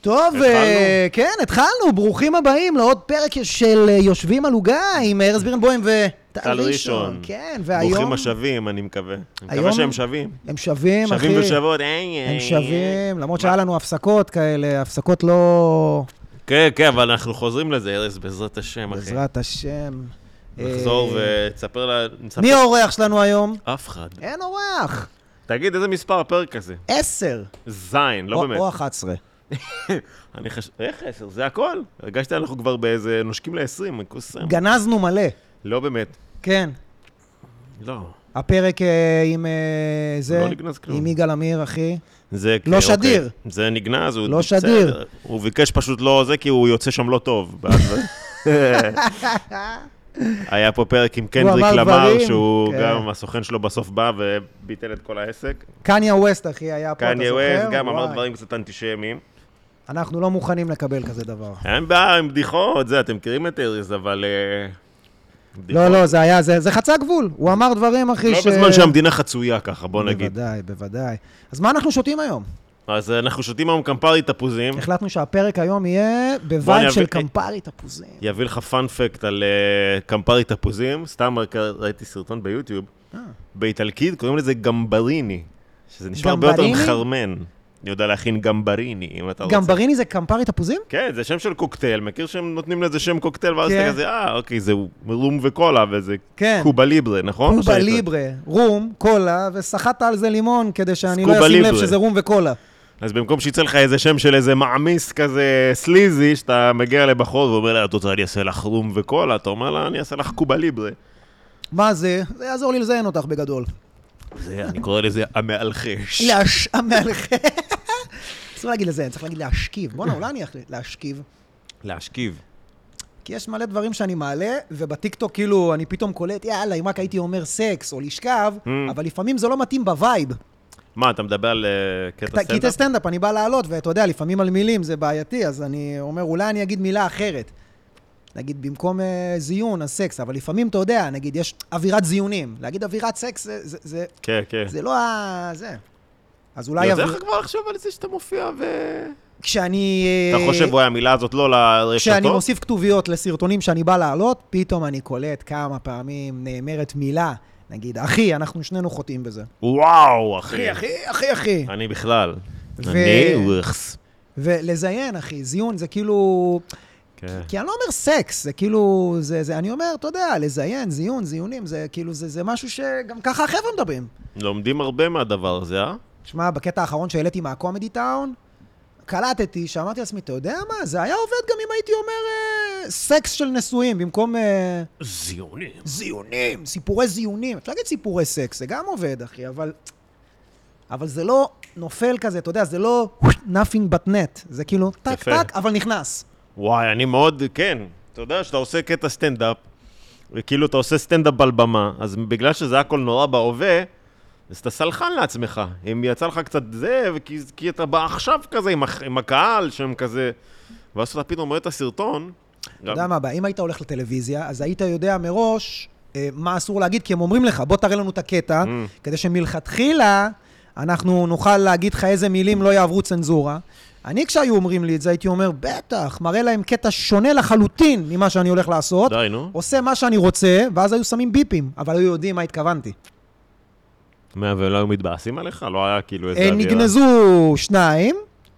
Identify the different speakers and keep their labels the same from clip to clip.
Speaker 1: טוב,
Speaker 2: התחלנו?
Speaker 1: אה, כן, התחלנו, ברוכים הבאים לעוד פרק של אה, יושבים על עוגה עם ארז בירנבוים ו...
Speaker 2: טל ראשון.
Speaker 1: כן,
Speaker 2: ברוכים
Speaker 1: והיום
Speaker 2: השבים, אני מקווה. אני
Speaker 1: היום-
Speaker 2: מקווה שהם שווים.
Speaker 1: הם שווים, אחי.
Speaker 2: שווים ושוות, איי,
Speaker 1: הם
Speaker 2: איי.
Speaker 1: שווים, למרות שהיה לנו הפסקות כאלה, הפסקות לא...
Speaker 2: כן, כן, אבל אנחנו חוזרים לזה, ארז, בעזרת השם, אחי.
Speaker 1: בעזרת השם.
Speaker 2: נחזור
Speaker 1: אה,
Speaker 2: ותספר לה... נספר-
Speaker 1: מי אה? האורח שלנו היום?
Speaker 2: אף אחד.
Speaker 1: אין אורח.
Speaker 2: תגיד, איזה מספר הפרק הזה?
Speaker 1: עשר.
Speaker 2: זין, לא
Speaker 1: או-
Speaker 2: באמת.
Speaker 1: או 11.
Speaker 2: אני חש... איך עשר? זה הכל? הרגשתי אנחנו כבר באיזה... נושקים ל-20, כוס סם.
Speaker 1: גנזנו מלא.
Speaker 2: לא באמת.
Speaker 1: כן.
Speaker 2: לא.
Speaker 1: הפרק אה, עם אה, זה,
Speaker 2: לא נגנז כלום.
Speaker 1: עם יגאל עמיר, אחי.
Speaker 2: זה...
Speaker 1: לא
Speaker 2: אוקיי.
Speaker 1: שדיר.
Speaker 2: זה נגנז, הוא...
Speaker 1: לא
Speaker 2: בסדר.
Speaker 1: שדיר.
Speaker 2: הוא ביקש פשוט לא זה, כי הוא יוצא שם לא טוב. ואז- היה פה פרק עם קנדריק
Speaker 1: אמר
Speaker 2: למר,
Speaker 1: דברים,
Speaker 2: שהוא
Speaker 1: כן.
Speaker 2: גם, הסוכן שלו בסוף בא וביטל את כל העסק.
Speaker 1: קניה ווסט, אחי, היה פה, אתה
Speaker 2: קניה
Speaker 1: זוכר?
Speaker 2: ווסט גם אמר
Speaker 1: וואי.
Speaker 2: דברים קצת אנטישמיים.
Speaker 1: אנחנו לא מוכנים לקבל כזה דבר.
Speaker 2: היה להם בעיה עם בדיחות, זה, אתם מכירים את ארז, אבל... אה,
Speaker 1: לא,
Speaker 2: בדיחות.
Speaker 1: לא, זה היה, זה זה חצה גבול. הוא אמר דברים, אחי,
Speaker 2: לא בזמן שהמדינה חצויה ככה, בוא נגיד.
Speaker 1: בוודאי, בוודאי. אז מה אנחנו שותים היום?
Speaker 2: אז אנחנו שותים היום קמפרי תפוזים.
Speaker 1: החלטנו שהפרק היום יהיה
Speaker 2: בוא אני
Speaker 1: בווייב
Speaker 2: אביא- אה,
Speaker 1: של קמפרי תפוזים.
Speaker 2: יביא לך פאנפקט על אה, קמפרי תפוזים, סתם רק ראיתי סרטון ביוטיוב.
Speaker 1: אה.
Speaker 2: באיטלקית קוראים לזה גמבריני, שזה נשמע הרבה יותר
Speaker 1: גמבריני?
Speaker 2: מחרמן. אני יודע להכין גמבריני, אם אתה רוצה.
Speaker 1: גם בריני זה קמפרי תפוזים?
Speaker 2: כן, זה שם של קוקטייל, מכיר שהם נותנים לזה שם קוקטייל, ואז
Speaker 1: כן.
Speaker 2: אתה כזה, אה, אוקיי, זה רום וקולה, וזה
Speaker 1: כן.
Speaker 2: קובה ליברה, נכון?
Speaker 1: קובה ליברה, רום, קולה, וסחטת על זה לימון כדי שאני לא
Speaker 2: קובה
Speaker 1: אשים לב
Speaker 2: ליברה.
Speaker 1: שזה רום וקולה.
Speaker 2: אז במקום שיצא לך איזה שם של איזה מעמיס כזה סליזי, שאתה מגיע לבחור ואומר לה, את רוצה, אני אעשה לך רום וקולה, אתה אומר לה, אני אעשה לך קובה ליברה.
Speaker 1: מה זה? זה יעזור לי לזיין אותך בגדול.
Speaker 2: זה, אני קורא לזה המאלחש.
Speaker 1: להש... המלך. אסור להגיד לזיין, צריך להגיד להשכיב. בואנה, אולי אני אחליט להשכיב.
Speaker 2: להשכיב.
Speaker 1: כי יש מלא דברים שאני מעלה, ובטיקטוק כאילו אני פתאום קולט, יאללה, אם רק הייתי אומר סקס או לשכב,
Speaker 2: Mm.
Speaker 1: אבל לפעמים זה לא מתאים בווייב.
Speaker 2: מה, אתה מדבר על אה, קטע
Speaker 1: אתה- קטעי
Speaker 2: סטנדאפ?
Speaker 1: סטנדאפ, אני בא לעלות, ואתה יודע, לפעמים על מילים זה בעייתי, אז אני אומר, אולי אני אגיד מילה אחרת. נגיד, במקום אה, זיון, אז סקס, אבל לפעמים, אתה יודע, נגיד, יש אווירת זיונים. להגיד אווירת סקס, זה- זה- זה-
Speaker 2: כן, כן.
Speaker 1: זה לא ה... זה. אז אולי...
Speaker 2: יוצא
Speaker 1: אוויר-
Speaker 2: לך כבר לחשוב על לא, זה שאתה מופיע ו...
Speaker 1: כשאני...
Speaker 2: אתה
Speaker 1: אה,
Speaker 2: חושב, וואי, המילה הזאת לא לרשתות?
Speaker 1: כשאני מוסיף כתוביות לסרטונים שאני בא להעלות, פתאום אני קולט כמה פעמים נאמרת מילה. נגיד, אחי, אנחנו שנינו חוטאים בזה.
Speaker 2: וואו,
Speaker 1: אחי,
Speaker 2: אחי.
Speaker 1: אחי, אחי, אחי.
Speaker 2: אני בכלל.
Speaker 1: ו-
Speaker 2: אני וואחס.
Speaker 1: ולזיין, אחי, זיון זה כאילו...
Speaker 2: כן.
Speaker 1: כי אני לא אומר סקס, זה כאילו... זה, זה, אני אומר, אתה יודע, לזיין, זיון, זיונים, זה כאילו, זה, זה משהו שגם ככה החבר'ה מדברים.
Speaker 2: לומדים הרבה מהדבר הזה, אה?
Speaker 1: שמע, בקטע האחרון שהעליתי מהקומדי טאון, קלטתי, שאמרתי לעצמי, אתה יודע מה, זה היה עובד גם אם הייתי אומר אה, סקס של נשואים, במקום... אה,
Speaker 2: זיונים.
Speaker 1: זיונים, סיפורי זיונים. אפשר להגיד סיפורי סקס, זה גם עובד, אחי, אבל... אבל זה לא נופל כזה, אתה יודע, זה לא nothing but net. זה כאילו טק
Speaker 2: יפה.
Speaker 1: טק, אבל נכנס.
Speaker 2: וואי, אני מאוד, כן. אתה יודע, שאתה עושה קטע סטנדאפ, וכאילו אתה עושה סטנדאפ על במה, אז בגלל שזה הכל נורא בהווה, אז אתה סלחן לעצמך. אם יצא לך קצת זה, וכי, כי אתה בא עכשיו כזה עם, הח- עם הקהל, שהם כזה... ואז אתה פתאום רואה את הסרטון.
Speaker 1: אתה יודע מה הבעיה, אם היית הולך לטלוויזיה, אז היית יודע מראש אה, מה אסור להגיד, כי הם אומרים לך, בוא תראה לנו את הקטע, כדי שמלכתחילה אנחנו נוכל להגיד לך איזה מילים לא יעברו צנזורה. אני, כשהיו אומרים לי את זה, הייתי אומר, בטח, מראה להם קטע שונה לחלוטין ממה שאני הולך לעשות.
Speaker 2: די, נו.
Speaker 1: עושה מה שאני רוצה, ואז היו שמים ביפים, אבל היו יודעים מה התכוונתי.
Speaker 2: מה, ולא היו מתבאסים עליך? לא היה כאילו איזה
Speaker 1: אה, נגנזו שניים,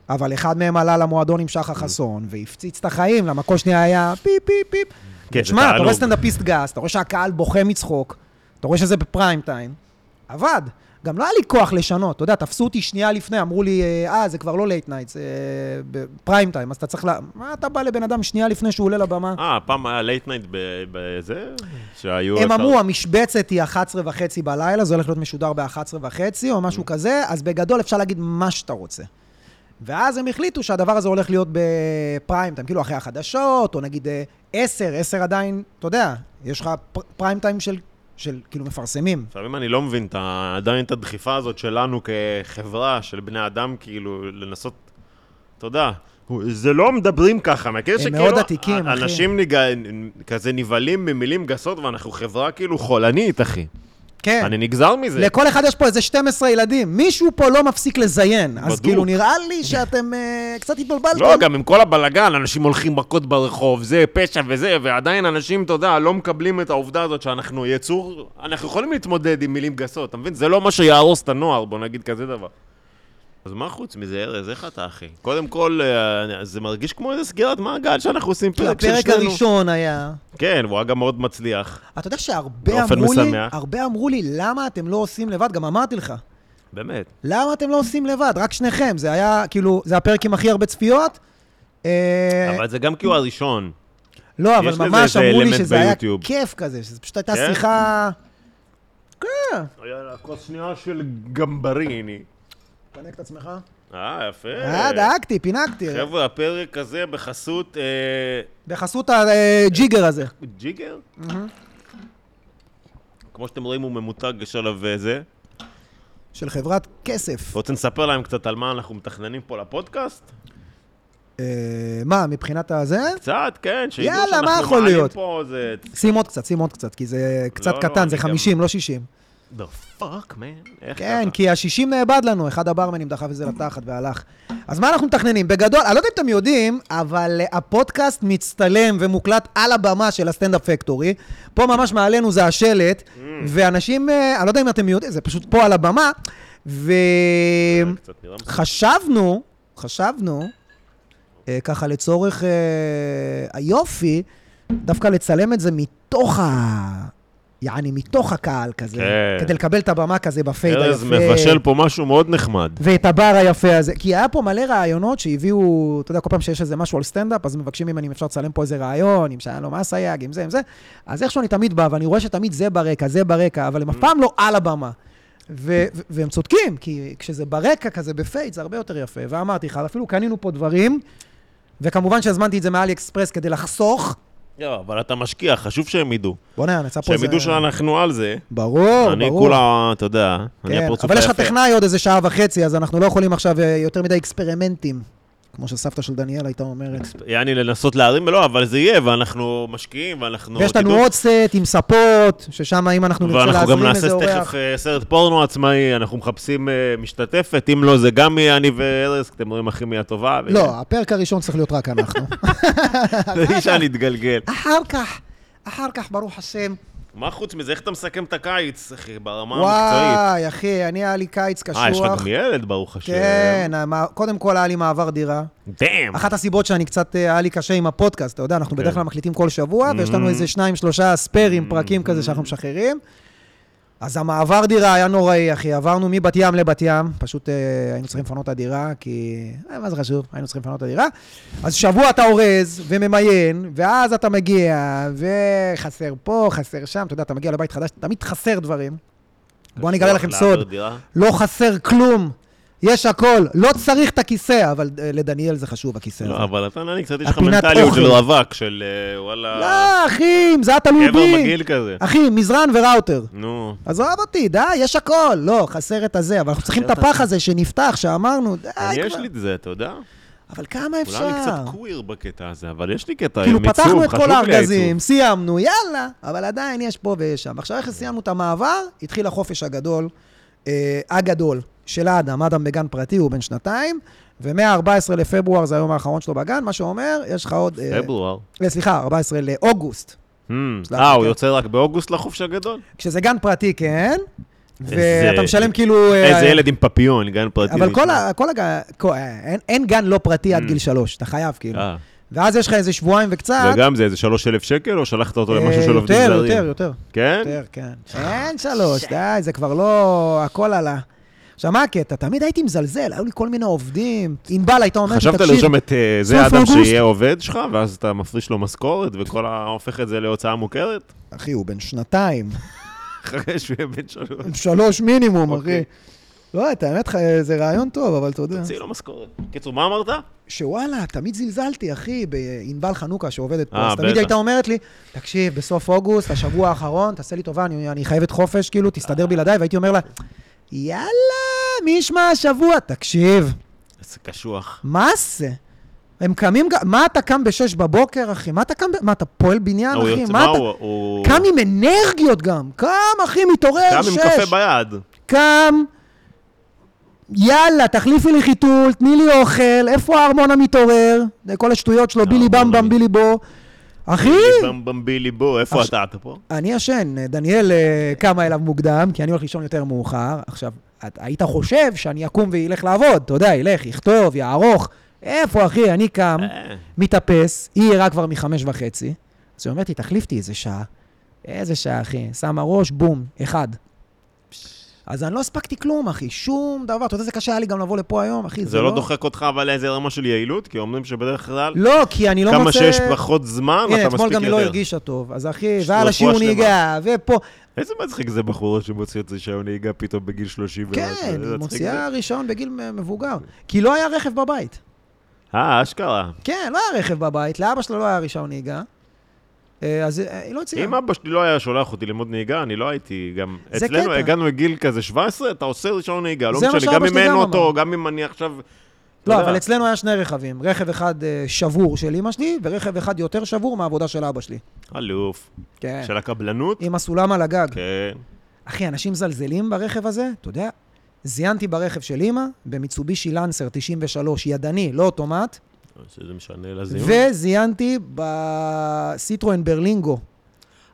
Speaker 1: אבל אחד מהם עלה למועדון עם שחר חסון, והפציץ את החיים, למה כל שנייה היה פיפ פיפ פיפ.
Speaker 2: כן, זה
Speaker 1: תשמע, אתה
Speaker 2: תענוג.
Speaker 1: רואה סטנדאפיסט גס, אתה רואה שהקהל בוכה מצחוק, אתה רואה שזה בפריים טיים. עבד. גם לא היה לי כוח לשנות, אתה יודע, תפסו אותי שנייה לפני, אמרו לי, אה, "אה, זה כבר לא אה, לייט נייט, זה בפריים טיים, אז אתה צריך ל... מה אתה בא לבן אדם שנייה לפני שהוא עולה לבמה?
Speaker 2: אה, פעם היה לייט נייט ב- בזה? שהיו...
Speaker 1: הם
Speaker 2: לא אפשר-
Speaker 1: אמרו, המשבצת היא 11 וחצי בלילה, זה הולך להיות משודר ב-11 וחצי או
Speaker 2: Mm.
Speaker 1: משהו כזה, אז בגדול אפשר להגיד מה שאתה רוצה. ואז הם החליטו שהדבר הזה הולך להיות בפריים טיים, כאילו אחרי החדשות, או נגיד אה, 10, 10 עדיין, אתה יודע, יש לך פר- פריים טיים של, של כאילו מפרסמים.
Speaker 2: לפעמים אני לא מבין את ה- עדיין את הדחיפה הזאת שלנו כחברה, של בני אדם, כאילו, לנסות, אתה יודע, זה לא מדברים ככה, מכיר
Speaker 1: הם מאוד עתיקים,
Speaker 2: ה-
Speaker 1: אחי.
Speaker 2: אנשים ניג... כזה נבהלים ממילים גסות, ואנחנו חברה כאילו חולנית, אחי.
Speaker 1: כן.
Speaker 2: אני נגזר מזה.
Speaker 1: לכל אחד יש פה איזה 12 ילדים. מישהו פה לא מפסיק לזיין. אז
Speaker 2: בדוק.
Speaker 1: כאילו, נראה לי שאתם אה, קצת התבלבלתם.
Speaker 2: לא, גם עם כל הבלגן, אנשים הולכים מכות ברחוב, זה פשע וזה, ועדיין אנשים, אתה יודע, לא מקבלים את העובדה הזאת שאנחנו יצור... אנחנו יכולים להתמודד עם מילים גסות, אתה מבין? זה לא מה שיהרוס את הנוער, בוא נגיד כזה דבר. אז מה חוץ מזה, ארז? איך אתה, אחי? קודם כל, אה, זה מרגיש כמו איזה סגירת מעגל שאנחנו עושים
Speaker 1: כאילו,
Speaker 2: פרק של
Speaker 1: הפרק
Speaker 2: שנינו.
Speaker 1: הראשון היה...
Speaker 2: כן, והוא היה גם מאוד מצליח.
Speaker 1: אתה יודע שהרבה
Speaker 2: באופן
Speaker 1: אמרו לי,
Speaker 2: משמח.
Speaker 1: הרבה אמרו לי, למה אתם לא עושים לבד? גם אמרתי לך.
Speaker 2: באמת.
Speaker 1: למה אתם לא עושים לבד? רק שניכם. זה היה, כאילו, זה הפרק עם הכי הרבה צפיות. אה,
Speaker 2: אבל זה גם כי הוא הראשון.
Speaker 1: לא,
Speaker 2: יש
Speaker 1: אבל
Speaker 2: לזה
Speaker 1: ממש
Speaker 2: איזה
Speaker 1: אמרו לי
Speaker 2: אלמנט
Speaker 1: שזה היה
Speaker 2: ביוטיוב.
Speaker 1: כיף כזה, שזה פשוט הייתה
Speaker 2: כן?
Speaker 1: שיחה... כן.
Speaker 2: יאללה, כוס שנייה של גמבריני.
Speaker 1: תנק את עצמך.
Speaker 2: אה, יפה.
Speaker 1: אה, דאגתי, פינקתי.
Speaker 2: חבר'ה, הפרק הזה בחסות... אה,
Speaker 1: בחסות הג'יגר הזה.
Speaker 2: ג'יגר? Mm-hmm. כמו שאתם רואים, הוא ממותג, יש עליו אה, זה.
Speaker 1: של חברת כסף.
Speaker 2: רוצים לספר להם קצת על מה אנחנו מתכננים פה לפודקאסט?
Speaker 1: אה, מה, מבחינת הזה?
Speaker 2: קצת, כן, שידעו
Speaker 1: יאללה,
Speaker 2: שאנחנו
Speaker 1: מה יכול
Speaker 2: מעלים
Speaker 1: להיות?
Speaker 2: פה זה...
Speaker 1: שים עוד קצת, שים עוד קצת, כי זה קצת
Speaker 2: לא,
Speaker 1: קטן,
Speaker 2: אני
Speaker 1: זה
Speaker 2: גם-
Speaker 1: 50, לא 60.
Speaker 2: The fuck, man. איך
Speaker 1: כן,
Speaker 2: ככה?
Speaker 1: כי ה-60 נאבד לנו, אחד הברמנים דחף את זה לתחת והלך. אז מה אנחנו מתכננים? בגדול, אני לא יודע אם אתם יודעים, אבל אה, הפודקאסט מצטלם ומוקלט על הבמה של הסטנדאפ פקטורי. פה ממש מעלינו זה השלט,
Speaker 2: Mm.
Speaker 1: ואנשים, אה, אני לא יודע אם אתם יודעים, זה פשוט פה על הבמה, וחשבנו,
Speaker 2: קצת נראה מסוים.
Speaker 1: חשבנו, אה, ככה לצורך אה, היופי, דווקא לצלם את זה מתוך ה... יעני, מתוך הקהל כזה,
Speaker 2: כן.
Speaker 1: כדי לקבל את הבמה כזה בפייד היפה.
Speaker 2: ארז מבשל פה משהו מאוד נחמד.
Speaker 1: ואת הבר היפה הזה. כי היה פה מלא רעיונות שהביאו, אתה יודע, כל פעם שיש איזה משהו על סטנדאפ, אז מבקשים ממני אם אפשר לצלם פה איזה רעיון, אם שהיה לו מה סייג, אם זה, אם זה. אז איכשהו אני תמיד בא, ואני רואה שתמיד זה ברקע, זה ברקע, אבל הם אף
Speaker 2: Mm.
Speaker 1: פעם לא על הבמה. ו- ו- והם צודקים, כי כשזה ברקע כזה בפייט, זה הרבה יותר יפה. ואמרתי לך, אפילו קנינו פה דברים, וכמובן שהזמנתי את זה מאלי אקספרס כדי לחסוך.
Speaker 2: לא, אבל אתה משקיע, חשוב שהם ידעו.
Speaker 1: בוא'נה, נצא פה
Speaker 2: שהם
Speaker 1: איזה...
Speaker 2: ידעו שאנחנו על זה.
Speaker 1: ברור, לא, ברור.
Speaker 2: אני כולה, אתה יודע, אני
Speaker 1: כן,
Speaker 2: הפרצוף
Speaker 1: אבל יש לך
Speaker 2: היפה.
Speaker 1: טכנאי עוד איזה שעה וחצי, אז אנחנו לא יכולים עכשיו אה, יותר מדי אקספרימנטים, כמו שסבתא של דניאל הייתה אומרת.
Speaker 2: יעני לנסות להרים, לא, אבל זה יהיה, ואנחנו משקיעים, ואנחנו...
Speaker 1: ויש לנו
Speaker 2: תדעו-
Speaker 1: עוד סט עם ספות, ששם אם אנחנו נרצה
Speaker 2: ואנחנו
Speaker 1: להזרים
Speaker 2: גם נעשה
Speaker 1: איזה
Speaker 2: תכף
Speaker 1: אורח...
Speaker 2: אה, סרט פורנו עצמאי, אנחנו מחפשים אה, משתתפת, אם לא זה גם יהיה אני וארז, אתם רואים הכי מי הטובה. ו-
Speaker 1: לא, הפרק הראשון צריך להיות רק אנחנו.
Speaker 2: אי אפשר להתגלגל.
Speaker 1: אחר כך, אחר כך, ברוך השם.
Speaker 2: מה חוץ מזה, איך אתה מסכם את הקיץ, אחי, ברמה המקצועית?
Speaker 1: וואי, אחי, אני היה לי קיץ קשוח.
Speaker 2: אה, יש לך גם ילד, ברוך השם.
Speaker 1: כן, המ- קודם כל היה לי מעבר דירה.
Speaker 2: דאם.
Speaker 1: אחת הסיבות שאני קצת, אה, היה לי קשה עם הפודקאסט, אתה יודע, אנחנו בדרך כלל מקליטים כל שבוע, ויש לנו איזה שניים, שלושה ספיירים, פרקים כזה שאנחנו משחררים. אז המעבר דירה היה נוראי, אחי. עברנו מבת ים לבת ים, פשוט אה, היינו צריכים לפנות את הדירה, כי... אה, מה זה חשוב? היינו צריכים לפנות את הדירה. אז שבוע אתה אורז וממיין, ואז אתה מגיע, וחסר פה, חסר שם, אתה יודע, אתה מגיע לבית חדש, תמיד חסר דברים. בואו אני אגלה לכם
Speaker 2: לעבור
Speaker 1: סוד,
Speaker 2: לא, דירה.
Speaker 1: לא חסר כלום, יש הכל, לא צריך את הכיסא, אבל אה, לדניאל זה חשוב, הכיסא הזה.
Speaker 2: לא, אבל אתה נראה לי קצת, יש לך
Speaker 1: הפינת
Speaker 2: מנטליות
Speaker 1: אוכל.
Speaker 2: של רווק, של אה, וואלה,
Speaker 1: לא, אחי, אם זה היה תלוי
Speaker 2: גבר
Speaker 1: בי.
Speaker 2: מגעיל כזה.
Speaker 1: אחי, מזרן וראוטר.
Speaker 2: נו.
Speaker 1: עזוב אותי, די, יש הכל. לא, חסר את הזה, אבל אנחנו צריכים את
Speaker 2: חסר את
Speaker 1: הפח הזה שנפתח, שאמרנו, די
Speaker 2: אני יש
Speaker 1: כבר.
Speaker 2: לי את זה, אתה יודע?
Speaker 1: אבל כמה
Speaker 2: אולי אני
Speaker 1: אה, אפשר?
Speaker 2: קצת קוויר בקטע הזה, אבל יש לי קטע אה, עם
Speaker 1: כאילו,
Speaker 2: עיצוב,
Speaker 1: פתחנו את
Speaker 2: חשוב
Speaker 1: כל
Speaker 2: לי העיצוב.
Speaker 1: הארגזים, סיימנו, יאללה, אבל עדיין יש פה ויש שם. עכשיו, איך סיימנו את המעבר? התחיל החופש הגדול, אה, הגדול, של האדם. אדם בגן פרטי, הוא בן שנתיים, ומ-14 לפברואר זה היום האחרון שלו בגן, מה שאומר, יש לך עוד... אה,
Speaker 2: פברואר.
Speaker 1: אה, סליחה, 14 לאוגוסט.
Speaker 2: Hmm.
Speaker 1: סלח לי,
Speaker 2: אה, הוא
Speaker 1: כן.
Speaker 2: יוצא רק באוגוסט לחופש הגדול?
Speaker 1: כשזה גן פרטי, כן,
Speaker 2: איזה-
Speaker 1: ואתה משלם כאילו... אה,
Speaker 2: איזה ילד עם פפיון, גן פרטי.
Speaker 1: אבל כל,
Speaker 2: נשמע. Mm.
Speaker 1: ה, כל הגן, כל, אין, אין גן לא פרטי עד גיל שלוש, אתה חייב כאילו.
Speaker 2: אה,
Speaker 1: ואז יש לך איזה שבועיים וקצת.
Speaker 2: וגם זה איזה שלוש אלף שקל, או שלחת אותו
Speaker 1: אה,
Speaker 2: למשהו של עובדים
Speaker 1: יותר,
Speaker 2: זרים?
Speaker 1: יותר, יותר.
Speaker 2: כן?
Speaker 1: יותר, כן. אין שלוש, די, זה כבר לא... הכל עלה. עכשיו, מה הקטע? תמיד הייתי מזלזל, היו לי כל מיני עובדים. ענבל הייתה אומרת, לי,
Speaker 2: חשבת
Speaker 1: תקשיב,
Speaker 2: לרשום את אה,
Speaker 1: סוף
Speaker 2: זה אדם
Speaker 1: אוגוסט.
Speaker 2: שיהיה עובד שלך, ואז אתה מפריש לו משכורת, וכל ה... הופך את זה להוצאה מוכרת?
Speaker 1: אחי, הוא בן שנתיים.
Speaker 2: אחרי שהוא יהיה בן שלוש.
Speaker 1: שלוש מינימום, אחי.
Speaker 2: אוקיי.
Speaker 1: לא, את האמת, זה רעיון טוב, אבל אתה יודע.
Speaker 2: תוציא לו משכורת. קיצור, מה אמרת?
Speaker 1: שוואלה, תמיד זלזלתי, אחי, בענבל חנוכה שעובדת פה,
Speaker 2: אה,
Speaker 1: אז תמיד
Speaker 2: בטח.
Speaker 1: הייתה אומרת לי, תקשיב, בסוף אוגוסט, השבוע האחרון, תעשה לי טובה, אני, אני חייבת חופש, כאילו, תסתדר בלעדיי, והייתי אומר לה, יאללה, מי ישמע השבוע? תקשיב,
Speaker 2: איזה קשוח.
Speaker 1: מה זה? הם קמים, ג- מה אתה קם בשש בבוקר, אחי? מה אתה קם, ב- מה אתה פועל בניין,
Speaker 2: הוא
Speaker 1: אחי?
Speaker 2: יוצא-
Speaker 1: מה
Speaker 2: מה
Speaker 1: אתה...
Speaker 2: הוא- הוא...
Speaker 1: קם עם אנרגיות גם, קם, אחי, מתעורר,
Speaker 2: קם
Speaker 1: שש.
Speaker 2: עם קפה ביד.
Speaker 1: קם, יאללה, תחליפי לי חיתול, תני לי אוכל, איפה הארמון המתעורר? זה כל השטויות שלו, בילי
Speaker 2: הארמון
Speaker 1: במבם, בילי בו. אחי,
Speaker 2: במבילי בו, איפה
Speaker 1: כן. עכשיו-
Speaker 2: אתה? אתה פה?
Speaker 1: אני ישן, דניאל אה, קמה אליו מוקדם, כי אני הולך לישון יותר מאוחר. עכשיו, את- היית חושב שאני אקום וילך לעבוד, אתה יודע, ילך, יכתוב, יערוך. איפה, אחי, אני קם,
Speaker 2: אה.
Speaker 1: מתאפס, היא ערה כבר מחמש וחצי. אז היא אומרת לי, תחליף אותי איזה שעה. איזה שעה, אחי? שמה ראש, בום, אחד. אז אני לא הספקתי כלום, אחי, שום דבר. אתה יודע איזה קשה היה לי גם לבוא לפה היום, אחי?
Speaker 2: זה לא דוחק אותך אבל לאיזה רמה של יעילות? כי אומרים שבדרך כלל,
Speaker 1: לא, כי אני לא מוצא...
Speaker 2: כמה שיש פחות זמן, אתה מספיק
Speaker 1: הנה,
Speaker 2: יותר.
Speaker 1: אתמול גם היא לא הרגישה טוב. אז אחי,
Speaker 2: רפואה
Speaker 1: ועל השיעור
Speaker 2: שלמה.
Speaker 1: נהיגה, ופה...
Speaker 2: איזה מצחיק זה בחורה שמוציאה את רישיון נהיגה פתאום בגיל 30 ומשהו,
Speaker 1: כן,
Speaker 2: איזה
Speaker 1: היא
Speaker 2: מצחיק
Speaker 1: מוציאה
Speaker 2: זה.
Speaker 1: רישיון בגיל מ- מבוגר. כי לא היה רכב בבית.
Speaker 2: אה, אשכרה.
Speaker 1: כן, לא היה רכב בבית, לאבא שלו לא היה רישיון נהיגה. אה, אז אה, היא לא הציעה.
Speaker 2: אם אבא שלי לא היה שולח אותי ללמוד נהיגה, אני לא הייתי גם...
Speaker 1: זה
Speaker 2: אצלנו
Speaker 1: קטע.
Speaker 2: הגענו לגיל כזה 17, אתה עושה רישיון נהיגה, לא
Speaker 1: זה מה
Speaker 2: משנה, גם
Speaker 1: שאבא
Speaker 2: אם
Speaker 1: שלי
Speaker 2: אין
Speaker 1: גם
Speaker 2: אוטו,
Speaker 1: אמר.
Speaker 2: גם אם אני עכשיו... אתה
Speaker 1: לא,
Speaker 2: יודע,
Speaker 1: אבל אצלנו היה שני רכבים. רכב אחד אה, שבור של אמא שלי, ורכב אחד יותר שבור מהעבודה של אבא שלי.
Speaker 2: אלוף.
Speaker 1: כן.
Speaker 2: של הקבלנות?
Speaker 1: עם הסולם על הגג.
Speaker 2: כן.
Speaker 1: אחי, אנשים מזלזלים ברכב הזה, אתה יודע? זיינתי ברכב של אמא, במיצובישי לנסר 93, ידני, לא אוטומט,
Speaker 2: שזה משנה לזיון.
Speaker 1: וזיינתי בסיטרואן ברלינגו.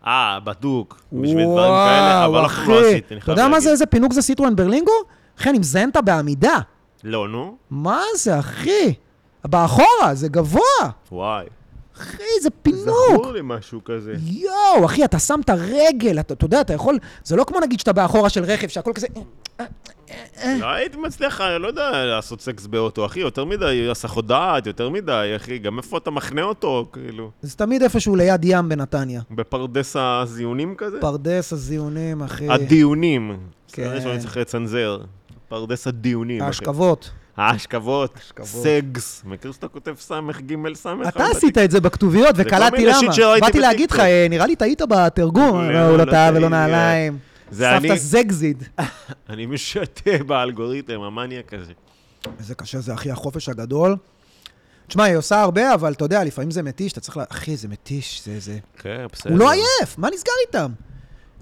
Speaker 2: אה, בדוק. בשביל דברים כאלה, אבל אנחנו לא עשיתי, אני
Speaker 1: אתה
Speaker 2: חייב
Speaker 1: יודע מה זה,
Speaker 2: להגיד.
Speaker 1: איזה פינוק זה סיטרואן ברלינגו? אחי, אני מזיין אותה בעמידה.
Speaker 2: לא, נו.
Speaker 1: מה זה, אחי? באחורה, זה גבוה.
Speaker 2: וואי.
Speaker 1: אחי, זה פינוק.
Speaker 2: זכור לי משהו כזה.
Speaker 1: יואו, אחי, אתה שם את הרגל, אתה אתה יודע, אתה יכול... זה לא כמו נגיד שאתה באחורה של רכב, שהכל כזה... אה.
Speaker 2: לא הייתי מצליח, אני לא יודע, לעשות סקס באוטו, אחי, יותר מדי, הסחות דעת, יותר מדי, אחי, גם איפה אתה מחנה אותו, כאילו?
Speaker 1: זה תמיד איפשהו ליד ים בנתניה.
Speaker 2: בפרדס הזיונים כזה?
Speaker 1: פרדס הזיונים, אחי.
Speaker 2: הדיונים.
Speaker 1: כן.
Speaker 2: כן. שאני צריך לצנזר. פרדס הדיונים. אחי.
Speaker 1: ההשכבות.
Speaker 2: ההשכבות.
Speaker 1: ההשכבות.
Speaker 2: סגס. מכיר שאתה כותב סמך גימל סמך?
Speaker 1: אתה
Speaker 2: אבל
Speaker 1: עשית את זה בכתוביות,
Speaker 2: נכון, כל
Speaker 1: וקלטתי
Speaker 2: מיני שיט
Speaker 1: למה.
Speaker 2: שראיתי
Speaker 1: באתי להגיד לך,
Speaker 2: בטיקטוק.
Speaker 1: אה, נראה לי טעית בתרגום,
Speaker 2: לא,
Speaker 1: לא, הוא לא
Speaker 2: לא
Speaker 1: טעה
Speaker 2: טעי,
Speaker 1: ולא
Speaker 2: אה,
Speaker 1: נעליים.
Speaker 2: זה
Speaker 1: סבתא
Speaker 2: אני-
Speaker 1: זגזיד.
Speaker 2: אני משתה באלגוריתם, המניאק הזה.
Speaker 1: איזה קשה זה, אחי, החופש הגדול. תשמע, היא עושה הרבה, אבל אתה יודע, לפעמים זה מתיש, אתה צריך ל... אחי, זה מתיש, זה... זה...
Speaker 2: כן, בסדר.
Speaker 1: הוא לא עייף, מה נסגר איתם?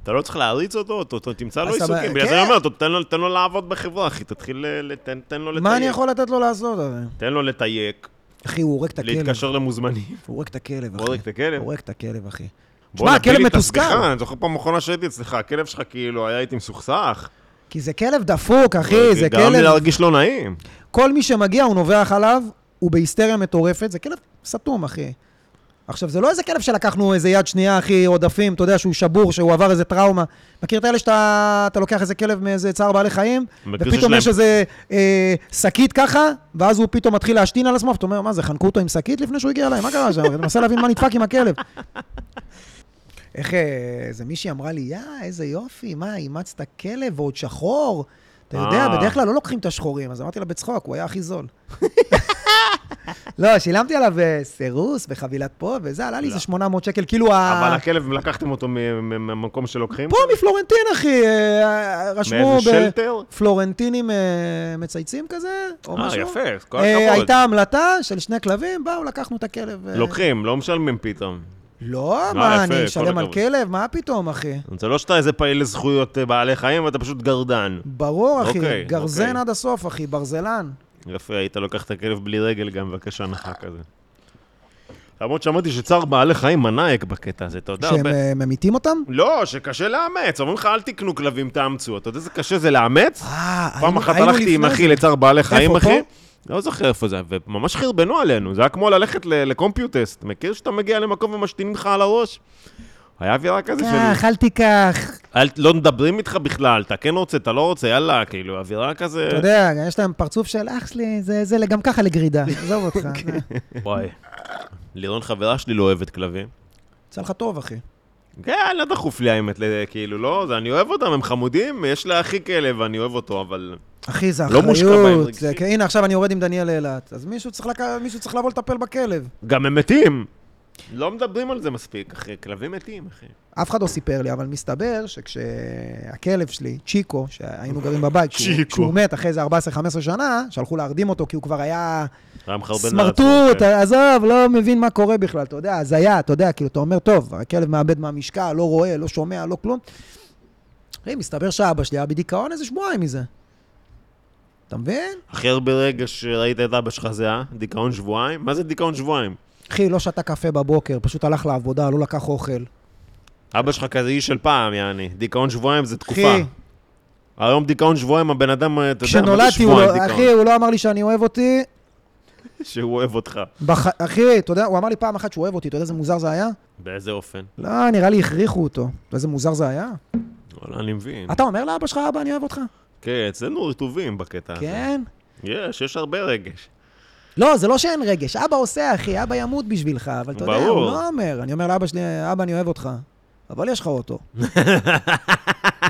Speaker 2: אתה לא צריך להריץ אותו, אותו- אותו- תמצא לו
Speaker 1: אז סבבה,
Speaker 2: עיסוקים. בגלל זה
Speaker 1: כן.
Speaker 2: אני אומר, אותו, תן לו- תן לו לעבוד בחברה, אחי, תתחיל, ל- ל- תן תן לו לתייק.
Speaker 1: מה אני יכול לתת לו לעשות? אבל?
Speaker 2: תן לו לתייק,
Speaker 1: אחי, הוא הורג את הכלב.
Speaker 2: להתקשר למוזמנים.
Speaker 1: הוא הורג את הכלב, אחי.
Speaker 2: הורג את הכלב?
Speaker 1: הוא הורג את הכלב, אחי. תשמע,
Speaker 2: בואנה, תביא
Speaker 1: הכלב
Speaker 2: לי את
Speaker 1: מתוסכל.
Speaker 2: הסליחה, אני זוכר פעם אחרונה שהייתי אצלך, הכלב שלך כאילו היה איתי מסוכסך.
Speaker 1: כי זה כלב דפוק, אחי, זה
Speaker 2: גרם לי
Speaker 1: כלב...
Speaker 2: להרגיש לא נעים.
Speaker 1: כל מי שמגיע, הוא נובח עליו, הוא בהיסטריה מטורפת, זה כלב סתום, אחי. עכשיו, זה לא איזה כלב שלקחנו איזה יד שנייה, אחי, עודפים, אתה יודע, שהוא שבור, שהוא עבר איזה טראומה. מכיר את האלה שאתה אתה לוקח איזה כלב מאיזה צער בעלי חיים,
Speaker 2: מכיר שיש
Speaker 1: ופתאום
Speaker 2: להם-
Speaker 1: יש איזה אה, שקית ככה, ואז הוא פתאום מתחיל להשתין על עצמו, ואתה אומר, מה זה, חנקו אותו עם שקית לפני שהוא הגיע אליי? מה קרה שם? אני מנסה להבין מה נדפק עם הכלב. איך אה, איזה מישהי אמרה לי, יא, איזה יופי, מה, אימצת כלב ועוד שחור? אתה יודע,
Speaker 2: אה.
Speaker 1: בדרך כלל לא לוקחים את השחורים, אז אמרתי לה בצחוק, הוא היה הכי זול. לא, שילמתי עליו אה, סירוס בחבילת פה, וזה עלה לי איזה
Speaker 2: לא.
Speaker 1: 800 שקל, כאילו ה...
Speaker 2: אבל הכלב, לקחתם אותו מ- מ- מהמקום שלוקחים?
Speaker 1: פה מפלורנטין, אחי, אה, רשמו
Speaker 2: מאיזה שלטר?
Speaker 1: בפלורנטינים אה, מצייצים כזה, או
Speaker 2: אה,
Speaker 1: משהו.
Speaker 2: יפה, כל
Speaker 1: אה,
Speaker 2: הכבוד.
Speaker 1: הייתה המלטה של שני כלבים, באו, לקחנו את הכלב. אה,
Speaker 2: לוקחים, לא משלמים פתאום.
Speaker 1: לא,
Speaker 2: אה,
Speaker 1: מה,
Speaker 2: יפה,
Speaker 1: אני
Speaker 2: כל
Speaker 1: אשלם על
Speaker 2: הכבוד.
Speaker 1: כלב? מה פתאום, אחי?
Speaker 2: זה לא שאתה איזה פעיל לזכויות אה, בעלי חיים, אתה פשוט גרדן.
Speaker 1: ברור, אחי,
Speaker 2: אוקיי,
Speaker 1: גרזן
Speaker 2: אוקיי.
Speaker 1: עד הסוף, אחי, ברזלן.
Speaker 2: יפה, היית לוקח את הכלב בלי רגל גם, מבקש הנחה כזה. למרות שאמרתי שצער בעלי חיים מנאייק בקטע הזה, אתה יודע.
Speaker 1: שהם
Speaker 2: לא, הרבה-
Speaker 1: אה, ממיתים אותם?
Speaker 2: לא, שקשה לאמץ. אומרים לך, אל תקנו כלבים, תאמצו. אתה יודע איזה קשה זה לאמץ?
Speaker 1: אה,
Speaker 2: פעם
Speaker 1: היינו-
Speaker 2: אחת
Speaker 1: היינו
Speaker 2: הלכתי עם
Speaker 1: לפני
Speaker 2: אחי
Speaker 1: זה.
Speaker 2: לצער בעלי חיים,
Speaker 1: איפה,
Speaker 2: אחי.
Speaker 1: פה?
Speaker 2: לא זוכר איפה זה, וממש חרבנו עלינו. זה היה כמו ללכת ל- לקומפיוטסט. מכיר שאתה מגיע למקום ומשתינים לך על הראש? היה אווירה
Speaker 1: אה,
Speaker 2: כזה של...
Speaker 1: קח, אל תיקח.
Speaker 2: אל, לא מדברים איתך בכלל, אתה כן רוצה, אתה לא רוצה, יאללה, כאילו, אווירה כזה...
Speaker 1: אתה יודע, יש להם פרצוף של אח שלי, זה, זה גם ככה לגרידה, עזוב אותך.
Speaker 2: אוקיי. וואי. לירון חברה שלי לא אוהבת כלבים.
Speaker 1: אה, יצא לך טוב, אחי.
Speaker 2: כן, לא דחוף לי האמת, ל- כאילו, לא, זה, אני אוהב אותם, הם חמודים, יש לה אחי כלב, אני אוהב אותו, אבל...
Speaker 1: אחי, זה
Speaker 2: לא מושקע בהם
Speaker 1: אחריות.
Speaker 2: רגשית.
Speaker 1: זה כ- הנה, עכשיו אני יורד עם דניאל לאילת. אז מישהו צריך לק- מישהו צריך לבוא לטפל בכלב.
Speaker 2: גם הם מתים. לא מדברים על זה מספיק, אחי. כלבים מתים, אחי.
Speaker 1: אף אחד לא סיפר לי, אבל מסתבר שכשהכלב שלי, צ'יקו, שהיינו גרים בבית, כשהוא-
Speaker 2: צ'יקו.
Speaker 1: כשהוא מת אחרי איזה 14-15 שנה, שהלכו להרדים אותו כי הוא כבר היה
Speaker 2: רם חרבן לעצמו,
Speaker 1: סמרטוט,
Speaker 2: לא כן.
Speaker 1: עזוב, לא מבין מה קורה בכלל, אתה יודע, הזיה, אתה יודע, כאילו, אתה אומר, טוב, הכלב מאבד מהמשקל, לא רואה, לא שומע, לא כלום. אחי, מסתבר שאבא שלי היה בדיכאון איזה שבועיים מזה. אתה מבין?
Speaker 2: הכי הרבה רגע שראית את אבא שלך זה היה דיכאון שבועיים? מה זה דיכאון שבועיים?
Speaker 1: אחי, לא שתה קפה בבוקר, פשוט הלך לעבודה, לא לקח אוכל.
Speaker 2: אבא שלך כזה איש של פעם, יעני. דיכאון שבועיים זה תקופה.
Speaker 1: אחי,
Speaker 2: היום דיכאון שבועיים, הבן אדם, אה, אתה יודע, מה זה
Speaker 1: כשנולדתי, הוא
Speaker 2: שבועיים
Speaker 1: לא- אחי,
Speaker 2: דיכאון?
Speaker 1: הוא לא אמר לי שאני אוהב אותי.
Speaker 2: שהוא אוהב אותך.
Speaker 1: בח... אחי, אתה יודע, הוא אמר לי פעם אחת שהוא אוהב אותי, אתה יודע איזה מוזר זה היה?
Speaker 2: באיזה אופן?
Speaker 1: לא, נראה לי הכריחו אותו. אתה יודע איזה מוזר זה היה?
Speaker 2: כן. וואלה, אני מבין.
Speaker 1: אתה אומר לאבא שלך, אבא, אני אוהב אותך?
Speaker 2: כן, אצלנו רטובים בקטע הזה.
Speaker 1: כן.
Speaker 2: יש, יש הרבה רגש.
Speaker 1: לא, זה לא שאין רגש. אבא עושה, אחי, אבא ימות בשבילך, אבל אתה יודע,
Speaker 2: ברור.
Speaker 1: הוא לא אומר. אני אומר לאבא שלי, אבא, אני אוהב אותך. אבל יש לך אוטו. הוא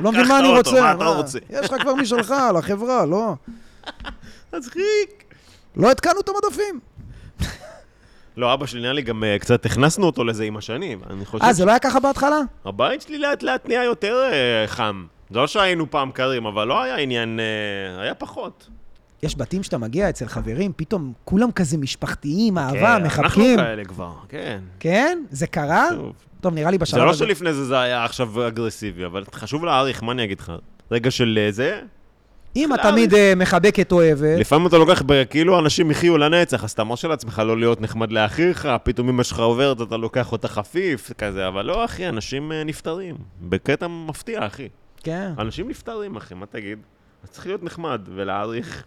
Speaker 1: לא מבין
Speaker 2: קח
Speaker 1: מה
Speaker 2: את
Speaker 1: אני
Speaker 2: האוטו,
Speaker 1: רוצה.
Speaker 2: מה אתה רוצה?
Speaker 1: יש לך כבר משלך, לחברה, לא.
Speaker 2: מצחיק.
Speaker 1: לא התקנו את המדפים.
Speaker 2: לא, אבא שלי נראה לי גם אה, קצת הכנסנו אותו לזה עם השנים. אני חושב
Speaker 1: אה, זה לא היה ככה בהתחלה?
Speaker 2: הבית שלי לאט לאט נהיה יותר אה, חם. לא שהיינו פעם קרים, אבל לא היה עניין, אה, היה פחות.
Speaker 1: יש בתים שאתה מגיע אצל חברים, פתאום כולם כזה משפחתיים, אהבה,
Speaker 2: כן,
Speaker 1: מחבקים.
Speaker 2: אנחנו כאלה כבר, כן.
Speaker 1: כן? זה קרה?
Speaker 2: טוב.
Speaker 1: טוב, נראה לי בשלב
Speaker 2: זה
Speaker 1: הזה.
Speaker 2: לא שלפני זה זה היה עכשיו אגרסיבי, אבל חשוב להעריך, מה אני אגיד לך? רגע של אה, זה,
Speaker 1: אם את
Speaker 2: לארץ.
Speaker 1: תמיד אה, מחבקת אוהבת,
Speaker 2: לפעמים אתה לוקח, ב- כאילו אנשים יחיו לנצח, אז אתה מרשה לעצמך לא להיות נחמד לאחיך, פתאום אמא שלך עוברת, אתה לוקח אותה חפיף, כזה, אבל לא, אחי, אנשים אה, נפטרים. בקטע מפתיע, אחי.
Speaker 1: כן.
Speaker 2: אנשים נפטרים, אחי, מה תגיד? אז צריך להיות נחמד ולהעריך.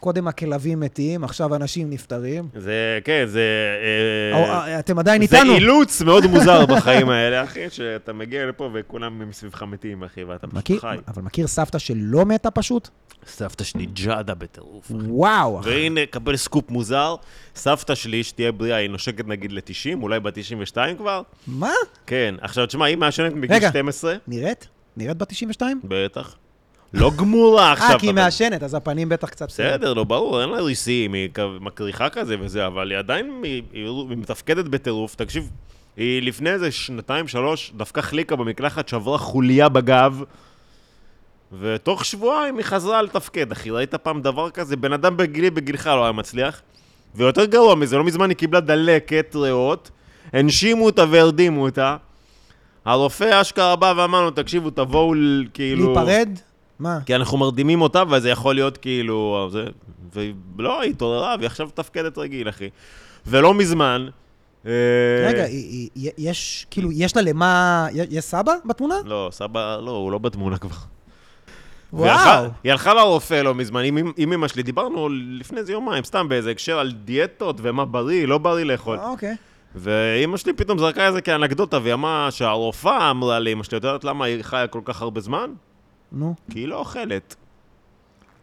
Speaker 1: קודם הכלבים מתים, עכשיו אנשים נפטרים.
Speaker 2: זה, כן, זה... אה,
Speaker 1: או, אה, אתם עדיין
Speaker 2: זה
Speaker 1: איתנו.
Speaker 2: אילוץ מאוד מוזר בחיים האלה, אחי, שאתה מגיע לפה וכולם מסביבך מתים, אחי, ואתה
Speaker 1: מכיר-
Speaker 2: פשוט חי.
Speaker 1: אבל מכיר סבתא שלא מתה פשוט?
Speaker 2: סבתא שלי ג'אדה בטירוף, אחי.
Speaker 1: וואו, אחי.
Speaker 2: והנה, קבל סקופ מוזר, סבתא שלי, שתהיה בריאה, היא נושקת נגיד ל-90, אולי ב-92 כבר?
Speaker 1: מה?
Speaker 2: כן. עכשיו, תשמע, היא מעשנת מגיל
Speaker 1: רגע.
Speaker 2: 12,
Speaker 1: נראית? נראית בת 92?
Speaker 2: בטח. לא גמורה עכשיו.
Speaker 1: אה, כי היא
Speaker 2: אבל-
Speaker 1: מעשנת, אז הפנים בטח קצת... אה,
Speaker 2: בסדר, לא ברור, אין לה ריסים, היא כ- מקריחה כזה וזה, אבל היא עדיין, היא, היא, היא מתפקדת בטירוף. תקשיב, היא לפני איזה שנתיים, שלוש, דווקא חליקה במקלחת, שברה חוליה בגב, ותוך שבועיים היא חזרה לתפקד, אחי. ראית פעם דבר כזה? בן אדם בגילי, בגילך לא היה מצליח. ויותר גרוע מזה, לא מזמן היא קיבלה דלקת ריאות, הנשימו אותה והרדימו אותה. הרופא אשכרה בא ואמר לו, תקשיבו, תבואו ל- כאילו... כן.
Speaker 1: להיפרד? מה?
Speaker 2: כי אנחנו מרדימים אותה, וזה יכול להיות כאילו... זה... ולא, היא התעוררה, והיא עכשיו מתפקדת רגיל, אחי. ולא מזמן... אה,
Speaker 1: רגע, היא- היא- יש, כאילו, יש לה למה... יש סבא בתמונה?
Speaker 2: לא, סבא, לא, הוא לא בתמונה כבר. והיא
Speaker 1: וואו.
Speaker 2: הלכה- היא הלכה לרופא לא מזמן, עם- עם אמא שלי, דיברנו לפני איזה יומיים, סתם באיזה הקשר על דיאטות ומה בריא, לא בריא לאכול.
Speaker 1: אה, אוקיי.
Speaker 2: ואימא שלי פתאום זרקה את זה כאנקדוטה, והיא אמרה שהרופאה אמרה לאמא שלי, את יודעת למה היא חיה כל כך הרבה זמן?
Speaker 1: נו.
Speaker 2: כי היא לא אוכלת.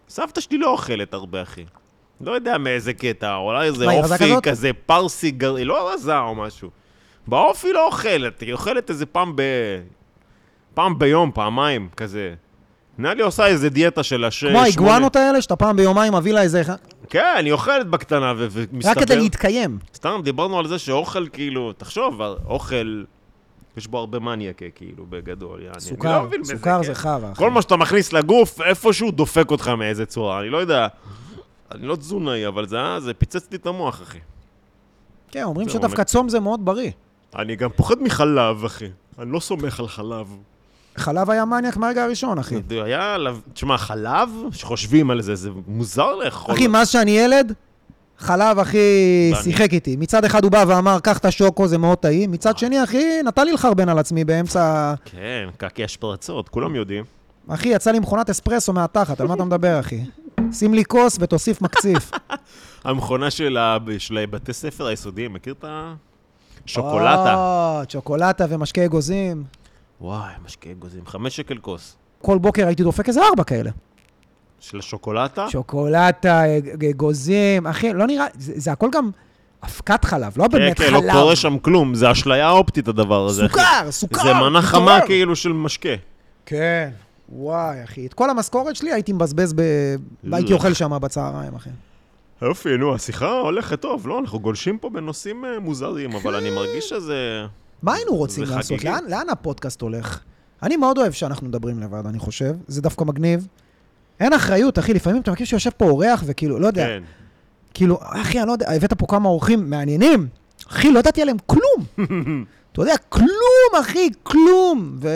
Speaker 2: סבתא שלי לא אוכלת הרבה, אחי. לא יודע מאיזה קטע, אולי איזה
Speaker 1: מה, היא רזה
Speaker 2: אופי
Speaker 1: כזאת?
Speaker 2: כזה פרסי גר... היא לא רזה או משהו. באופי לא אוכלת, היא אוכלת איזה פעם ב... פעם ביום, פעמיים, כזה. נראה לי עושה איזה דיאטה של השש...
Speaker 1: כמו האיגואנות האלה, שאתה פעם ביומיים מביא לה איזה אחד.
Speaker 2: כן, היא אוכלת בקטנה, ו- ומסתבר...
Speaker 1: רק כדי להתקיים.
Speaker 2: סתם, דיברנו על זה שאוכל, כאילו, תחשוב, אוכל, יש בו הרבה מניאקה, כאילו, בגדול, יעני. אני לא
Speaker 1: סוכר,
Speaker 2: מבין בזה,
Speaker 1: סוכר
Speaker 2: כן.
Speaker 1: זה חרא. אחי.
Speaker 2: כל מה שאתה מכניס לגוף, איפשהו דופק אותך מאיזה צורה, אני לא יודע. אני לא תזונאי, אבל זה, היה- זה פיצץ לי את המוח, אחי.
Speaker 1: כן, אומרים
Speaker 2: זה
Speaker 1: שדווקא
Speaker 2: אומר.
Speaker 1: צום זה מאוד בריא.
Speaker 2: אני גם פוחד מחלב, אחי. אני לא סומך על חלב.
Speaker 1: חלב היה מניאק מהרגע הראשון, אחי.
Speaker 2: היה עליו... תשמע, חלב, שחושבים על זה, זה מוזר לאכול.
Speaker 1: אחי, מאז שאני ילד, חלב, אחי,
Speaker 2: ואני-
Speaker 1: שיחק איתי. מצד אחד הוא בא ואמר, קח את השוקו, זה מאוד טעים. מצד שני, אחי, נתן לי לחרבן על עצמי באמצע...
Speaker 2: כן, קקי השפרצות, כולם יודעים.
Speaker 1: אחי, יצא לי מכונת אספרסו מהתחת, על מה אתה מדבר, אחי? שים לי כוס ותוסיף מקציף.
Speaker 2: המכונה של ה- של בתי ספר היסודיים, מכיר את ה... שוקולטה.
Speaker 1: או, צ'וקולטה ומשקה אגוזים.
Speaker 2: וואי, משקה אגוזים. חמש שקל כוס.
Speaker 1: כל בוקר הייתי דופק איזה ארבע כאלה.
Speaker 2: של השוקולטה?
Speaker 1: שוקולטה, אג- אגוזים, אחי, לא נראה... זה זה הכל גם אבקת חלב, לא
Speaker 2: כן,
Speaker 1: באמת
Speaker 2: כן,
Speaker 1: חלב.
Speaker 2: לא קורה שם כלום, זה אשליה אופטית הדבר הזה. אחי.
Speaker 1: סוכר, סוכר.
Speaker 2: זה מנה
Speaker 1: סוכר.
Speaker 2: חמה כאילו של משקה.
Speaker 1: כן. וואי, אחי. את כל המשכורת שלי הייתי מבזבז ב...
Speaker 2: לא.
Speaker 1: הייתי אוכל שם בצהריים, אחי.
Speaker 2: יופי, נו, השיחה הולכת טוב, לא? אנחנו גולשים פה בנושאים אה, מוזרים, אבל אני מרגיש שזה...
Speaker 1: מה היינו רוצים
Speaker 2: זה
Speaker 1: לעשות?
Speaker 2: חגיגי.
Speaker 1: לאן, לאן הפודקאסט הולך? אני מאוד אוהב שאנחנו מדברים לבד, אני חושב. זה דווקא מגניב. אין אחריות, אחי, לפעמים אתה מכיר שיושב פה אורח וכאילו, לא יודע,
Speaker 2: כן.
Speaker 1: כאילו, אחי, אני לא יודע, הבאת פה כמה אורחים מעניינים. אחי, לא ידעתי עליהם כלום. אתה יודע, כלום, אחי, כלום. ו...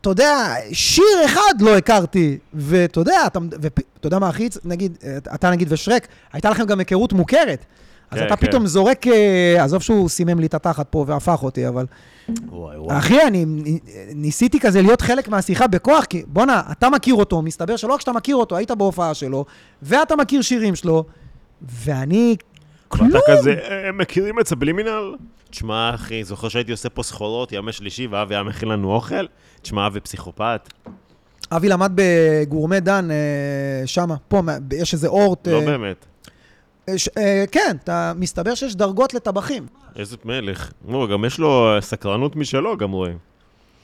Speaker 1: אתה יודע, שיר אחד לא הכרתי, ואתה יודע, אתה ופ- אתה יודע מה הכי, הצ- נגיד, אה, אתה נגיד ושרק, הייתה לכם גם היכרות מוכרת. אז
Speaker 2: כן,
Speaker 1: אתה
Speaker 2: כן.
Speaker 1: פתאום זורק, אה, עזוב שהוא סימם לי את התחת פה והפך אותי, אבל...
Speaker 2: וואי, וואי.
Speaker 1: אחי, אני ניסיתי כזה להיות חלק מהשיחה בכוח, כי בואנה, אתה מכיר אותו, מסתבר שלא רק שאתה מכיר אותו, היית בהופעה שלו, ואתה מכיר שירים שלו, ואני... כלום.
Speaker 2: ואתה כזה, "אה, הם מכירים את סבלימינל? תשמע, אחי, זוכר שהייתי עושה פה סחורות ימי שלישי, ואבי היה מכין לנו אוכל? תשמע, אבי פסיכופת.
Speaker 1: אבי למד בגורמי דן, אה, שמה, פה, מה- ב- יש איזה אורט.
Speaker 2: לא
Speaker 1: אה,
Speaker 2: באמת.
Speaker 1: אה, ש- אה, כן, אתה מסתבר שיש דרגות לטבחים.
Speaker 2: איזה מלך. נו, גם יש לו אה, סקרנות משלו, גם רואים.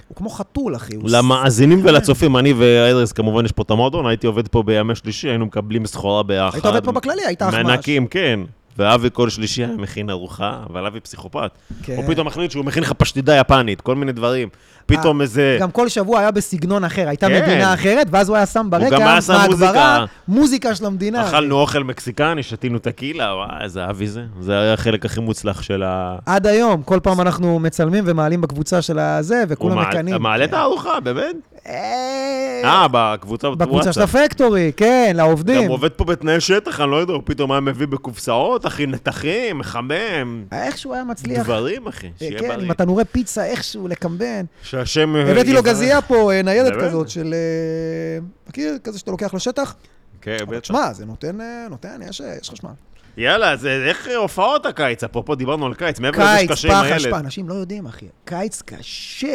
Speaker 1: הוא כמו חתול, אחי. הוא
Speaker 2: למאזינים ולצופים, אני ואדרס, כמובן יש פה את המועדון, הייתי עובד פה בימי שלישי, היינו מקבלים סחורה ביחד.
Speaker 1: היית עובד פה בכללי, היית אחמ"ש.
Speaker 2: מענקים, כן. ואבי כל שלישי היה מכין ארוחה, אבל אבי פסיכופת.
Speaker 1: כן.
Speaker 2: הוא פתאום מחליט שהוא מכין לך פשטידה יפנית, כל מיני דברים. פתאום
Speaker 1: אה,
Speaker 2: איזה...
Speaker 1: גם כל שבוע היה בסגנון אחר, הייתה
Speaker 2: כן.
Speaker 1: מדינה אחרת, ואז הוא היה שם ברקע,
Speaker 2: גם היה שם
Speaker 1: מהגברה,
Speaker 2: מוזיקה.
Speaker 1: מוזיקה של המדינה.
Speaker 2: אכלנו אוכל מקסיקני, שתינו טקילה, וואי, איזה אבי זה. זה היה החלק הכי מוצלח של ה...
Speaker 1: עד היום, כל פעם אנחנו מצלמים ומעלים בקבוצה של הזה,
Speaker 2: הוא
Speaker 1: וכולם
Speaker 2: מעל-
Speaker 1: מקנאים. כן.
Speaker 2: מעלה את הארוחה, באמת?
Speaker 1: אה,
Speaker 2: אה, בקבוצה
Speaker 1: בקבוצה של
Speaker 2: וואטסאפ.
Speaker 1: הפקטורי, כן,
Speaker 2: גם
Speaker 1: לעובדים.
Speaker 2: עובד פה בתנאי שטח, אני לא יודע, הוא פתאום היה מביא בקופסאות, אחי, נתחים, מחמם.
Speaker 1: איכשהו היה מצליח,
Speaker 2: דברים, אחי,
Speaker 1: אה,
Speaker 2: שיהיה
Speaker 1: כן,
Speaker 2: בריא.
Speaker 1: עם התנורי פיצה, איכשהו לקמבן.
Speaker 2: שהשם...
Speaker 1: הבאתי לו
Speaker 2: יברך.
Speaker 1: גזייה פה, אה, ניידת
Speaker 2: באמת?
Speaker 1: כזאת של... אה, מכיר? כזה שאתה לוקח לשטח?
Speaker 2: כן,
Speaker 1: אבל
Speaker 2: בטח.
Speaker 1: תשמע, זה נותן, אה, נותן, יש אה, יש חשמל.
Speaker 2: יאללה, אז אה, איך הופעות הקיץ? אפרופו, דיברנו על קיץ, מעבר לזה
Speaker 1: קיץ,
Speaker 2: שקשה עם
Speaker 1: פח
Speaker 2: הילד.
Speaker 1: אשפה, אנשים לא יודעים, אחי. קיץ קשה.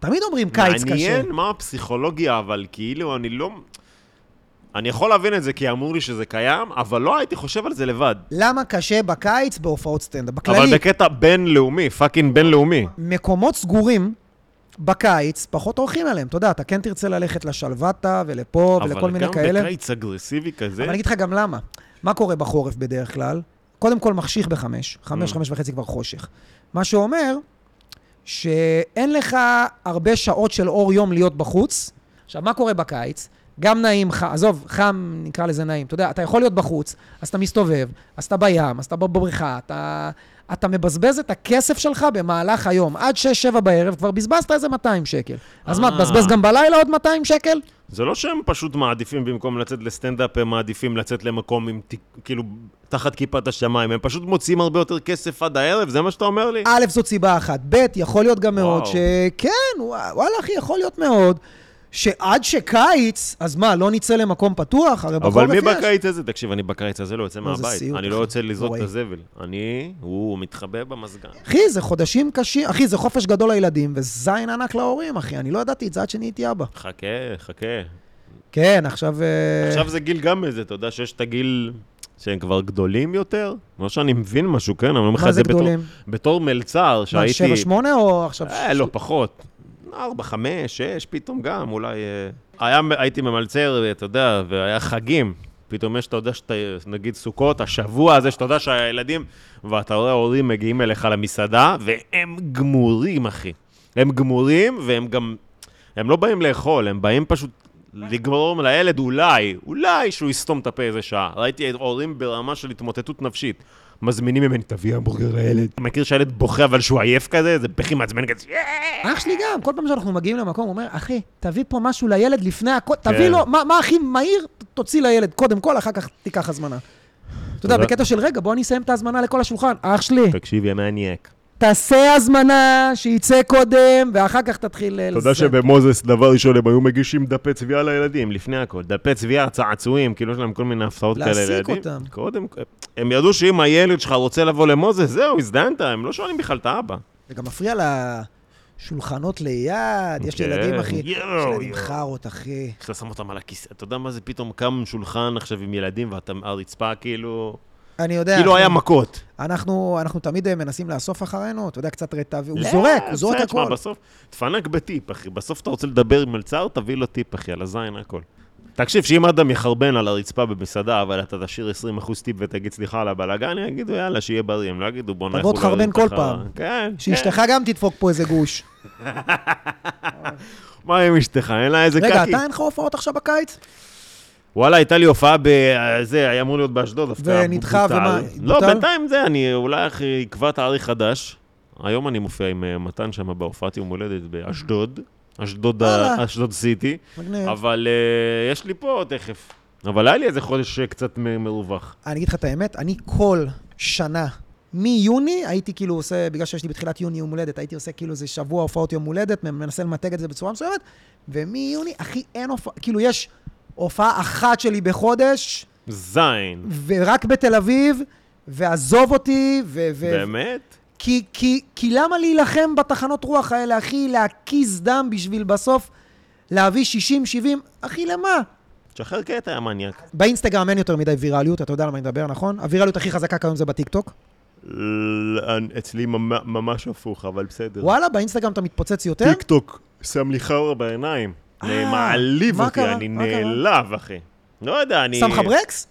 Speaker 1: תמיד אומרים קיץ קשה.
Speaker 2: מעניין מה הפסיכולוגיה, אבל כאילו, אני לא... אני יכול להבין את זה, כי אמרו לי שזה קיים, אבל לא הייתי חושב על זה לבד.
Speaker 1: למה קשה בקיץ בהופעות סטנדאפ?
Speaker 2: אבל
Speaker 1: בכללי,
Speaker 2: בקטע בינלאומי, פאקינג בינלאומי.
Speaker 1: מקומות סגורים בקיץ, פחות הולכים אליהם. אתה יודע, אתה כן תרצה ללכת לשלוותה ולפה ולכל מיני
Speaker 2: אבל
Speaker 1: כאלה.
Speaker 2: גם בקיץ אגרסיבי
Speaker 1: אבל
Speaker 2: כזה,
Speaker 1: אני אגיד לך גם למה. מה קורה בחורף בדרך כלל? קודם כל מחשיך בחמש, חמש,
Speaker 2: Mm.
Speaker 1: חמש וחצי כבר חושך. מה שאומר שאין לך הרבה שעות של אור יום להיות בחוץ. עכשיו, מה קורה בקיץ? גם נעים לך, עזוב, חם נקרא לזה נעים. אתה יודע, אתה יכול להיות בחוץ, אז אתה מסתובב, אז אתה בים, אז אתה בבריכה, אתה, אתה מבזבז את הכסף שלך במהלך היום. עד 6-7 בערב כבר בזבזת איזה 200 שקל. אז מה,
Speaker 2: אה.
Speaker 1: תבזבז גם בלילה עוד 200 שקל?
Speaker 2: זה לא שהם פשוט מעדיפים, במקום לצאת לסטנדאפ, הם מעדיפים לצאת למקום עם, ת- כאילו, תחת כיפת השמיים. הם פשוט מוציאים הרבה יותר כסף עד הערב, זה מה שאתה אומר לי?
Speaker 1: א', זאת סיבה אחת. ב', יכול להיות גם מאוד
Speaker 2: וואו.
Speaker 1: שכן, וואלה אחי, יכול להיות מאוד. שעד שקיץ, אז מה, לא נצא למקום פתוח? הרי בחורף
Speaker 2: אבל מי
Speaker 1: יש.
Speaker 2: בקיץ הזה? תקשיב, אני בקיץ הזה לא יוצא
Speaker 1: לא, זה
Speaker 2: מהבית.
Speaker 1: סיוט,
Speaker 2: אני לא
Speaker 1: אחי.
Speaker 2: יוצא לזרוק את
Speaker 1: נוראי.
Speaker 2: הזבל. אני, הוא מתחבא במזגן.
Speaker 1: אחי, זה חודשים קשים, אחי, זה חופש גדול לילדים, וזין ענק להורים, אחי. אני לא ידעתי את זה עד שנהייתי אבא.
Speaker 2: חכה, חכה.
Speaker 1: אה. כן, עכשיו... אה,
Speaker 2: עכשיו זה גיל גם איזה, אתה יודע שיש את הגיל שהם כבר גדולים יותר? לא שאני מבין משהו, כן, אבל אני אומר לך
Speaker 1: מה
Speaker 2: את
Speaker 1: זה
Speaker 2: זה בתור-
Speaker 1: גדולים?
Speaker 2: בתור מלצר,
Speaker 1: מה,
Speaker 2: שהייתי...
Speaker 1: שבע, שמונה או עכשיו...
Speaker 2: אה, לא, פחות. ארבע, חמש, שש, פתאום גם, אולי... אה, היה, הייתי ממלצר, אתה יודע, והיה חגים. פתאום יש, אתה יודע, שאתה, נגיד סוכות, השבוע הזה, שאתה יודע שהילדים, ואתה רואה הורים מגיעים אליך למסעדה, והם גמורים, אחי. הם גמורים, והם גם... הם לא באים לאכול, הם באים פשוט לגרום לילד אולי, אולי שהוא יסתום את הפה איזה שעה. ראיתי הורים ברמה של התמוטטות נפשית. מזמינים ממני, תביא המבורגר לילד. אתה מכיר שהילד בוכה אבל שהוא עייף כזה? זה בכי מעצבן כזה. "אה!"
Speaker 1: אח שלי גם, כל פעם שאנחנו מגיעים למקום, הוא אומר, אחי, תביא פה משהו לילד לפני הכל, תביא
Speaker 2: כן.
Speaker 1: לו, מה מה הכי מהיר, תוציא לילד קודם כל, אחר כך תיקח הזמנה. אתה יודע,
Speaker 2: תודה.
Speaker 1: בקטע של רגע, בוא אני אסיים את ההזמנה לכל השולחן. אח שלי,
Speaker 2: תקשיב, יא מניאק.
Speaker 1: תעשה הזמנה, שיצא קודם, ואחר כך תתחיל אה,
Speaker 2: תודה
Speaker 1: לזלזל.
Speaker 2: שבמוזס, דבר ראשון, הם היו מגישים דפי צביעה לילדים, לפני הכל. דפי צביעה, צעצועים, כאילו יש להם כל מיני הפתעות כאלה
Speaker 1: להעסיק
Speaker 2: לילדים.
Speaker 1: אותם.
Speaker 2: קודם כל. הם ידעו שאם הילד שלך רוצה לבוא למוזס, זהו, הזדיינת, הם לא שואלים בכלל את האבא.
Speaker 1: זה גם מפריע לשולחנות ליד, יש
Speaker 2: כן.
Speaker 1: ילדים, אחי, יש
Speaker 2: יואו,
Speaker 1: ילדים
Speaker 2: יואו.
Speaker 1: חארות, אחי.
Speaker 2: כשאתה שם אותם על הכיסא, אתה יודע מה זה פתאום קם שולחן עכשיו עם ילדים והרצפה כאילו...
Speaker 1: אני יודע,
Speaker 2: כאילו
Speaker 1: אחי,
Speaker 2: היה מכות.
Speaker 1: אנחנו אנחנו תמיד אה, מנסים לאסוף אחרינו, אתה יודע, קצת רטב, הוא
Speaker 2: לא,
Speaker 1: זורק, הוא זורק
Speaker 2: בסדר, תשמע,
Speaker 1: הכל.
Speaker 2: בסוף, תפנק בטיפ, אחי. בסוף אתה רוצה לדבר עם מלצר, תביא לו טיפ, אחי, על הזין, הכל. תקשיב, שאם אדם יחרבן על הרצפה במסעדה, אבל אתה תשאיר 20% טיפ ותגיד סליחה על הבלאגן, יגידו יאללה, שיהיה בריא, הם לא יגידו בוא'נה,
Speaker 1: תבוא
Speaker 2: אנחנו לא
Speaker 1: תחרבן
Speaker 2: יודעים
Speaker 1: כל
Speaker 2: ככה."
Speaker 1: פעם.
Speaker 2: כן, כן.
Speaker 1: שאשתך גם תדפוק פה איזה גוש.
Speaker 2: מה עם אשתך? אין לה איזה קקי.
Speaker 1: רגע, אתה אין לך הופעות עכשיו בקיץ?
Speaker 2: וואלה, הייתה לי הופעה ב... זה, היה אמור להיות באשדוד דווקא.
Speaker 1: ונדחה,
Speaker 2: בוטל.
Speaker 1: ומה,
Speaker 2: לא,
Speaker 1: בוטל?
Speaker 2: בינתיים זה, אני אולי אחי, אקבע תאריך חדש. היום אני מופיע עם אה, מתן שם בהופעת יום הולדת באשדוד. אשדוד, ה-
Speaker 1: וואלה. כן.
Speaker 2: אשדוד סיטי.
Speaker 1: מגניב.
Speaker 2: אבל אה, יש לי פה תכף. אבל היה לי איזה חודש אה, קצת מ- מרווח.
Speaker 1: אני אגיד לך את האמת, אני כל שנה, מיוני, הייתי כאילו עושה, בגלל שיש לי בתחילת יוני יום הולדת, הייתי עושה כאילו איזה שבוע הופעות יום הולדת, מנסה למתג את זה בצורה מסוימת, ומיוני, אחי, אין הופעה, כאילו יש הופעה אחת שלי בחודש,
Speaker 2: זין.
Speaker 1: ורק בתל אביב, ועזוב אותי, ו... ו-
Speaker 2: באמת?
Speaker 1: כי, כי, כי למה להילחם בתחנות רוח האלה, אחי? להקיז דם בשביל בסוף להביא 60-70? אחי, למה?
Speaker 2: תשחרר קטע, יא מניאק.
Speaker 1: באינסטגרם אין יותר מדי ויראליות, אתה יודע על מה אני מדבר, נכון? הוויראליות הכי חזקה כיום זה בטיקטוק.
Speaker 2: ל- אצלי ממ- ממש הפוך, אבל בסדר.
Speaker 1: וואלה, באינסטגרם אתה מתפוצץ יותר?
Speaker 2: טיק טוק שם לי חרא בעיניים. זה
Speaker 1: אה,
Speaker 2: מעליב
Speaker 1: מה
Speaker 2: אותי,
Speaker 1: קרה?
Speaker 2: אני
Speaker 1: מה קרה?
Speaker 2: נעלב, אחי. לא יודע, אני...
Speaker 1: שם לך ברקס?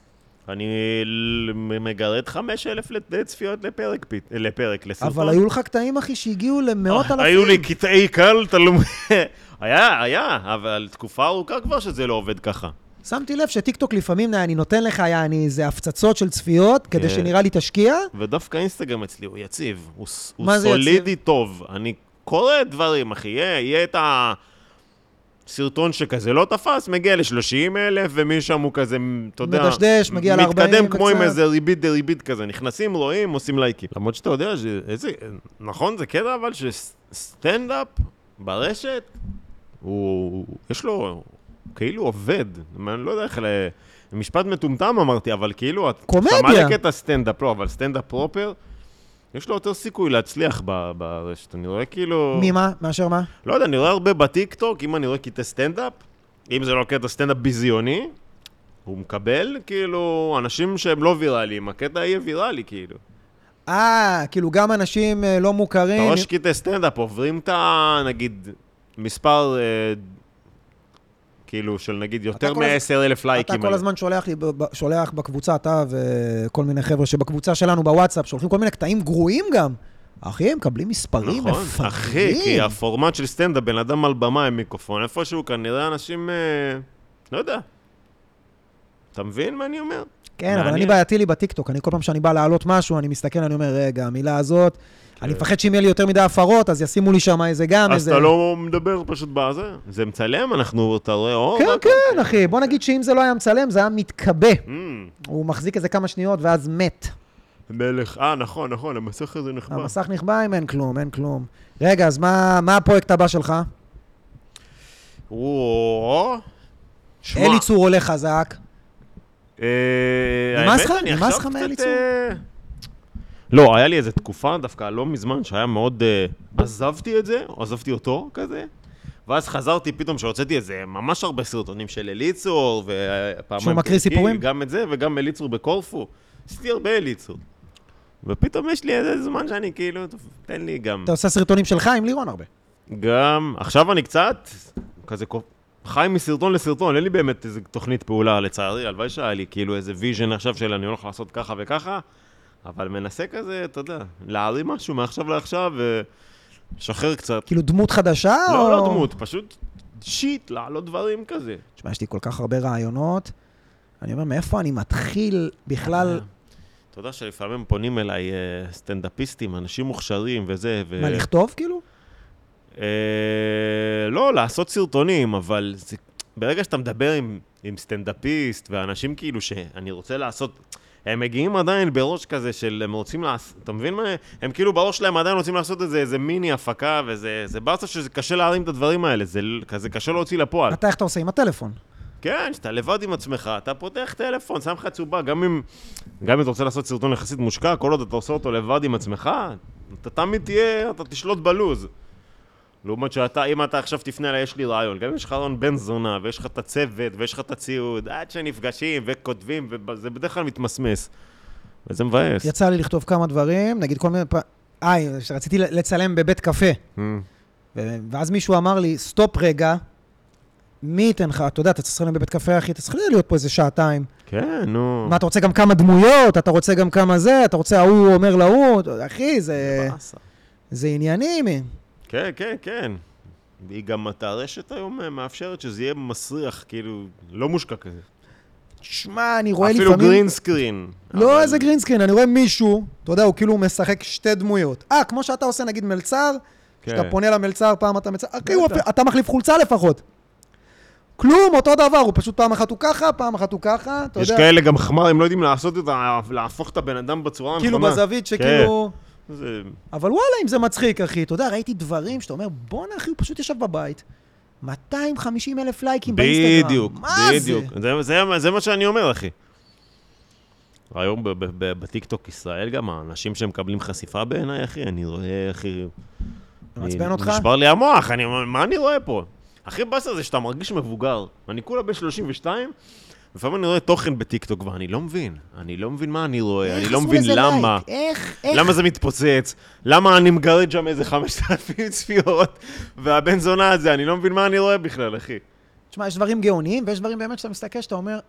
Speaker 2: אני ל- מגרד 5,000 לת- צפיות לפרק, פית- לפרק, לסרטון.
Speaker 1: אבל היו לך קטעים, אחי, שהגיעו למאות
Speaker 2: אה,
Speaker 1: אלפים.
Speaker 2: היו לי קטעי קל, תלוי... היה, היה, אבל תקופה ארוכה כבר שזה לא עובד ככה.
Speaker 1: שמתי לב שטיקטוק לפעמים, אני נותן לך, יעני, איזה הפצצות של צפיות, כדי
Speaker 2: כן.
Speaker 1: שנראה לי תשקיע.
Speaker 2: ודווקא אינסטגרם אצלי הוא יציב, הוא, ס- הוא
Speaker 1: מה זה יציב?
Speaker 2: סולידי טוב. אני קורא דברים, אחי, יהיה, יהיה את הסרטון שכזה לא תפס, מגיע ל-30 אלף, ומשם הוא כזה, אתה יודע,
Speaker 1: מדשדש, מגיע ל- 40
Speaker 2: מתקדם כמו עם
Speaker 1: וקצת.
Speaker 2: איזה ריבית דריבית כזה, נכנסים, רואים, עושים לייקים. למרות שאתה יודע, ש- איזה, נכון, זה קטע אבל שסטנדאפ ברשת, הוא, הוא- יש לו, כאילו עובד, אני לא יודע איך ל... משפט מטומטם אמרתי, אבל כאילו, את-
Speaker 1: קומדיה.
Speaker 2: אתה מעלה קטע סטנדאפ, לא, אבל סטנדאפ פרופר, יש לו יותר סיכוי להצליח ב- ברשת. אני רואה כאילו...
Speaker 1: ממה? מאשר מה?
Speaker 2: לא יודע, אני רואה הרבה בטיקטוק, אם אני רואה קטעי סטנדאפ, אם זה לא קטע סטנדאפ ביזיוני, הוא מקבל, כאילו, אנשים שהם לא ויראליים, הקטע יהיה ויראלי, כאילו.
Speaker 1: אה, כאילו גם אנשים אה, לא
Speaker 2: אתה כאילו
Speaker 1: מוכרים.
Speaker 2: רואה שקטעי סטנדאפ עוברים את ה... נגיד, מספר, אה, כאילו, של נגיד יותר
Speaker 1: כל הז-
Speaker 2: מ-10 אלף לייקים.
Speaker 1: אתה כל
Speaker 2: על-
Speaker 1: הזמן שולח לי, ב- ב- שולח בקבוצה, אתה וכל מיני חבר'ה שבקבוצה שלנו בוואטסאפ, שולחים כל מיני קטעים גרועים גם. אחי, הם מקבלים מספרים
Speaker 2: נכון,
Speaker 1: מפגרים.
Speaker 2: אחי, כי הפורמט של סטנדאפ, בן אדם על במה עם מיקרופון, איפשהו כנראה אנשים, אה, לא יודע. אתה מבין מה אני אומר?
Speaker 1: כן, אבל אני
Speaker 2: מעניין.
Speaker 1: בעייתי לי בטיקטוק. אני כל פעם שאני בא להעלות משהו, אני מסתכל, אני אומר, רגע, המילה הזאת, אני מפחד שאם יהיה לי יותר מדי הפרות, אז ישימו לי שם איזה גם,
Speaker 2: כן. אז
Speaker 1: איזה...
Speaker 2: אתה לא מדבר פשוט בזה? זה מצלם, אנחנו, אתה רואה אור?
Speaker 1: כן,
Speaker 2: והכל?
Speaker 1: כן, אחי. בוא נגיד שאם זה לא היה מצלם, זה היה מתכבה.
Speaker 2: אמ,
Speaker 1: הוא מחזיק איזה כמה שניות ואז מת.
Speaker 2: מלך, אה, נכון, נכון, המסך הזה נחמד.
Speaker 1: המסך נכבה אם אין כלום, אין כלום. רגע, אז מה מה הפרויקט הבא שלך?
Speaker 2: וואו. שמע,
Speaker 1: אליצור עולה חזק.
Speaker 2: אה,
Speaker 1: נמאס
Speaker 2: האמת,
Speaker 1: לך?
Speaker 2: אני
Speaker 1: נמאס
Speaker 2: עכשיו
Speaker 1: לך
Speaker 2: קצת,
Speaker 1: מאליצור?
Speaker 2: אה, לא, היה לי איזו תקופה, דווקא לא מזמן, שהיה מאוד... אה, עזבתי את זה, עזבתי אותו כזה, ואז חזרתי פתאום, שהוצאתי איזה ממש הרבה סרטונים של אליצור, ופעמיים...
Speaker 1: שהוא מקריא
Speaker 2: טורקי,
Speaker 1: סיפורים?
Speaker 2: גם את זה, וגם אליצור בקורפו. עשיתי הרבה אליצור. ופתאום יש לי איזה זמן שאני כאילו, "טוב, תן לי גם.
Speaker 1: אתה עושה סרטונים שלך עם לירון הרבה.
Speaker 2: גם, עכשיו אני קצת, כזה קו- חי מסרטון לסרטון, אין לי באמת איזה תוכנית פעולה, לצערי, הלוואי שהיה לי כאילו איזה ויז'ן עכשיו של אני הולך לעשות ככה וככה, אבל מנסה כזה, אתה יודע, להרים משהו מעכשיו לעכשיו ולשחרר קצת.
Speaker 1: כאילו דמות חדשה?
Speaker 2: לא,
Speaker 1: או-
Speaker 2: לא דמות, פשוט שיט, להעלות דברים כזה.
Speaker 1: תשמע, יש לי כל כך הרבה רעיונות. אני אומר, מאיפה אני מתחיל בכלל,
Speaker 2: אתה יודע שלפעמים פונים אליי אה, סטנדאפיסטים, אנשים מוכשרים וזה, ו...
Speaker 1: מה, לכתוב כאילו?
Speaker 2: אה, לא, לעשות סרטונים, אבל זה, ברגע שאתה מדבר עם, עם סטנדאפיסט ואנשים כאילו שאני רוצה לעשות, הם מגיעים עדיין בראש כזה של הם רוצים לעשות, אתה מבין מה? הם כאילו בראש שלהם עדיין רוצים לעשות איזה, איזה מיני הפקה וזה זה באסה שזה קשה להרים את הדברים האלה, זה ל- כזה קשה להוציא לפועל.
Speaker 1: אתה, איך אתה עושה עם הטלפון?
Speaker 2: כן, שאתה לבד עם עצמך, אתה פותח טלפון, שם לך צהובה, גם אם, גם אם אתה רוצה לעשות סרטון יחסית מושקע, כל עוד אתה עושה אותו לבד עם עצמך, אתה תמיד תהיה, אתה תשלוט בלוז. לעומת שאתה, אם אתה עכשיו תפנה אליי, יש לי רעיון, גם אם יש לך רעיון בן זונה, ויש לך את הצוות, ויש לך את הציוד, עד שנפגשים וכותבים, וזה בדרך כלל מתמסמס. וזה מבאס.
Speaker 1: יצא לי לכתוב כמה דברים, נגיד כל מיני... פ- אה, רציתי לצלם בבית קפה.
Speaker 2: Mm.
Speaker 1: ו- ואז מישהו אמר לי, סטופ רגע, מי ייתן לך, אתה יודע, אתה צריך לשחק בבית קפה, אחי, אתה צריך להיות פה איזה שעתיים.
Speaker 2: כן, נו.
Speaker 1: מה, אתה רוצה גם כמה דמויות, אתה רוצה גם כמה זה, אתה רוצה ההוא אומר להוא, אחי, זה...
Speaker 2: באסה.
Speaker 1: זה עניינים.
Speaker 2: כן, כן, כן. היא גם, הרשת היום אה, מאפשרת שזה יהיה מסריח, כאילו, לא מושקע כזה.
Speaker 1: שמע, אני רואה לפעמים...
Speaker 2: אפילו גרינסקרין.
Speaker 1: לא איזה גרינסקרין, אני רואה מישהו, אתה יודע, הוא כאילו משחק שתי דמויות. אה, כמו שאתה עושה נגיד מלצר,
Speaker 2: כן.
Speaker 1: כשאתה פונה למלצר, פעם אתה מלצר, אחי, הוא אפ- אתה מחליף חולצה לפחות. כלום, אותו דבר, הוא פשוט פעם אחת הוא ככה, פעם אחת הוא ככה, אתה
Speaker 2: יש
Speaker 1: יודע,
Speaker 2: כאלה גם חמר, הם לא יודעים לעשות את ה... להפוך את הבן אדם בצורה הנכונה.
Speaker 1: כאילו בזווית שכאילו...
Speaker 2: כן. זה...
Speaker 1: אבל וואלה, אם זה מצחיק, אחי, אתה יודע, ראיתי דברים שאתה אומר, בואנה, אחי, הוא פשוט ישב בבית, 250 אלף לייקים באינסטגרם.
Speaker 2: בדיוק,
Speaker 1: מה
Speaker 2: בדיוק.
Speaker 1: זה?
Speaker 2: זה, זה, זה מה שאני אומר, אחי. היום ב- ב- ב- בטיקטוק ישראל גם, האנשים שמקבלים חשיפה בעיניי, אחי, אני רואה, אחי...
Speaker 1: מעצבן
Speaker 2: אני-
Speaker 1: אותך?
Speaker 2: נשבר לי המוח, אני אומר, מה אני רואה פה? הכי באסה זה שאתה מרגיש מבוגר. אני כולה בן 32, לפעמים אני רואה תוכן בטיקטוק ואני לא מבין. אני לא מבין מה אני רואה, אני
Speaker 1: איך
Speaker 2: לא
Speaker 1: עשו
Speaker 2: מבין
Speaker 1: לזה
Speaker 2: למה.
Speaker 1: לייק? איך, איך?
Speaker 2: למה זה מתפוצץ? למה אני מגרד שם איזה 5,000 צפיות? והבן זונה הזה, אני לא מבין מה אני רואה בכלל, אחי.
Speaker 1: תשמע, יש דברים גאוניים, ויש דברים באמת שאתה מסתכל, שאתה אומר,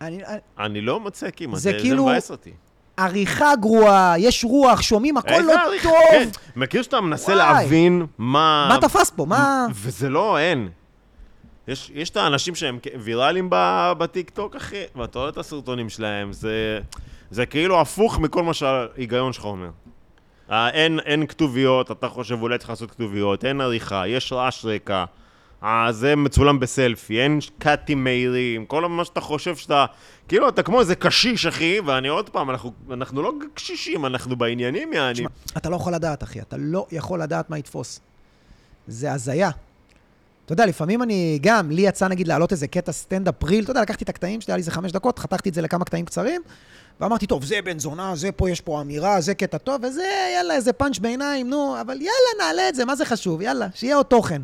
Speaker 1: אני, אני-
Speaker 2: אני לא מוצא כמעט,
Speaker 1: זה
Speaker 2: זה זה
Speaker 1: כאילו-
Speaker 2: מבאס אותי.
Speaker 1: עריכה גרועה, יש רוח, שומעים, הכל
Speaker 2: איזה
Speaker 1: לא
Speaker 2: עריך-
Speaker 1: טוב.
Speaker 2: כן, מכיר שאתה מנסה
Speaker 1: וואי.
Speaker 2: להבין מה...
Speaker 1: מה תפס פה? מה...
Speaker 2: וזה לא, אין. יש, יש את האנשים שהם כ- ויראליים ב- בטיקטוק, אחי, ואתה רואה את הסרטונים שלהם, זה, זה כאילו הפוך מכל מה שההיגיון שלך אומר. אה, אין, אין כתוביות, אתה חושב אולי צריך לעשות כתוביות, אין עריכה, יש רעש רקע, אה, זה מצולם בסלפי, אין קאטים מהירים, כל מה שאתה חושב שאתה... כאילו, אתה כמו איזה קשיש, אחי, ואני עוד פעם, אנחנו, אנחנו לא קשישים, אנחנו בעניינים, יעני.
Speaker 1: תשמע, אתה לא יכול לדעת, אחי, אתה לא יכול לדעת מה יתפוס. זה הזיה. אתה יודע, לפעמים אני גם, לי יצא נגיד להעלות איזה קטע סטנדאפ ריל, אתה יודע, לקחתי את הקטעים שלי, היה לי איזה חמש דקות, חתכתי את זה לכמה קטעים קצרים, ואמרתי, טוב, זה בן זונה, זה פה, יש פה אמירה, זה קטע טוב, וזה, יאללה, איזה פאנץ' בעיניים, נו, אבל יאללה, נעלה את זה, מה זה חשוב, יאללה, שיהיה עוד תוכן.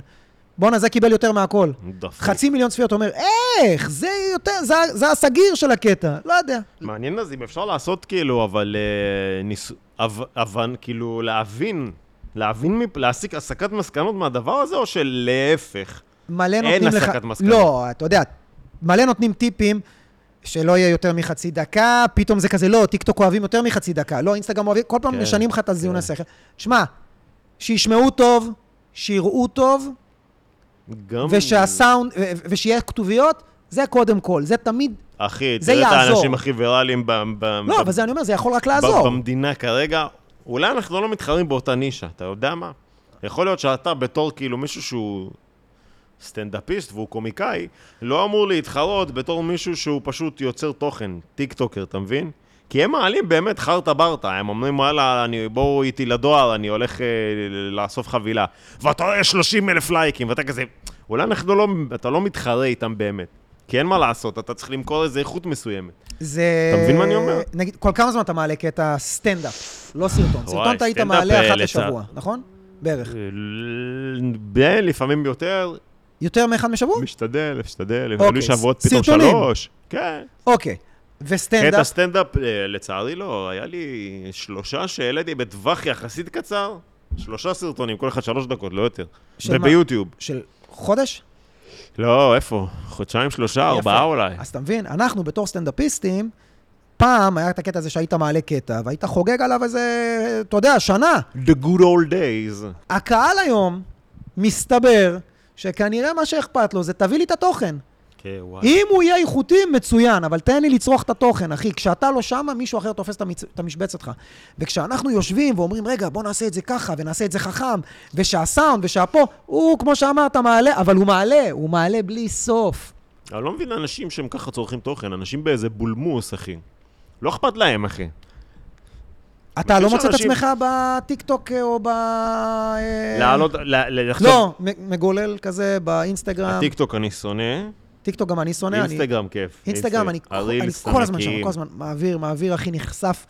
Speaker 1: בואנה, זה קיבל יותר מהכל.
Speaker 2: דפוק.
Speaker 1: חצי מיליון צפיות, אומר, איך? זה יותר, זה, ה- זה הסגיר של הקטע. לא יודע.
Speaker 2: מעניין אז אם אפשר לעשות כאילו, אבל אה, ניס... אב... אבן, כאילו, להבין, להבין, מפ... להסיק הסקת מסקנות מהדבר הזה, או שלהפך?
Speaker 1: מלא
Speaker 2: אין
Speaker 1: נותנים לך...
Speaker 2: הסקת מסקנות.
Speaker 1: לא, אתה יודע, מלא נותנים טיפים שלא יהיה יותר מחצי דקה, פתאום זה כזה, לא, טיקטוק אוהבים יותר מחצי דקה, לא, אינסטגרם אוהבים, כל פעם
Speaker 2: כן,
Speaker 1: משנים לך את הזיון
Speaker 2: כן.
Speaker 1: השכל. שמע, שישמעו טוב, שיראו טוב,
Speaker 2: גם...
Speaker 1: ושהסאונד, ו- ו- ושיהיה כתוביות, זה קודם כל, זה תמיד...
Speaker 2: אחי,
Speaker 1: זה
Speaker 2: תראה את
Speaker 1: יעזור.
Speaker 2: האנשים הכי ויראליים ב... ב...
Speaker 1: לא,
Speaker 2: ב...
Speaker 1: אבל זה אני אומר, זה יכול רק
Speaker 2: ב...
Speaker 1: לעזור.
Speaker 2: במדינה כרגע. אולי אנחנו לא מתחרים באותה נישה, אתה יודע מה? יכול להיות שאתה בתור כאילו מישהו שהוא סטנדאפיסט והוא קומיקאי, לא אמור להתחרות בתור מישהו שהוא פשוט יוצר תוכן, טיק טוקר, אתה מבין? כי הם מעלים באמת חרטה ברטה, הם אומרים וואלה, אני, בואו איתי לדואר, אני הולך אה, ל- לאסוף חבילה. ואתה רואה 30 אלף לייקים, ואתה כזה, אולי אנחנו לא, אתה לא מתחרה איתם באמת. כי אין מה לעשות, אתה צריך למכור איזה איכות מסוימת.
Speaker 1: זה...
Speaker 2: אתה מבין מה אני אומר?
Speaker 1: נגיד, כל כמה זמן אתה מעלה קטע סטנדאפ, לא סרטון. סרטון אתה היית
Speaker 2: סטנדאפ,
Speaker 1: מעלה
Speaker 2: אה,
Speaker 1: אחת
Speaker 2: לצד.
Speaker 1: לשבוע, נכון? בערך.
Speaker 2: אה, ל- לפעמים יותר,
Speaker 1: יותר מאחד משבוע?
Speaker 2: משתדל, משתדל,
Speaker 1: אוקיי,
Speaker 2: היו לי שבועות פתאום
Speaker 1: סרטונים.
Speaker 2: שלוש. כן.
Speaker 1: אוקיי.
Speaker 2: קטע
Speaker 1: וסטנדאפ,
Speaker 2: סטנדאפ, אה, לצערי לא, היה לי שלושה שהעליתי בטווח יחסית קצר, שלושה סרטונים, כל אחד שלוש דקות, לא יותר.
Speaker 1: של מה?
Speaker 2: וביוטיוב.
Speaker 1: של חודש?
Speaker 2: לא, איפה? חודשיים, שלושה, אה, ארבעה
Speaker 1: יפה.
Speaker 2: אולי.
Speaker 1: אז אתה מבין, אנחנו בתור סטנדאפיסטים, פעם היה את הקטע הזה שהיית מעלה קטע, והיית חוגג עליו איזה, אתה יודע, שנה.
Speaker 2: The good old days.
Speaker 1: הקהל היום, מסתבר, שכנראה מה שאכפת לו זה תביא לי את התוכן.
Speaker 2: כן, וואי.
Speaker 1: אם הוא יהיה איכותי, מצוין, אבל תן לי לצרוך את התוכן, אחי. כשאתה לא שמה, מישהו אחר תופס את המצ- את המשבצת שלך. וכשאנחנו יושבים ואומרים, רגע, בוא נעשה את זה ככה, ונעשה את זה חכם, ושהסאונד, ושהפה, הוא, כמו שאמרת, מעלה, אבל הוא מעלה, הוא מעלה בלי סוף.
Speaker 2: אני לא מבין אנשים שהם ככה צורכים תוכן, אנשים באיזה בולמוס, אחי. לא אכפת להם, אחי.
Speaker 1: אתה לא
Speaker 2: יש
Speaker 1: מוצא את
Speaker 2: אנשים-
Speaker 1: עצמך בטיקטוק אה, או ב... אה,
Speaker 2: לעלות, ל- ל- לחשוב...
Speaker 1: לא, מ- מגולל כזה באינסטגרם.
Speaker 2: הטיקטוק אני שונא,
Speaker 1: טיקטוק גם אני שונא. אני-
Speaker 2: אינסטגרם כיף.
Speaker 1: אינסטגרם, אני כל- אני
Speaker 2: הרילס
Speaker 1: כל הזמן שם,
Speaker 2: ענקיים.
Speaker 1: כל הזמן מעביר, מעביר, אחי, נחשף.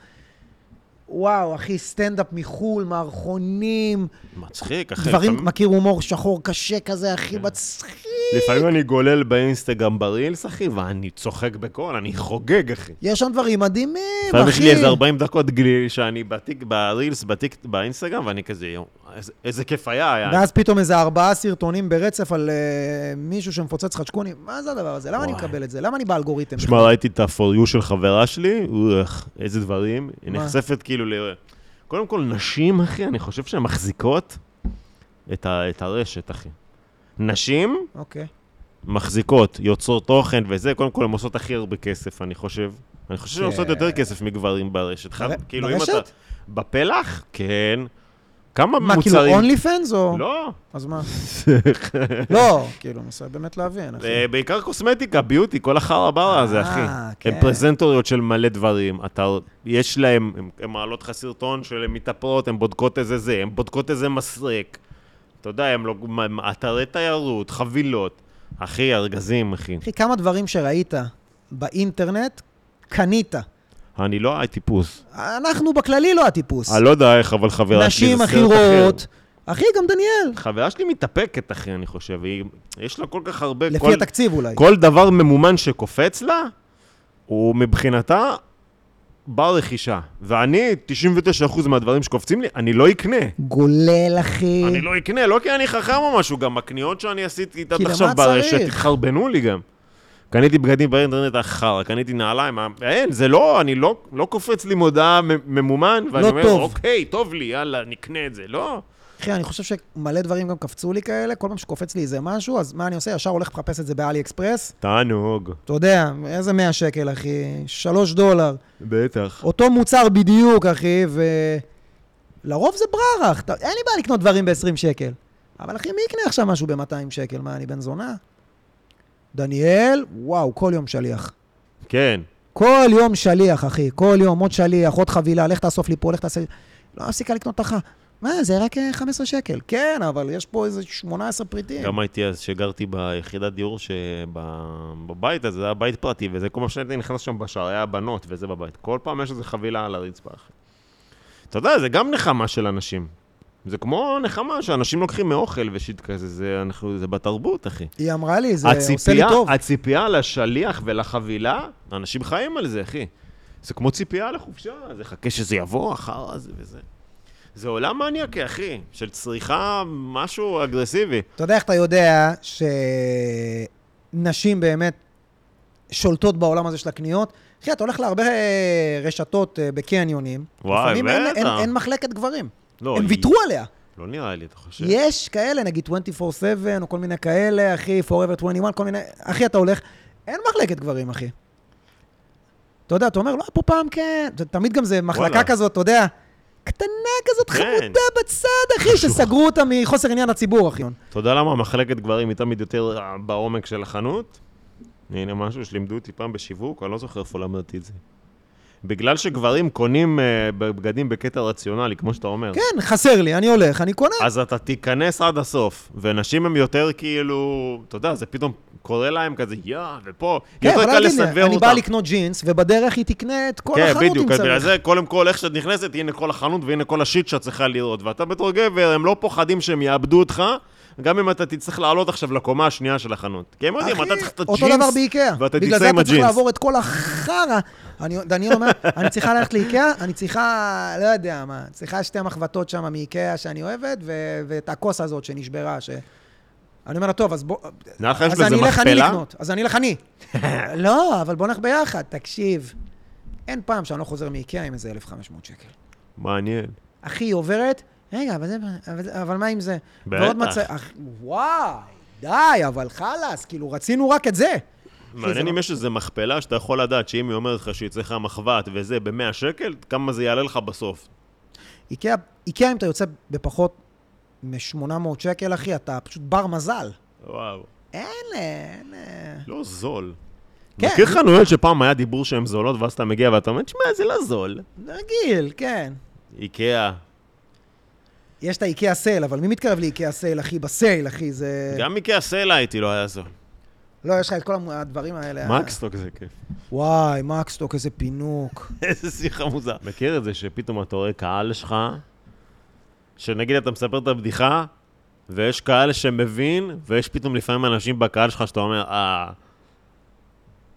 Speaker 1: וואו, אחי, סטנדאפ מחו"ל, מערכונים,
Speaker 2: מצחיק, אחי.
Speaker 1: דברים,
Speaker 2: אתה- כן.
Speaker 1: מכיר הומור שחור קשה כזה, אחי, מצחיק,
Speaker 2: לפעמים אני גולל באינסטגרם ברילס, אחי, ואני צוחק בקול, אני חוגג, אחי.
Speaker 1: יש שם דברים מדהימים,
Speaker 2: לפעמים יש לי
Speaker 1: אחי.
Speaker 2: איזה 40 דקות גליל שאני בטיק, ברילס, בטיק, באינסטגרם, ואני כזה, יואו, איזה- איזה כיף היה, היה.
Speaker 1: ואז פתאום איזה ארבעה סרטונים ברצף על אה, מישהו שמפוצץ חדשקונים. מה זה הדבר הזה? למה אני
Speaker 2: וואי.
Speaker 1: מקבל את זה? למה אני באלגוריתם?
Speaker 2: שמע, ראיתי את ה-for you של חברה שלי, אוח, איזה דברים. היא
Speaker 1: מה?
Speaker 2: נחשפת כאילו ל... קודם כל, נשים, אחי, אני חושב שהן מחזיקות את, ה... את הרשת, אחי. נשים
Speaker 1: אוקיי.
Speaker 2: מחזיקות, יוצרות תוכן וזה, קודם כל, הן עושות הכי הרבה כסף, אני חושב. אני חושב שהן
Speaker 1: כן.
Speaker 2: עושות יותר כסף מגברים ברשת. חד-
Speaker 1: בר-
Speaker 2: כאילו,
Speaker 1: ברשת?
Speaker 2: אם אתה... בפלח? כן. כמה
Speaker 1: מה, כאילו
Speaker 2: מוצרים...
Speaker 1: אונלי פנס או...
Speaker 2: לא.
Speaker 1: אז מה? לא, כאילו, מנסה באמת להבין, אחי.
Speaker 2: אה, בעיקר קוסמטיקה, ביוטי, כל החרא ברא הזה,
Speaker 1: אה,
Speaker 2: אחי.
Speaker 1: כן.
Speaker 2: הן פרזנטוריות של מלא דברים. אתה, יש להם, הן- הן מעלות לך סרטון שהן מתאפרות, הן בודקות איזה זה, הן בודקות איזה מסרק. אתה יודע, הן לא... מ- אתרי תיירות, חבילות. אחי, ארגזים, אחי.
Speaker 1: אחי, כמה דברים שראית באינטרנט, קנית.
Speaker 2: אני לא הטיפוס.
Speaker 1: אנחנו בכללי לא הטיפוס.
Speaker 2: אני לא יודע איך, אבל חברה שלי
Speaker 1: נשים
Speaker 2: זה
Speaker 1: הכי
Speaker 2: סרט אחר.
Speaker 1: רואות. אחי, גם דניאל.
Speaker 2: חברה שלי מתאפקת, אחי, אני חושב. היא, יש לה כל כך הרבה...
Speaker 1: לפי
Speaker 2: כל-
Speaker 1: התקציב אולי.
Speaker 2: כל דבר ממומן שקופץ לה, הוא מבחינתה בר רכישה. ואני, 99% מהדברים שקופצים לי, אני לא אקנה.
Speaker 1: גולל, אחי.
Speaker 2: אני לא אקנה, לא כי אני חכם או משהו, גם הקניות שאני עשיתי איתן
Speaker 1: כי למה
Speaker 2: עכשיו ברשת,
Speaker 1: צריך?
Speaker 2: התחרבנו לי גם. קניתי בגדים באינטרנט אחר, קניתי נעליים, אה, אין, זה לא, אני לא, לא קופץ לי מודעה מ- ממומן, ואני
Speaker 1: לא
Speaker 2: אומר,
Speaker 1: טוב.
Speaker 2: אוקיי, טוב לי, יאללה, נקנה את זה. לא,
Speaker 1: אחי, אני חושב שמלא דברים גם קפצו לי כאלה, כל פעם שקופץ לי איזה משהו, אז מה אני עושה? ישר הולך לחפש את זה באלי אקספרס.
Speaker 2: תענוג,
Speaker 1: אתה יודע, איזה 100 שקל, אחי? 3 דולר.
Speaker 2: בטח.
Speaker 1: אותו מוצר בדיוק, אחי, ולרוב זה בררך. אתה- אין לי בעיה לקנות דברים ב-20 שקל. אבל אחי, מי יקנה עכשיו משהו ב-200 שקל? מה, אני בן זונה? דניאל, וואו, כל יום שליח.
Speaker 2: כן,
Speaker 1: כל יום שליח, אחי. כל יום עוד שליח, עוד חבילה, לך תאסוף לי פה, לך תעשה... לא הפסיקה לקנות תחה. מה, זה רק אה, 15 שקל. כן, אבל יש פה איזה 18 פריטים.
Speaker 2: גם הייתי אז שגרתי ביחידת דיור שבבית הזה, זה היה בית פרטי, וזה כל מה שהייתי נכנס שם בשער, היה בנות וזה בבית. כל פעם יש איזו חבילה על הרצפה. אחי. אתה יודע, זה גם נחמה של אנשים. זה כמו נחמה שאנשים לוקחים מאוכל ושיט כזה, זה, אנחנו, זה בתרבות, אחי.
Speaker 1: היא אמרה לי, זה עושה לי
Speaker 2: הציפייה,
Speaker 1: טוב.
Speaker 2: הציפייה לשליח ולחבילה, אנשים חיים על זה, אחי. זה כמו ציפייה לחופשה, זה חכה שזה יבוא אחר זה וזה. זה עולם מניאקי, אחי, של צריכה משהו אגרסיבי.
Speaker 1: אתה יודע איך אתה יודע שנשים באמת שולטות בעולם הזה של הקניות? אחי, אתה הולך להרבה אה, רשתות אה, בקניונים.
Speaker 2: וואי,
Speaker 1: לפעמים אין-
Speaker 2: בטח.
Speaker 1: אין, אין מחלקת גברים.
Speaker 2: לא,
Speaker 1: הם
Speaker 2: היא-
Speaker 1: ויתרו עליה.
Speaker 2: לא נראה לי, אתה חושב?
Speaker 1: יש כאלה, נגיד 24/7 או כל מיני כאלה, אחי, Forever 21, כל מיני... אחי, אתה הולך, אין מחלקת גברים, אחי. אתה יודע, אתה אומר, לא, פה פעם כן. זה- תמיד גם זה מחלקה
Speaker 2: וואלה.
Speaker 1: כזאת, אתה יודע, קטנה כזאת,
Speaker 2: כן.
Speaker 1: חמודה בצד, אחי, שסגרו אותה מחוסר עניין לציבור, אחי.
Speaker 2: אתה יודע למה מחלקת גברים היא תמיד יותר אה, בעומק של החנות? הנה משהו שלימדו אותי פעם בשיווק, אני לא זוכר איפה למדתי את זה. בגלל שגברים קונים אה, בגדים בקטע רציונלי, כמו שאתה אומר.
Speaker 1: כן, חסר לי, אני הולך, אני קונה.
Speaker 2: אז אתה תיכנס עד הסוף, ונשים הם יותר כאילו, אתה יודע, זה פתאום קורה להם כזה, יא, ופה,
Speaker 1: כן,
Speaker 2: יותר
Speaker 1: אבל
Speaker 2: קל
Speaker 1: אל תדאג,
Speaker 2: לסנוור
Speaker 1: אני
Speaker 2: אותם.
Speaker 1: בא לקנות ג'ינס, ובדרך היא תקנה את כל
Speaker 2: כן,
Speaker 1: החנות אם
Speaker 2: בדיוק, אז בגלל
Speaker 1: צריך.
Speaker 2: זה קודם כל, איך שאת נכנסת, הנה כל החנות והנה כל השיט שאת צריכה לראות. ואתה בתור גבר, הם לא פוחדים שהם יאבדו אותך, גם אם אתה תצטרך לעלות עכשיו לקומה השנייה של החנות. כי הם יודעים,
Speaker 1: אחי,
Speaker 2: אתה צריך את הג'ינס,
Speaker 1: אותו דבר באיקאה.
Speaker 2: ואתה
Speaker 1: בגלל
Speaker 2: תצא
Speaker 1: זה
Speaker 2: עם
Speaker 1: אתה צריך
Speaker 2: הג'ינס.
Speaker 1: לעבור את כל החרא. אני- דניאל אומר, אני צריכה ללכת לאיקאה, אני צריכה, לא יודע מה, צריכה שתי מחבטות שם מאיקאה שאני אוהבת, ו- ואת הכוס הזאת שנשברה, ש... אני אומר לה, טוב, אז בוא...
Speaker 2: נראה לך, יש
Speaker 1: אז אני
Speaker 2: בזה
Speaker 1: אלך אני
Speaker 2: מכפלה?
Speaker 1: לקנות, אז אני אלך אני. לא, אבל בוא נלך ביחד, תקשיב. אין פעם שאני לא חוזר מאיקאה עם איזה 1,500 שקל.
Speaker 2: מעניין.
Speaker 1: אחי, היא עוברת, רגע, אבל, זה, אבל, זה- אבל מה עם זה?
Speaker 2: בטח.
Speaker 1: ועוד מצב, אח, וואי, די, אבל חלאס, כאילו, רצינו רק את זה.
Speaker 2: מעניין
Speaker 1: זה
Speaker 2: אם
Speaker 1: לא-
Speaker 2: יש איזה מכפלה שאתה יכול לדעת שאם היא אומרת לך שהיא צריכה מחבת וזה ב-100 שקל, כמה זה יעלה לך בסוף.
Speaker 1: איקאה, איקאה, אם אתה יוצא בפחות מ-800 שקל, אחי, אתה פשוט בר מזל.
Speaker 2: וואו,
Speaker 1: אין, אין, אה, אין.
Speaker 2: לא זול.
Speaker 1: כן.
Speaker 2: מכיר חנויות שפעם היה דיבור שהן זולות, ואז אתה מגיע ואתה אומר, תשמע, זה לא זול.
Speaker 1: רגיל, כן.
Speaker 2: איקאה,
Speaker 1: יש את האיקאה סייל, אבל מי מתקרב לאיקאה סייל, אחי? בסייל, אחי, זה...
Speaker 2: גם איקאה סלע הייתי לא היה זול.
Speaker 1: לא, יש לך את כל המ- הדברים האלה.
Speaker 2: מקסטוק זה כיף.
Speaker 1: וואי, מקסטוק, איזה פינוק.
Speaker 2: איזה שיחה מוזר. מכיר את זה שפתאום אתה רואה קהל שלך, שנגיד אתה מספר את הבדיחה, ויש קהל שמבין, ויש פתאום לפעמים אנשים בקהל שלך שאתה אומר, אה...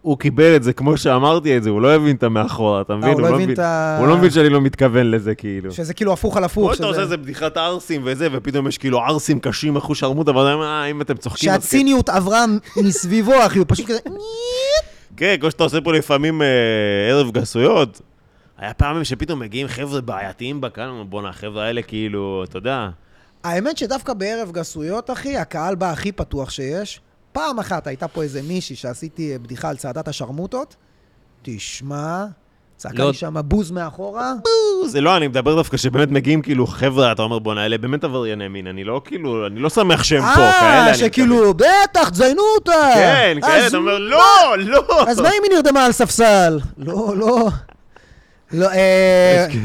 Speaker 2: הוא קיבל את זה כמו שאמרתי את זה, הוא לא הבין את המאחורה, אתה מבין?
Speaker 1: הוא לא הבין את ה-
Speaker 2: הוא לא מבין שאני לא מתכוון לזה, כאילו.
Speaker 1: שזה כאילו הפוך על הפוך.
Speaker 2: פה אתה
Speaker 1: שזה-
Speaker 2: עושה איזה בדיחת ערסים וזה, ופתאום יש כאילו ערסים קשים, אחוש ערמות, אבל אה, אם אתם צוחקים... אז כן.
Speaker 1: שהציניות עברה מסביבו, אחי, הוא פשוט כזה...
Speaker 2: כן, כמו שאתה עושה פה לפעמים אה, ערב גסויות. היה פעמים שפתאום מגיעים חבר'ה בעייתיים בקהל, אומרים, בואנה, החבר'ה האלה כאילו, אתה יודע,
Speaker 1: האמת שדווקא בערב גסויות, אחי, הקהל בא הכי פתוח שיש. פעם אחת הייתה פה איזה מישהי שעשיתי אה, בדיחה על צעדת השרמוטות. תשמע, צעקה
Speaker 2: לא.
Speaker 1: לי שם בוז מאחורה.
Speaker 2: זה לא, אני מדבר דווקא שבאמת מגיעים כאילו חבר'ה, אתה אומר, בואנה, אלה באמת עברייני מין, אני לא כאילו, אני לא שמח שהם פה, כאלה. אני
Speaker 1: אה, שכאילו, בטח, תזיינו אותה.
Speaker 2: מתכוון. כן, כאלה,
Speaker 1: אז-
Speaker 2: אתה אומר, לא, לא.
Speaker 1: אז מה אם היא נרדמה על ספסל? לא, לא. לא, אה...
Speaker 2: כאילו,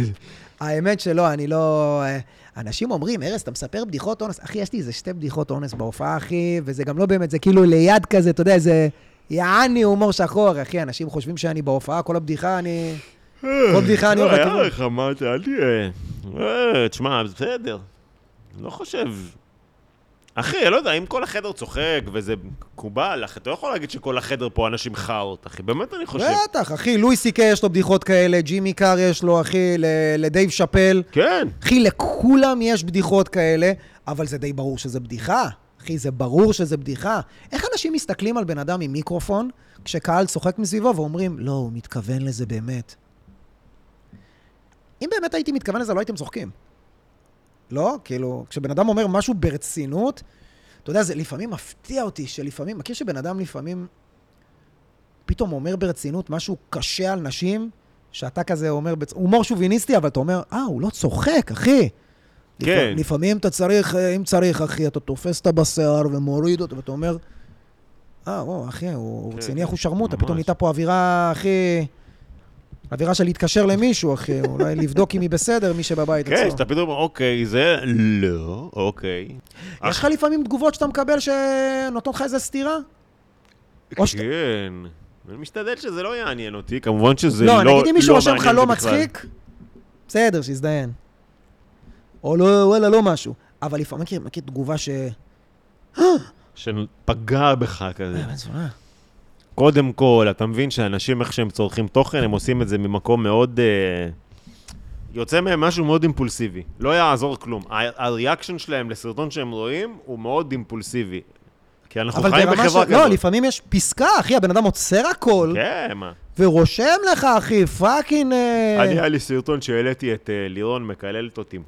Speaker 1: האמת שלא, אני לא... אה, אנשים אומרים, ארז, אתה מספר בדיחות אונס? אחי, יש לי איזה שתי בדיחות אונס בהופעה, אחי, וזה גם לא באמת, זה כאילו ליד כזה, אתה יודע, זה יעני הומור שחור, אחי, אנשים חושבים שאני בהופעה, כל הבדיחה, אני... כל בדיחה אני
Speaker 2: לא,
Speaker 1: אומר
Speaker 2: היה
Speaker 1: בכיוון.
Speaker 2: לך, מה, אתה- אל תהיה. אה, תשמע, בסדר. לא חושב. אחי, לא יודע, אם כל החדר צוחק וזה מקובל, אח- אתה לא יכול להגיד שכל החדר פה אנשים חארות, אחי, באמת אני חושב.
Speaker 1: בטח, אחי, לואי סי קיי יש לו בדיחות כאלה, ג'ימי קאר יש לו, אחי, ל- לדייב שאפל.
Speaker 2: כן.
Speaker 1: אחי, לכולם יש בדיחות כאלה, אבל זה די ברור שזה בדיחה. אחי, זה ברור שזה בדיחה. איך אנשים מסתכלים על בן אדם עם מיקרופון, כשקהל צוחק מסביבו ואומרים, לא, הוא מתכוון לזה באמת. אם באמת הייתי מתכוון לזה, לא הייתם צוחקים. לא? כאילו, כשבן אדם אומר משהו ברצינות, אתה יודע, זה לפעמים מפתיע אותי, שלפעמים, מכיר שבן אדם לפעמים פתאום אומר ברצינות משהו קשה על נשים, שאתה כזה אומר, בצ... הומור שוביניסטי, אבל אתה אומר, אה, הוא לא צוחק, אחי.
Speaker 2: כן.
Speaker 1: לפ... לפעמים אתה צריך, אה, אם צריך, אחי, אתה תופס אותה בשיער ומוריד אותה, ואתה אומר, אה, וואו, אחי, הוא
Speaker 2: כן,
Speaker 1: כן, רציני, איך הוא שרמוטה,
Speaker 2: ממש.
Speaker 1: פתאום נהייתה פה אווירה, אחי... אווירה של להתקשר למישהו, אחי, אולי לבדוק אם היא בסדר, מי שבבית
Speaker 2: כן, שאתה פתאום אומר, אוקיי, זה לא, אוקיי.
Speaker 1: יש לך לפעמים תגובות שאתה מקבל שנותנות לך איזה סטירה? או שאתה-
Speaker 2: כן. אני משתדל שזה לא יעניין אותי, כמובן שזה לא
Speaker 1: לא,
Speaker 2: מעניין אותי
Speaker 1: נגיד אם מישהו רושם לך לא
Speaker 2: בכלל."
Speaker 1: מצחיק, בסדר, שיזדיין. או לא, וואלה, לא משהו. אבל לפעמים, מכיר, מכיר תגובה ש...
Speaker 2: שפגע בך כזה.
Speaker 1: אה, בן זונה.
Speaker 2: קודם כל, אתה מבין שאנשים, איך שהם צורכים תוכן, הם עושים את זה ממקום מאוד... אה, יוצא מהם משהו מאוד אימפולסיבי. לא יעזור כלום. ה- הריאקשן שלהם לסרטון שהם רואים הוא מאוד אימפולסיבי. כי אנחנו
Speaker 1: אבל
Speaker 2: חיים
Speaker 1: ברמה
Speaker 2: בחברה
Speaker 1: של... לא,
Speaker 2: כזאת.
Speaker 1: לפעמים יש פסקה, אחי, הבן אדם עוצר הכל,
Speaker 2: כן, מה.
Speaker 1: ורושם לך, אחי, פאקינג... אה,
Speaker 2: אני, היה לי סרטון שהעליתי את אה, לירון מקללת אותי.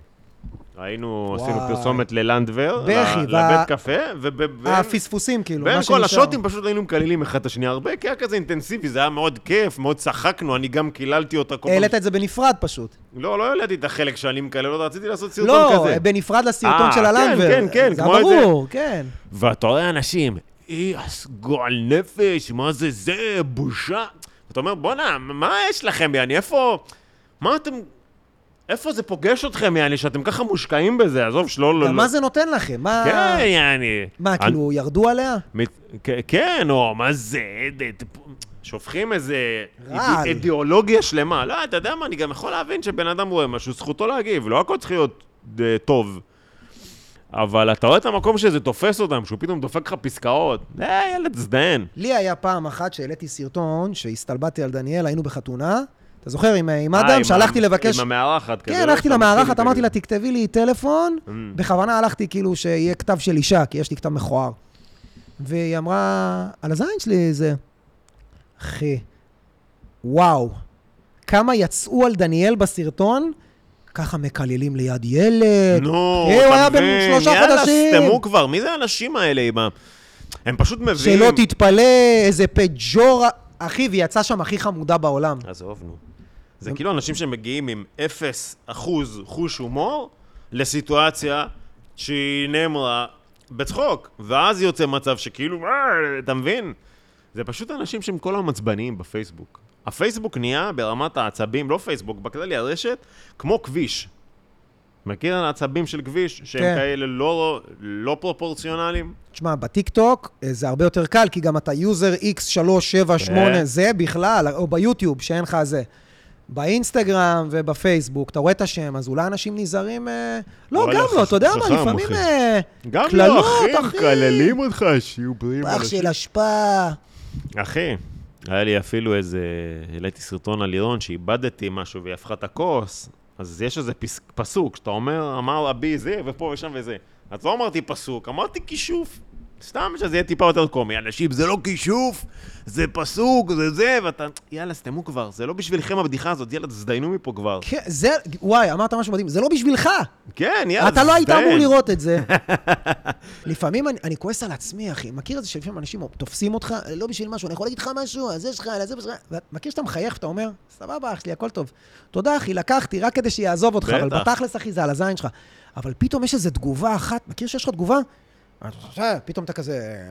Speaker 2: היינו,
Speaker 1: וואי.
Speaker 2: עשינו פרסומת ללנדבר,
Speaker 1: בכי,
Speaker 2: ל-
Speaker 1: ב-
Speaker 2: לבית קפה, ובין
Speaker 1: הפספוסים, כאילו, מה
Speaker 2: בין
Speaker 1: שנשאר.
Speaker 2: כל השוטים פשוט היינו מקללים אחד את השני הרבה, כי היה כזה אינטנסיבי, זה היה מאוד כיף, מאוד צחקנו, אני גם קיללתי אותה כל פעם
Speaker 1: העלית את זה בנפרד פשוט.
Speaker 2: לא, לא העליתי את החלק שאני מקלל אותה, רציתי לעשות סרטון
Speaker 1: לא,
Speaker 2: כזה.
Speaker 1: בנפרד לסרטון
Speaker 2: אה,
Speaker 1: של
Speaker 2: כן,
Speaker 1: הלנדבר.
Speaker 2: כן, כן,
Speaker 1: זה
Speaker 2: כמו את זה.
Speaker 1: ברור, כן.
Speaker 2: ואתה רואה אנשים, אי, גועל נפש, מה זה זה, בושה. אתה אומר, בואנה, מה יש לכם, יעני, איפה... מה אתם... איפה זה פוגש אתכם, יעני, שאתם ככה מושקעים בזה? עזוב, שלא...
Speaker 1: גם
Speaker 2: לא, לא.
Speaker 1: מה זה נותן לכם? מה...
Speaker 2: כן, יעני.
Speaker 1: מה,
Speaker 2: אני-
Speaker 1: כאילו, ירדו עליה?
Speaker 2: מת- כ- כן, או מה זה, ד- ד- שופכים איזה
Speaker 1: רעל.
Speaker 2: איד- אידיאולוגיה שלמה. לא, אתה יודע מה, אני גם יכול להבין שבן אדם רואה משהו, זכותו להגיב, לא הכל צריך להיות אה, טוב. אבל אתה רואה את המקום שזה תופס אותם, שהוא פתאום דופק לך פסקאות. אה, ילד זדיין.
Speaker 1: לי היה פעם אחת שהעליתי סרטון שהסתלבטתי על דניאל, היינו בחתונה. אתה זוכר, עם, עם
Speaker 2: אה,
Speaker 1: אדם,
Speaker 2: עם
Speaker 1: שהלכתי
Speaker 2: ה-
Speaker 1: לבקש...
Speaker 2: עם המארחת כזה.
Speaker 1: כן,
Speaker 2: לא?
Speaker 1: הלכתי
Speaker 2: אתה
Speaker 1: למארחת,
Speaker 2: מתחיל
Speaker 1: אמרתי לה,
Speaker 2: כזה.
Speaker 1: תכתבי לי טלפון.
Speaker 2: Mm.
Speaker 1: בכוונה הלכתי כאילו שיהיה כתב של אישה, כי יש לי כתב מכוער. והיא אמרה, על הזין שלי זה... אחי, וואו, כמה יצאו על דניאל בסרטון, ככה מקללים ליד ילד.
Speaker 2: נו,
Speaker 1: אה, הוא היה
Speaker 2: אתה
Speaker 1: בן
Speaker 2: מבין,
Speaker 1: שלושה חודשים.
Speaker 2: יאללה, סתמו כבר, מי זה האנשים האלה עם ה... הם פשוט מביאים...
Speaker 1: שלא תתפלא, איזה פג'ורה. אחי, והיא יצאה שם הכי חמודה בעולם.
Speaker 2: עזוב, נו. זה כאילו אנשים שמגיעים עם אפס אחוז חוש הומור לסיטואציה שהיא נאמרה בצחוק, ואז יוצא מצב שכאילו, "אה", אתה מבין? זה פשוט אנשים שהם כל היום עצבניים בפייסבוק. הפייסבוק נהיה ברמת העצבים, לא פייסבוק, בכללי הרשת, כמו כביש. מכיר על העצבים של כביש, שהם
Speaker 1: כן.
Speaker 2: כאלה לא, לא פרופורציונליים?
Speaker 1: תשמע, בטיקטוק אה, זה הרבה יותר קל, כי גם אתה יוזר x378
Speaker 2: כן.
Speaker 1: זה בכלל, או ביוטיוב, שאין לך זה. באינסטגרם ובפייסבוק, אתה רואה את השם, אז אולי אנשים נזהרים... אה, לא,
Speaker 2: וואלה,
Speaker 1: גם לא,
Speaker 2: חכ-
Speaker 1: אתה יודע מה,
Speaker 2: חכם,
Speaker 1: לפעמים...
Speaker 2: אחי.
Speaker 1: אה,
Speaker 2: גם
Speaker 1: קללות,
Speaker 2: לא, אחי,
Speaker 1: אחי.
Speaker 2: מקללים אותך, שיובלים.
Speaker 1: אח של אשפה.
Speaker 2: אחי, היה לי אפילו איזה... העליתי סרטון על לירון שאיבדתי משהו והיא הפכה את הכוס, אז יש איזה פס... פסוק שאתה אומר, אמר אבי זה ופה ושם וזה. אז לא אמרתי פסוק, אמרתי כישוף. סתם שזה יהיה טיפה יותר קומי. אנשים, זה לא כישוף, זה פסוק, זה זה, ואתה... יאללה, סתמו כבר, זה לא בשבילכם הבדיחה הזאת, יאללה, תזדיינו מפה כבר.
Speaker 1: כן, זה... וואי, אמרת משהו מדהים, זה לא בשבילך.
Speaker 2: כן, יאללה,
Speaker 1: אתה לא היית
Speaker 2: תזדיין.
Speaker 1: אמור לראות את זה. לפעמים אני, אני כועס על עצמי, אחי. מכיר את זה שלפעמים אנשים תופסים אותך, לא בשביל משהו, אני יכול להגיד לך משהו, על זה שלך, על זה שלך. מכיר שאתה מחייך ואתה אומר, סבבה, אח שלי, הכל טוב. תודה, אחי, לקחתי רק כדי שיעזוב אותך, אבל
Speaker 2: בטח.
Speaker 1: בתכלס, אחי, זה על הזין שלך. אבל פתאום יש איזו תגובה אחת, מכיר שיש לך תגובה? אתה חושב, פתאום אתה כזה,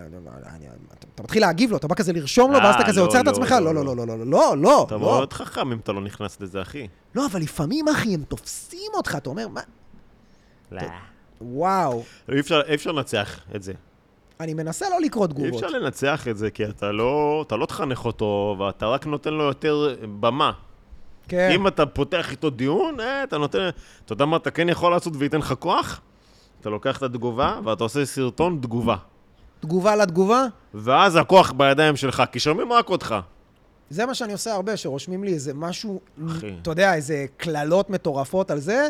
Speaker 1: אני- אתה- אתה מתחיל להגיב לו, אתה בא כזה לרשום לו,
Speaker 2: אה,
Speaker 1: ואז אתה כזה
Speaker 2: לא,
Speaker 1: עוצר את
Speaker 2: לא,
Speaker 1: עצמך,
Speaker 2: לא,
Speaker 1: לא, לא,
Speaker 2: לא.
Speaker 1: לא, לא, לא, לא, לא, לא,
Speaker 2: אתה
Speaker 1: לא,
Speaker 2: מאוד חכם אם אתה לא נכנס לזה, אחי.
Speaker 1: לא, אבל לפעמים, אחי, הם תופסים אותך, אתה אומר, מה,
Speaker 2: לא.
Speaker 1: וואו.
Speaker 2: אי אפשר- אי אפשר לנצח את זה.
Speaker 1: אני מנסה לא לקרוא
Speaker 2: אי
Speaker 1: תגובות.
Speaker 2: אפשר לנצח את זה, כי אתה לא, אתה לא תחנך אותו, ואתה רק נותן לו יותר במה.
Speaker 1: כן.
Speaker 2: אם אתה פותח איתו דיון, אה, אתה נותן... אתה יודע מה אתה כן יכול לעשות וייתן לך כוח? אתה לוקח את התגובה, ואתה עושה סרטון תגובה.
Speaker 1: תגובה לתגובה,
Speaker 2: ואז הכוח בידיים שלך, כי שומעים רק אותך.
Speaker 1: זה מה שאני עושה הרבה, שרושמים לי איזה משהו,
Speaker 2: אחי.
Speaker 1: אתה יודע, איזה קללות מטורפות על זה,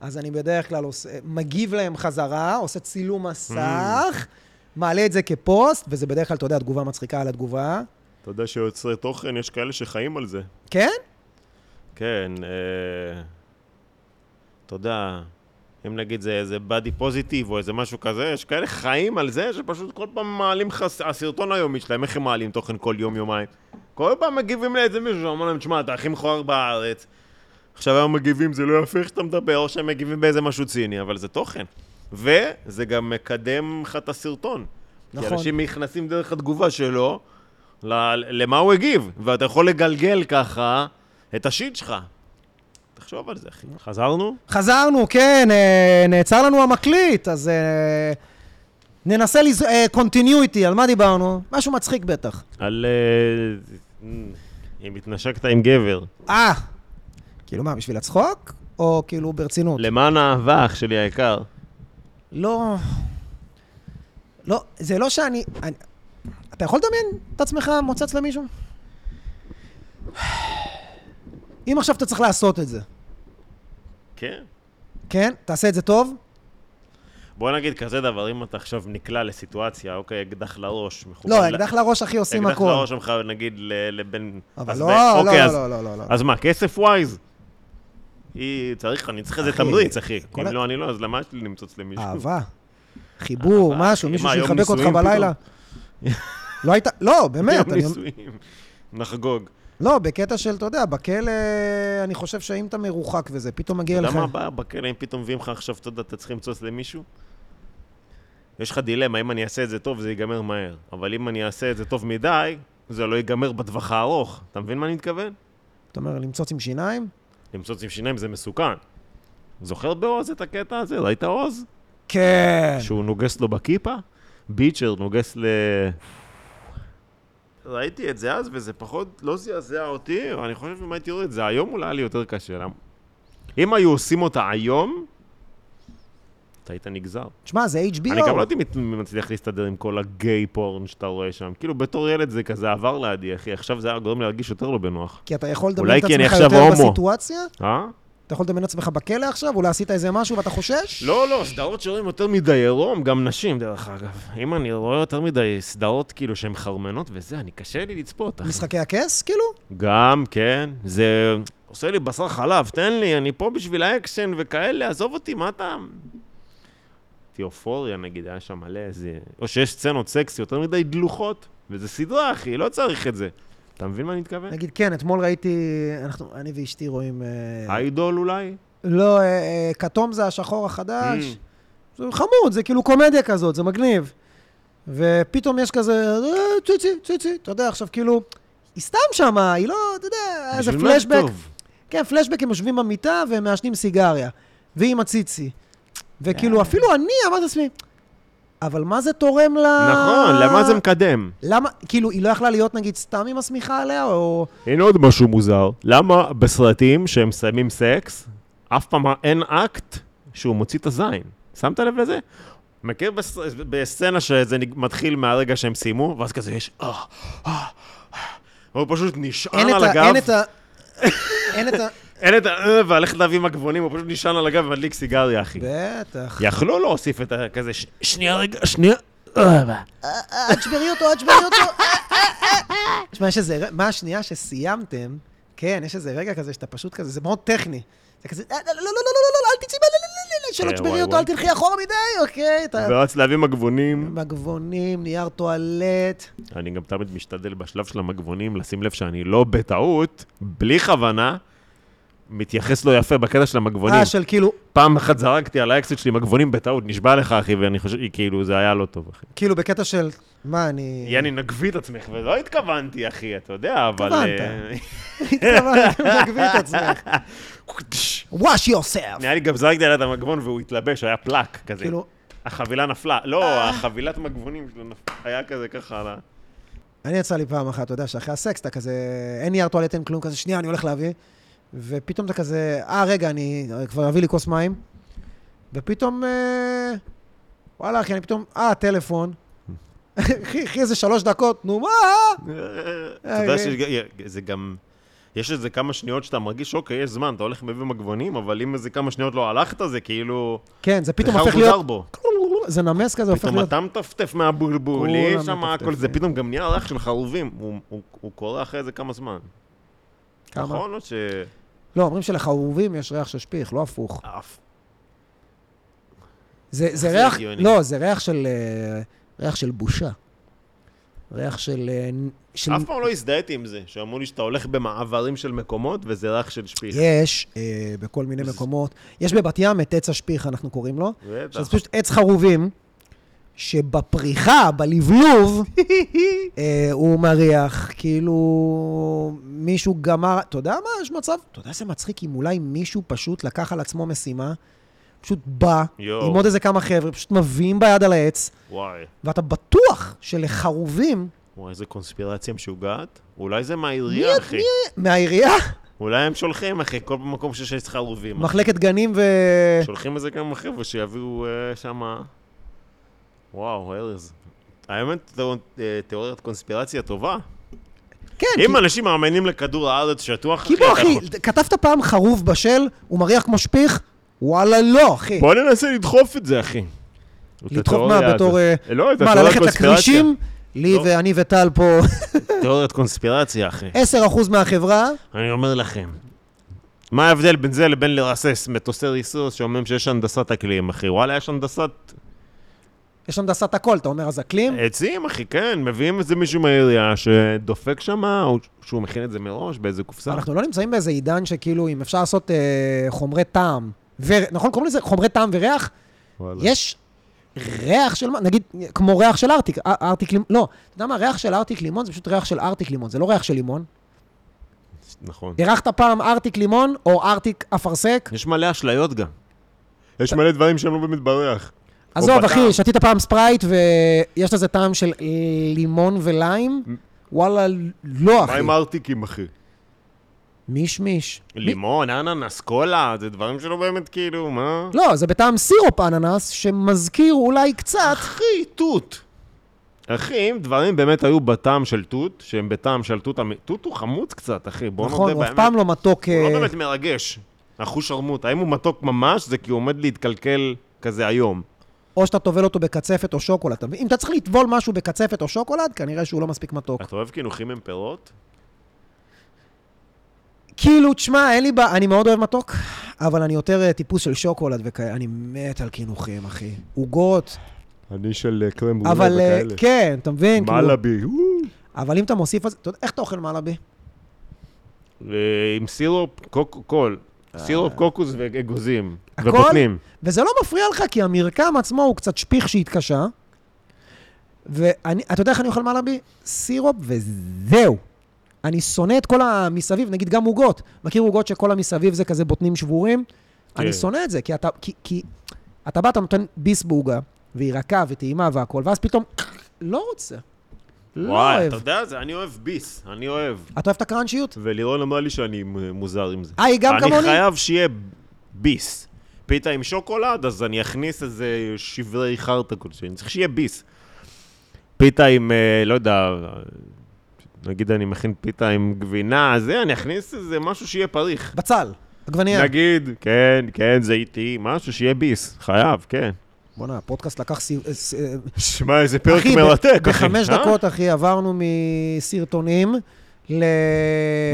Speaker 1: אז אני בדרך כלל עושה, מגיב להם חזרה, עושה צילום מסך,
Speaker 2: Mm.
Speaker 1: מעלה את זה כפוסט, וזה בדרך כלל, אתה יודע, תגובה מצחיקה על התגובה.
Speaker 2: אתה יודע שיוצרי תוכן, יש כאלה שחיים על זה.
Speaker 1: כן?
Speaker 2: כן, אה, אתה יודע, אם נגיד זה איזה בדי פוזיטיב או איזה משהו כזה, יש כאלה חיים על זה שפשוט כל פעם מעלים לך, הסרטון היומי שלהם, איך הם מעלים תוכן כל יום-יומיים? כל פעם מגיבים לאיזה מישהו שאומר להם, תשמע, אתה הכי מכוער בארץ. עכשיו היום מגיבים, זה לא יפה איך שאתה מדבר, או שהם מגיבים באיזה משהו ציני, אבל זה תוכן. וזה גם מקדם לך את הסרטון. נכון. כי
Speaker 1: נכון.
Speaker 2: אנשים נכנסים דרך התגובה שלו, ל- למה הוא הגיב, ואתה יכול לגלגל ככה את השיט שלך. תחשוב על זה, אחי. חזרנו?
Speaker 1: חזרנו, כן, אה, נעצר לנו המקליט, אז אה, ננסה לז... אה, continuity, על מה דיברנו? משהו מצחיק בטח.
Speaker 2: על... אה, אם התנשקת עם גבר.
Speaker 1: אה, כאילו מה, בשביל הצחוק? או כאילו ברצינות?
Speaker 2: למען האהבה, אח שלי היקר.
Speaker 1: לא... לא, זה לא שאני... אני, אתה יכול לדמיין את עצמך מוצץ למישהו? אם עכשיו אתה צריך לעשות את זה,
Speaker 2: כן.
Speaker 1: כן? תעשה את זה טוב?
Speaker 2: בוא נגיד כזה דבר, אם אתה עכשיו נקלע לסיטואציה, אוקיי, אקדח לראש. מכוון
Speaker 1: לא,
Speaker 2: ל-
Speaker 1: אקדח לראש, אחי, עושים
Speaker 2: אקדח
Speaker 1: הכל.
Speaker 2: אוקיי, לראש שלך, נגיד, ל- לבן...
Speaker 1: אבל
Speaker 2: אז
Speaker 1: לא,
Speaker 2: ב-
Speaker 1: לא,
Speaker 2: אוקיי,
Speaker 1: לא,
Speaker 2: אז-
Speaker 1: לא, לא, לא, לא.
Speaker 2: אז מה, כסף ווייז? היא צריך, אני צריך איזה
Speaker 1: אחי,
Speaker 2: תמריץ, אחי.
Speaker 1: כל
Speaker 2: אם
Speaker 1: ה-
Speaker 2: לא, אני לא, אז למה יש לי למצוץ למישהו?
Speaker 1: אהבה. חיבור,
Speaker 2: אהבה,
Speaker 1: משהו,
Speaker 2: אחי.
Speaker 1: מישהו
Speaker 2: מה, יום
Speaker 1: שיחבק אותך
Speaker 2: נישואים
Speaker 1: בלילה. לא הייתה... לא, באמת.
Speaker 2: יום
Speaker 1: אני-
Speaker 2: נישואים. נחגוג.
Speaker 1: לא, בקטע של, אתה יודע, בכלא, אני חושב שאם אתה מרוחק וזה, פתאום מגיע
Speaker 2: אתה
Speaker 1: לך...
Speaker 2: יודע מה הבעיה בכלא, אם פתאום מביאים לך עכשיו, אתה יודע, אתה צריך למצוץ למישהו? יש לך דילמה, אם אני אעשה את זה טוב, זה ייגמר מהר. אבל אם אני אעשה את זה טוב מדי, זה לא ייגמר בטווח הארוך. אתה מבין מה אני מתכוון?
Speaker 1: אתה אומר, למצוץ עם שיניים?
Speaker 2: למצוץ עם שיניים זה מסוכן. זוכר בעוז את הקטע הזה? ראית עוז?
Speaker 1: כן.
Speaker 2: שהוא נוגס לו בכיפה? ביצ'ר נוגס ל... ראיתי את זה אז, וזה פחות לא זעזע אותי, אני חושב אם הייתי רואה את זה היום, אולי היה לי יותר קשה. למה? אם היו עושים אותה היום, אתה היית נגזר.
Speaker 1: תשמע, זה HBO.
Speaker 2: אני גם לא הייתי מת- מצליח להסתדר עם כל הגיי פורן שאתה רואה שם. כאילו, בתור ילד זה כזה עבר לידי, אחי. עכשיו זה היה גורם לי להרגיש יותר לא בנוח.
Speaker 1: כי אתה יכול לדמיין
Speaker 2: אולי
Speaker 1: את
Speaker 2: כי אני
Speaker 1: עצמך
Speaker 2: עכשיו
Speaker 1: יותר
Speaker 2: הומו.
Speaker 1: בסיטואציה?
Speaker 2: אה?
Speaker 1: אתה יכול לדמיין את עצמך בכלא עכשיו? אולי עשית איזה משהו ואתה חושש?
Speaker 2: לא, לא, סדרות שרואים יותר מדי עירום, גם נשים, דרך אגב. אם אני רואה יותר מדי סדרות כאילו שהן חרמנות וזה, אני קשה לי לצפות. אחי.
Speaker 1: משחקי הכס, כאילו?
Speaker 2: גם, כן. זה עושה לי בשר חלב, תן לי, אני פה בשביל האקשן וכאלה, עזוב אותי, מה אתה... תיאופוריה, נגיד, היה שם מלא איזה... או שיש סצנות סקס יותר מדי דלוחות, וזה סדרה, אחי, לא צריך את זה. אתה מבין מה אני מתכוון?
Speaker 1: נגיד, כן, אתמול ראיתי, אנחנו, אני ואשתי רואים... אה,
Speaker 2: איידול אולי?
Speaker 1: לא, אה, אה, כתום זה השחור החדש.
Speaker 2: Mm.
Speaker 1: זה חמוד, זה כאילו קומדיה כזאת, זה מגניב. ופתאום יש כזה, אה, ציצי, ציצי, אתה יודע, עכשיו כאילו, היא סתם שמה, היא לא, אתה יודע, איזה
Speaker 2: בשביל מה זה
Speaker 1: פלשבק.
Speaker 2: טוב?
Speaker 1: כן, פלשבק, הם יושבים במיטה והם
Speaker 2: אה.
Speaker 1: מעשנים סיגריה. והיא עם הציצי. וכאילו, אפילו אני אמרתי לעצמי, אבל מה זה תורם ל...
Speaker 2: נכון, למה זה מקדם?
Speaker 1: למה, כאילו, היא לא יכלה להיות נגיד סתם עם השמיכה עליה, או...
Speaker 2: הנה עוד משהו מוזר. למה בסרטים שהם שמים סקס, אף פעם אין אקט שהוא מוציא את הזין? שמת לב לזה? מכיר בס... בסצנה שזה נג- מתחיל מהרגע שהם סיימו, ואז כזה יש... אה, אה, אה. הוא פשוט
Speaker 1: אין
Speaker 2: נשען
Speaker 1: את
Speaker 2: אה, על
Speaker 1: ה...
Speaker 2: הגב,
Speaker 1: אין את ה... אין את ה...
Speaker 2: אין את ה... אה, והלכת להביא מגבונים, הוא פשוט נשען על הגב ומדליק סיגריה, אחי.
Speaker 1: בטח.
Speaker 2: יכלו להוסיף את ה... כזה, "ש- שנייה רגע, שנייה... אה,
Speaker 1: עד שברי אותו, עד שברי אותו. אה, אה, אה. תשמע, יש איזה... ר- מה השנייה שסיימתם? כן, יש איזה רגע כזה שאתה פשוט כזה, זה מאוד טכני. אתה כזה, "אה, לא, לא, לא, לא, לא, לא, לא, אל תצאי, מה, לא, לא, לא, לא, לא, שלא
Speaker 2: אה,
Speaker 1: תשברי
Speaker 2: וואי,
Speaker 1: אותו,
Speaker 2: וואי.
Speaker 1: אל תלכי אחורה מדי, אוקיי? אתה-
Speaker 2: ורץ להביא מגבונים.
Speaker 1: מגבונים, נייר טואלט.
Speaker 2: אני גם תמיד משתדל בשלב של המגבונים לשים לב שאני לא בטעות, בלי כוונה, מתייחס לא יפה בקטע של המגבונים.
Speaker 1: אה, של כאילו,
Speaker 2: פעם אחת זרקתי על האקסיט שלי מגבונים בטעות, נשבע לך, אחי, ואני חושב, כאילו, זה היה לא טוב, אחי.
Speaker 1: כאילו בקטע של, מה, אני...
Speaker 2: יעני, נגבי את עצמך, ולא התכוונתי, אחי, אתה יודע, אבל...
Speaker 1: התכוונת.
Speaker 2: אה,
Speaker 1: התכוונתי להגביל את עצמך. wash yourself.
Speaker 2: נראה לי גם זרקתי עליה את המגבון והוא התלבש, היה פלאק כזה.
Speaker 1: כאילו,
Speaker 2: החבילה נפלה. לא, החבילת מגבונים שלו נפלה, היה כזה ככה על ה...
Speaker 1: אני יצא לי פעם אחת, אתה יודע, שאחרי הסקס אתה כזה, אין נייר טואלט, אין כלום, כזה, שנייה, אני הולך להביא. ופתאום אתה כזה, אה, רגע, אני כבר אביא לי כוס מים. ופתאום, אה, וואלה, אחי, אני פתאום, אה, טלפון. אחי, אחי, איזה שלוש דקות, נו, מה?
Speaker 2: אתה
Speaker 1: אה,
Speaker 2: יודע שזה גם... יש איזה כמה שניות שאתה מרגיש, אוקיי, יש זמן, אתה הולך מביא מגבונים, אבל אם איזה כמה שניות לא הלכת, זה כאילו...
Speaker 1: כן, זה פתאום
Speaker 2: לך
Speaker 1: הופך
Speaker 2: הוא מוזר
Speaker 1: להיות...
Speaker 2: בו.
Speaker 1: זה נמס כזה, הופך
Speaker 2: פתאום
Speaker 1: להיות...
Speaker 2: אתה מטפטף מהבולבול,
Speaker 1: כולם
Speaker 2: יש שם הכל זה,
Speaker 1: מטפטפים.
Speaker 2: פתאום גם נהיה ריח של חרובים. הוא- הוא- הוא קורה אחרי איזה כמה זמן.
Speaker 1: כמה?
Speaker 2: נכון? או ש...
Speaker 1: לא, אומרים שלחרובים יש ריח של שפיך, לא הפוך.
Speaker 2: אף.
Speaker 1: זה, זה
Speaker 2: זה
Speaker 1: ריח,
Speaker 2: הגיוני?
Speaker 1: לא, זה ריח של, אה, ריח של בושה. ריח של... אה, נ- של...
Speaker 2: אף פעם לא הזדהיתי עם זה, שאמרו לי שאתה הולך במעברים של מקומות וזה ריח של שפיך.
Speaker 1: יש אה, בכל מיני מקומות, יש בבת ים את עץ השפיך, אנחנו קוראים לו,
Speaker 2: בטח.
Speaker 1: שזה פשוט עץ חרובים, שבפריחה, בלבלוב, אה, הוא מריח, כאילו מישהו גמר, אתה יודע מה, יש מצב, אתה יודע איזה מצחיק אם אולי מישהו פשוט לקח על עצמו משימה, פשוט בא,
Speaker 2: יואו.
Speaker 1: עם עוד איזה כמה חבר'ה, פשוט מביאים ביד על העץ,
Speaker 2: וואי.
Speaker 1: ואתה בטוח שלחרובים
Speaker 2: וואי, איזה קונספירציה משוגעת. אולי זה מהעירייה,
Speaker 1: מי-
Speaker 2: אחי.
Speaker 1: מהעירייה,
Speaker 2: אולי הם שולחים, אחי, כל מקום שיש יש חרובים.
Speaker 1: מחלקת גנים ו...
Speaker 2: שולחים איזה כמה חבר'ה שיביאו אה, שמה... וואו, ארז. האמת, זו אה, תיאוריית קונספירציה טובה.
Speaker 1: כן,
Speaker 2: אם
Speaker 1: כי-
Speaker 2: אנשים מאמינים לכדור הארץ שטוח,
Speaker 1: כי בוא
Speaker 2: אתה יכול-
Speaker 1: אחי, כתבת פעם חרוב בשל, הוא מריח כמו שפיך, וואלה לא, אחי.
Speaker 2: בוא ננסה לדחוף את זה, אחי. את
Speaker 1: לדחוף
Speaker 2: התיאוריה
Speaker 1: מה,
Speaker 2: הזאת.
Speaker 1: בתור... אה,
Speaker 2: לא, את
Speaker 1: מה,
Speaker 2: התיאוריה
Speaker 1: ללכת
Speaker 2: הקונספירציה.
Speaker 1: לכרישים? לי
Speaker 2: לא.
Speaker 1: ואני וטל פה,
Speaker 2: תיאוריית קונספירציה, אחי.
Speaker 1: אה. 10% מהחברה,
Speaker 2: אני אומר לכם. מה ההבדל בין זה לבין לרסס מטוסי ריסוס שאומרים שיש הנדסת אקלים, אחי? וואלה, יש הנדסת
Speaker 1: יש הנדסת הכל, אתה אומר, אז אקלים?
Speaker 2: עצים, אחי, כן. מביאים איזה מישהו מהעירייה שדופק שמה, או שהוא מכין את זה מראש באיזה קופסה.
Speaker 1: אנחנו לא נמצאים באיזה עידן שכאילו, אם אפשר לעשות אה, חומרי טעם, ו- נכון, קוראים לזה חומרי טעם וריח?
Speaker 2: וואלה.
Speaker 1: יש ריח של, מה- נגיד, כמו ריח של ארטיק, אה, ארטיק לימון, לא, אתה יודע מה, ריח של ארטיק לימון זה פשוט ריח של ארטיק לימון, זה לא ריח של לימון.
Speaker 2: נכון.
Speaker 1: אירחת פעם ארטיק לימון או ארטיק אפרסק?
Speaker 2: יש מלא אשליות גם. יש מלא דברים שהם לא באמת בריח.
Speaker 1: עזוב,
Speaker 2: בטעם.
Speaker 1: אחי, שתית פעם ספרייט ויש לזה טעם של אה, לימון וליים? וואלה, לא,
Speaker 2: מה
Speaker 1: אחי.
Speaker 2: עם ארטיקים, אחי?
Speaker 1: מישמיש.
Speaker 2: לימון, אננס, קולה, זה דברים שלא באמת כאילו, מה?
Speaker 1: מ- לא, זה בטעם סירופ אננס, שמזכיר אולי קצת...
Speaker 2: אחי, תות. אחי, אם דברים באמת היו בטעם של תות, שהם בטעם של תות, אמי- תות הוא חמוץ קצת, אחי, בוא נודה
Speaker 1: נכון,
Speaker 2: באמת.
Speaker 1: הוא אף פעם לא מתוק...
Speaker 2: הוא
Speaker 1: אה,
Speaker 2: לא באמת מרגש. החוש ערמות, האם הוא מתוק ממש, זה כי הוא עומד להתקלקל כזה היום.
Speaker 1: או שאתה טובל אותו בקצפת או שוקולד. אתה מבין? אם אתה צריך לטבול משהו בקצפת או שוקולד, כנראה שהוא לא מספיק מתוק.
Speaker 2: אתה אוהב קינוחים עם פירות?
Speaker 1: כאילו, תשמע, אין לי בעיה, אני מאוד אוהב מתוק, אבל אני יותר אה, טיפוס של שוקולד וכאלה. אני מת על קינוחים, אחי. עוגות,
Speaker 2: אני של קרם
Speaker 1: אבל אה, כן, אתה מבין? כאילו-
Speaker 2: מלאבי.
Speaker 1: אבל אם אתה מוסיף על זה, אתה יודע, איך אתה אוכל מלאבי?
Speaker 2: אה, עם סירופ קוקו קול. סירופ קוקוס ואגוזים.
Speaker 1: הכל?
Speaker 2: ובוטנים.
Speaker 1: וזה לא מפריע לך, כי המרקם עצמו הוא קצת שפיך שהתקשה. ואתה יודע איך אני אוכל מלאבי? סירופ וזהו. אני שונא את כל המסביב, נגיד גם עוגות. מכיר עוגות שכל המסביב זה כזה בוטנים שבורים?
Speaker 2: כן.
Speaker 1: אני שונא את זה, כי אתה, כי, כי אתה בא, אתה נותן ביס בעוגה, והיא רכה וטעימה והכול, ואז פתאום, לא רוצה. לא
Speaker 2: וואי,
Speaker 1: אוהב.
Speaker 2: אתה יודע, זה- אני אוהב ביס, אני אוהב.
Speaker 1: אתה אוהב את הקראנצ'יות?
Speaker 2: ולירון אמרה לי שאני מ- מוזר עם זה.
Speaker 1: אה, היא גם כמוני?
Speaker 2: אני חייב שיהיה ביס. פיתה עם שוקולד, אז אני אכניס איזה שברי חרטה כלשהי. אני צריך שיהיה ביס. פיתה עם, אה, לא יודע, נגיד אני מכין פיתה עם גבינה, זה, אני אכניס איזה משהו שיהיה פריך.
Speaker 1: בצל, עגבנייה.
Speaker 2: נגיד, כן, כן, זה איטי, משהו שיהיה ביס, חייב, כן.
Speaker 1: בואנה, הפודקאסט לקח סיר- אה, ס- אה,
Speaker 2: שמע, איזה פרק
Speaker 1: ב-
Speaker 2: מרתק, אחי.
Speaker 1: בחמש
Speaker 2: אה?
Speaker 1: דקות, אחי, עברנו מסרטונים ל...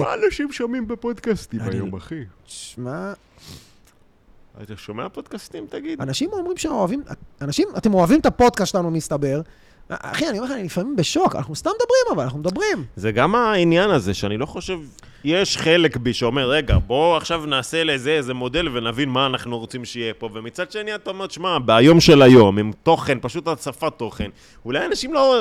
Speaker 2: מה אנשים שומעים בפודקאסטים
Speaker 1: אה, אני-
Speaker 2: היום, אחי?
Speaker 1: שמע,
Speaker 2: אתה שומע פודקאסטים, תגיד?
Speaker 1: אנשים אומרים שאוהבים... אנשים, אתם אוהבים את הפודקאסט שלנו, מסתבר. אחי, אני אומר לך, אני לפעמים בשוק, אנחנו סתם מדברים, אבל אנחנו מדברים.
Speaker 2: זה גם העניין הזה, שאני לא חושב... יש חלק בי שאומר, רגע, בוא עכשיו נעשה לזה איזה מודל ונבין מה אנחנו רוצים שיהיה פה. ומצד שני, אתה אומר, שמע, ביום של היום, עם תוכן, פשוט הצפת תוכן, אולי אנשים לא...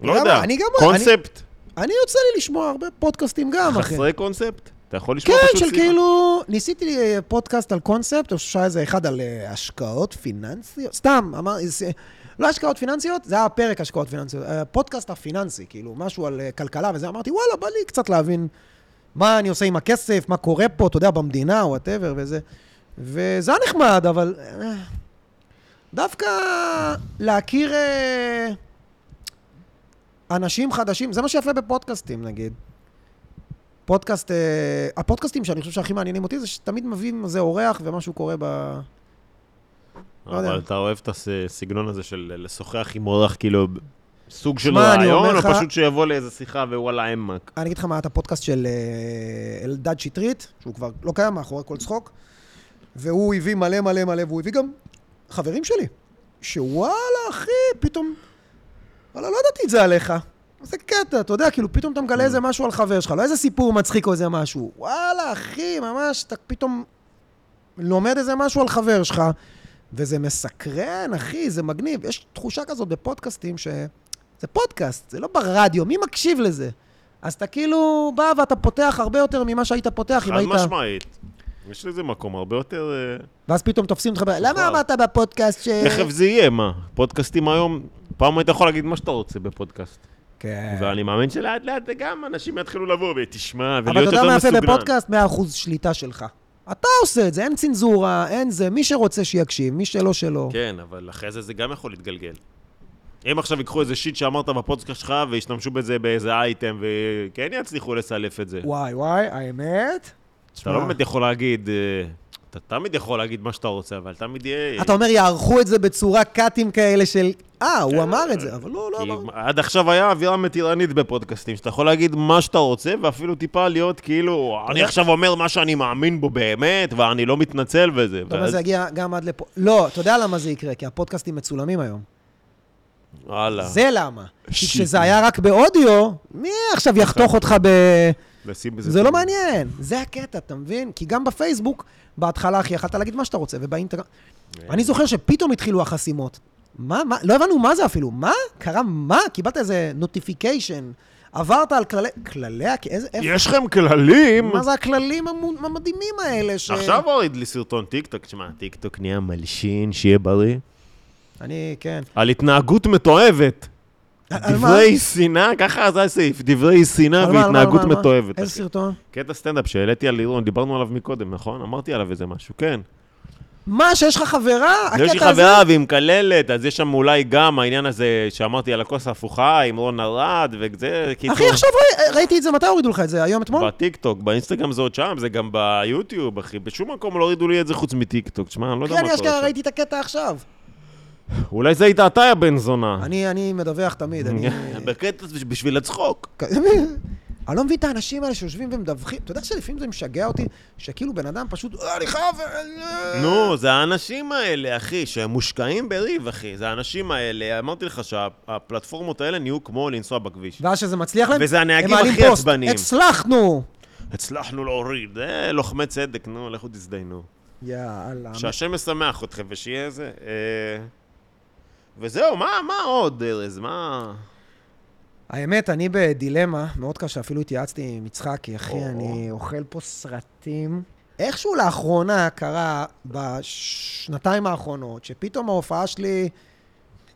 Speaker 2: לא
Speaker 1: למה?
Speaker 2: יודע,
Speaker 1: אני גם-
Speaker 2: קונספט,
Speaker 1: אני יוצא לי לשמוע הרבה פודקאסטים גם, אחי.
Speaker 2: חסרי קונספט. אתה יכול לשמוע
Speaker 1: כן,
Speaker 2: פשוט
Speaker 1: של
Speaker 2: שיחה.
Speaker 1: כאילו, ניסיתי אה, פודקאסט על קונספט, או שהיה איזה אחד על אה, השקעות פיננסיות, סתם, אמר, זה- לא השקעות פיננסיות, זה היה הפרק השקעות פיננסיות, אה, הפודקאסט הפיננסי, כאילו, משהו על אה, כלכלה וזה, אמרתי, וואלה, בא לי קצת להבין מה אני עושה עם הכסף, מה קורה פה, אתה יודע, במדינה, וואטאבר וזה, וזה היה נחמד, אבל אה, דווקא להכיר אה, אנשים חדשים, זה מה שיפה בפודקאסטים, נגיד. פודקאסט, אה, הפודקאסטים שאני חושב שהכי מעניינים אותי זה שתמיד מביאים איזה אורח ומשהו קורה ב... לא יודע.
Speaker 2: אבל אתה אוהב את הסגנון הזה של לשוחח עם אורח, כאילו, סוג של
Speaker 1: שמע, אני
Speaker 2: רעיון,
Speaker 1: אומר
Speaker 2: או
Speaker 1: לך-
Speaker 2: פשוט שיבוא לאיזה שיחה ווואלה אמק.
Speaker 1: אני אגיד לך מה, היה את הפודקאסט של אה, אלדד שטרית, שהוא כבר לא קיים, מאחורי כל צחוק, והוא הביא מלא מלא מלא, והוא הביא גם חברים שלי, שוואלה, אחי, פתאום... וואלה, לא ידעתי את זה עליך. זה קטע, אתה יודע, כאילו, פתאום אתה מגלה
Speaker 2: כן.
Speaker 1: איזה משהו על חבר שלך, לא איזה סיפור מצחיק או איזה משהו. וואלה, אחי, ממש, אתה פתאום לומד איזה משהו על חבר שלך, וזה מסקרן, אחי, זה מגניב. יש תחושה כזאת בפודקאסטים ש... זה פודקאסט, זה לא ברדיו, מי מקשיב לזה? אז אתה כאילו בא ואתה פותח הרבה יותר ממה שהיית פותח אם
Speaker 2: חד
Speaker 1: היית...
Speaker 2: משמעית. יש לזה מקום הרבה יותר... אה,
Speaker 1: ואז פתאום תופסים אותך, ב- למה אמרת בפודקאסט ש...
Speaker 2: תכף זה יהיה, מה? פודקאסטים היום, פעם היית יכול להגיד מה שאתה רוצה בפודקאסט.
Speaker 1: כן.
Speaker 2: ואני מאמין שלאט לאט זה גם אנשים יתחילו לבוא ותשמע
Speaker 1: אבל אתה
Speaker 2: ולהיות
Speaker 1: יודע מה
Speaker 2: יותר
Speaker 1: יפה
Speaker 2: מסוגנן.
Speaker 1: בפודקאסט? 100% שליטה שלך. אתה עושה את זה, אין צנזורה, אין זה, מי שרוצה שיקשיב, מי שלא שלא.
Speaker 2: כן, אבל אחרי זה זה גם יכול להתגלגל. אם עכשיו ייקחו איזה שיט שאמרת בפודקאסט שלך וישתמשו בזה באיזה אייטם וכן יצליחו לסלף את זה.
Speaker 1: וואי וואי, האמת?
Speaker 2: אתה לא באמת יכול להגיד, אה, אתה תמיד יכול להגיד מה שאתה רוצה, אבל תמיד יהיה...
Speaker 1: אתה אומר, יערכו את זה בצורה קאטים כאלה של, אה,
Speaker 2: כן.
Speaker 1: הוא אמר את זה, אבל לא, לא
Speaker 2: כי
Speaker 1: אמר.
Speaker 2: עד עכשיו היה אווירה מתירנית בפודקאסטים, שאתה יכול להגיד מה שאתה רוצה, ואפילו טיפה להיות כאילו, אני
Speaker 1: יודע-
Speaker 2: עכשיו אומר מה שאני מאמין בו באמת, ואני לא מתנצל וזה.
Speaker 1: אתה אומר,
Speaker 2: ואז-
Speaker 1: זה יגיע גם עד לפה. לא, אתה יודע למה זה יקרה, כי הפודקאסטים מצולמים היום.
Speaker 2: וואלה.
Speaker 1: זה למה. כי
Speaker 2: אה. שיט. נכון.
Speaker 1: כשזה היה רק באודיו, מי עכשיו יחתוך אותך ב...
Speaker 2: לשים בזה
Speaker 1: זה לא
Speaker 2: טוב.
Speaker 1: מעניין. זה הקטע, אתה מבין? כי גם בפייסבוק, בהתחלה, אחי, יכלת להגיד מה שאתה רוצה, ובאינטרנט...
Speaker 2: כן.
Speaker 1: אני זוכר שפתאום התחילו החסימות. מה, מה, לא הבנו מה זה אפילו. מה? קרה מה? קיבלת איזה נוטיפיקיישן. עברת על כללי... כללי... הכ- איזה... איפה?
Speaker 2: יש לכם כללים?
Speaker 1: מה זה הכללים המו- המדהימים האלה ש...
Speaker 2: עכשיו הוריד לי סרטון טיקטוק, תשמע, טיקטוק נהיה מלשין, שיהיה בריא.
Speaker 1: אני, כן.
Speaker 2: על התנהגות מתועבת.
Speaker 1: על- על מה?
Speaker 2: דברי שנאה, ככה זה הסעיף, דברי שנאה
Speaker 1: על מה, על מה, על מה,
Speaker 2: והתנהגות
Speaker 1: על מה?
Speaker 2: מתועבת.
Speaker 1: איזה סרטון?
Speaker 2: קטע סטנדאפ שהעליתי על לירון, דיברנו עליו מקודם, נכון? אמרתי עליו איזה משהו, כן.
Speaker 1: מה, שיש לך חברה?
Speaker 2: יש לי
Speaker 1: הקטע הזה?
Speaker 2: חברה והיא מקללת, אז יש שם אולי גם העניין הזה שאמרתי על הכוס ההפוכה עם רון ארד וזה,
Speaker 1: אחי, עכשיו ראי- ראיתי את זה, מתי הורידו לך את זה? היום, אתמול?
Speaker 2: בטיקטוק, באינסטגרם זה עוד שם, זה גם ביוטיוב, אחי. בשום מקום לא הורידו לי את זה חוץ מטיקטוק, תשמע, אני לא יודע
Speaker 1: אחי,
Speaker 2: מה
Speaker 1: אני
Speaker 2: קורה
Speaker 1: אשכרה
Speaker 2: שם.
Speaker 1: כן, ראיתי את הקטע עכשיו.
Speaker 2: אולי זה היית אתה, יא בן זונה.
Speaker 1: אני אני מדווח תמיד, אני...
Speaker 2: כן. בקטע זה בשביל הצחוק.
Speaker 1: אני לא מבין את האנשים האלה שיושבים ומדווחים. אתה יודע שלפעמים זה משגע אותי, שכאילו בן אדם פשוט, "אה, אני חייב... אה,
Speaker 2: נו, זה האנשים האלה, אחי, שהם מושקעים בריב, אחי. זה האנשים האלה. אמרתי לך שהפלטפורמות האלה נהיו כמו לנסוע בכביש.
Speaker 1: ואז שזה מצליח להם,
Speaker 2: וזה הנהגים
Speaker 1: הם מעלים
Speaker 2: הכי
Speaker 1: פוסט,
Speaker 2: עצבניים.
Speaker 1: הצלחנו!
Speaker 2: הצלחנו להוריד. אה, לוחמי צדק, נו, לכו תזדיינו.
Speaker 1: יאללה.
Speaker 2: שהשם ישמח אתכם ושיהיה זה. אה, וזהו, מה, מה עוד, ארז? מה...
Speaker 1: האמת, אני בדילמה מאוד קשה, אפילו התייעצתי עם יצחק, כי אחי,
Speaker 2: או.
Speaker 1: אני אוכל פה סרטים. איכשהו לאחרונה קרה, בשנתיים האחרונות, שפתאום ההופעה שלי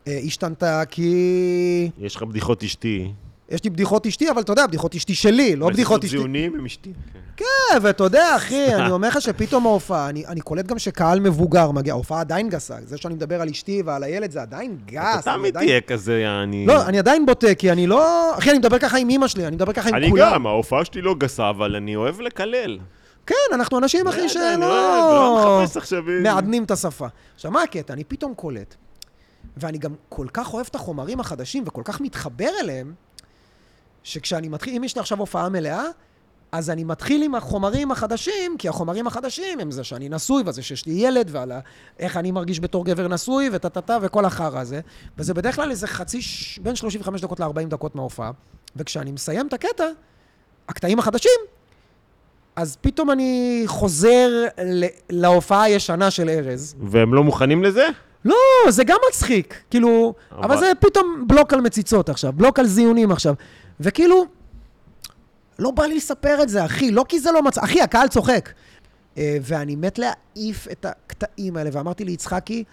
Speaker 1: אה, השתנתה כי...
Speaker 2: יש לך בדיחות אשתי.
Speaker 1: יש לי בדיחות אשתי, אבל אתה יודע, בדיחות אשתי שלי, לא בדיחות אשתי.
Speaker 2: ציונים עם אשתי. כן.
Speaker 1: אה, ואתה יודע, אחי, אני אומר לך שפתאום ההופעה, אני, אני קולט גם שקהל מבוגר מגיע, ההופעה עדיין גסה. זה שאני מדבר על אשתי ועל הילד, זה עדיין גס.
Speaker 2: אה, אתה תמיד
Speaker 1: עדיין...
Speaker 2: תהיה כזה, יעני.
Speaker 1: לא, אני עדיין בוטה, כי אני לא... אחי, אני מדבר ככה עם אמא שלי, אני מדבר ככה עם
Speaker 2: אני
Speaker 1: כולם.
Speaker 2: גם, ההופעה שלי לא גסה, אבל אני אוהב לקלל.
Speaker 1: כן, אנחנו אנשים, אחי,
Speaker 2: לא יודע, אני לא
Speaker 1: שלא...
Speaker 2: מחפש עכשיו... אה,
Speaker 1: מעדנים את השפה. עכשיו, מה הקטע? אני פתאום קולט, ואני גם כל כך אוהב את החומרים החדשים וכל כך מתחבר אליהם, שכשאני מתחיל, אם יש לי עכשיו הופעה מלאה, אז אני מתחיל עם החומרים החדשים, כי החומרים החדשים הם זה שאני נשוי, וזה שיש לי ילד, ועל ה- איך אני מרגיש בתור גבר נשוי, וטה-טה-טה, וכל החרא הזה. וזה בדרך כלל איזה חצי, ש- בין 35 דקות ל-40 דקות מההופעה. וכשאני מסיים את הקטע, הקטעים החדשים, אז פתאום אני חוזר ל- להופעה הישנה של ארז.
Speaker 2: והם לא מוכנים לזה?
Speaker 1: לא, זה גם מצחיק. כאילו, אבל... אבל
Speaker 2: אבל-
Speaker 1: זה פתאום בלוק על מציצות עכשיו, בלוק על זיונים עכשיו. וכאילו, לא בא לי לספר את זה, אחי, לא כי זה לא מצחיק. אחי, הקהל צוחק. אה, ואני מת להעיף את הקטעים האלה, ואמרתי ליצחקי,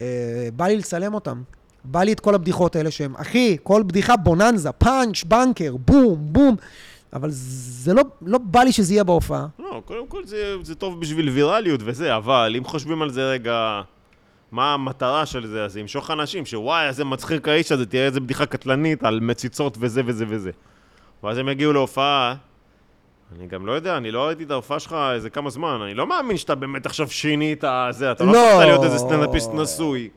Speaker 1: אה, בא לי לצלם אותם. בא לי את כל הבדיחות האלה שהם, אחי, כל בדיחה בוננזה, פאנץ', בנקר, בום, בום. אבל זה לא, לא בא לי שזה יהיה בהופעה.
Speaker 2: לא, קודם כל זה, זה טוב בשביל ויראליות וזה, אבל אם חושבים על זה רגע, מה המטרה של זה, אז זה ימשוך אנשים, שוואי, איזה מצחיק האיש הזה, תראה איזה בדיחה קטלנית על מציצות וזה וזה וזה. ואז הם יגיעו להופעה, אני גם לא יודע, אני לא ראיתי את ההופעה שלך איזה כמה זמן, אני לא מאמין שאתה באמת עכשיו שינית זה, אתה לא
Speaker 1: לא.
Speaker 2: הפכת להיות איזה סטנדאפיסט נשוי.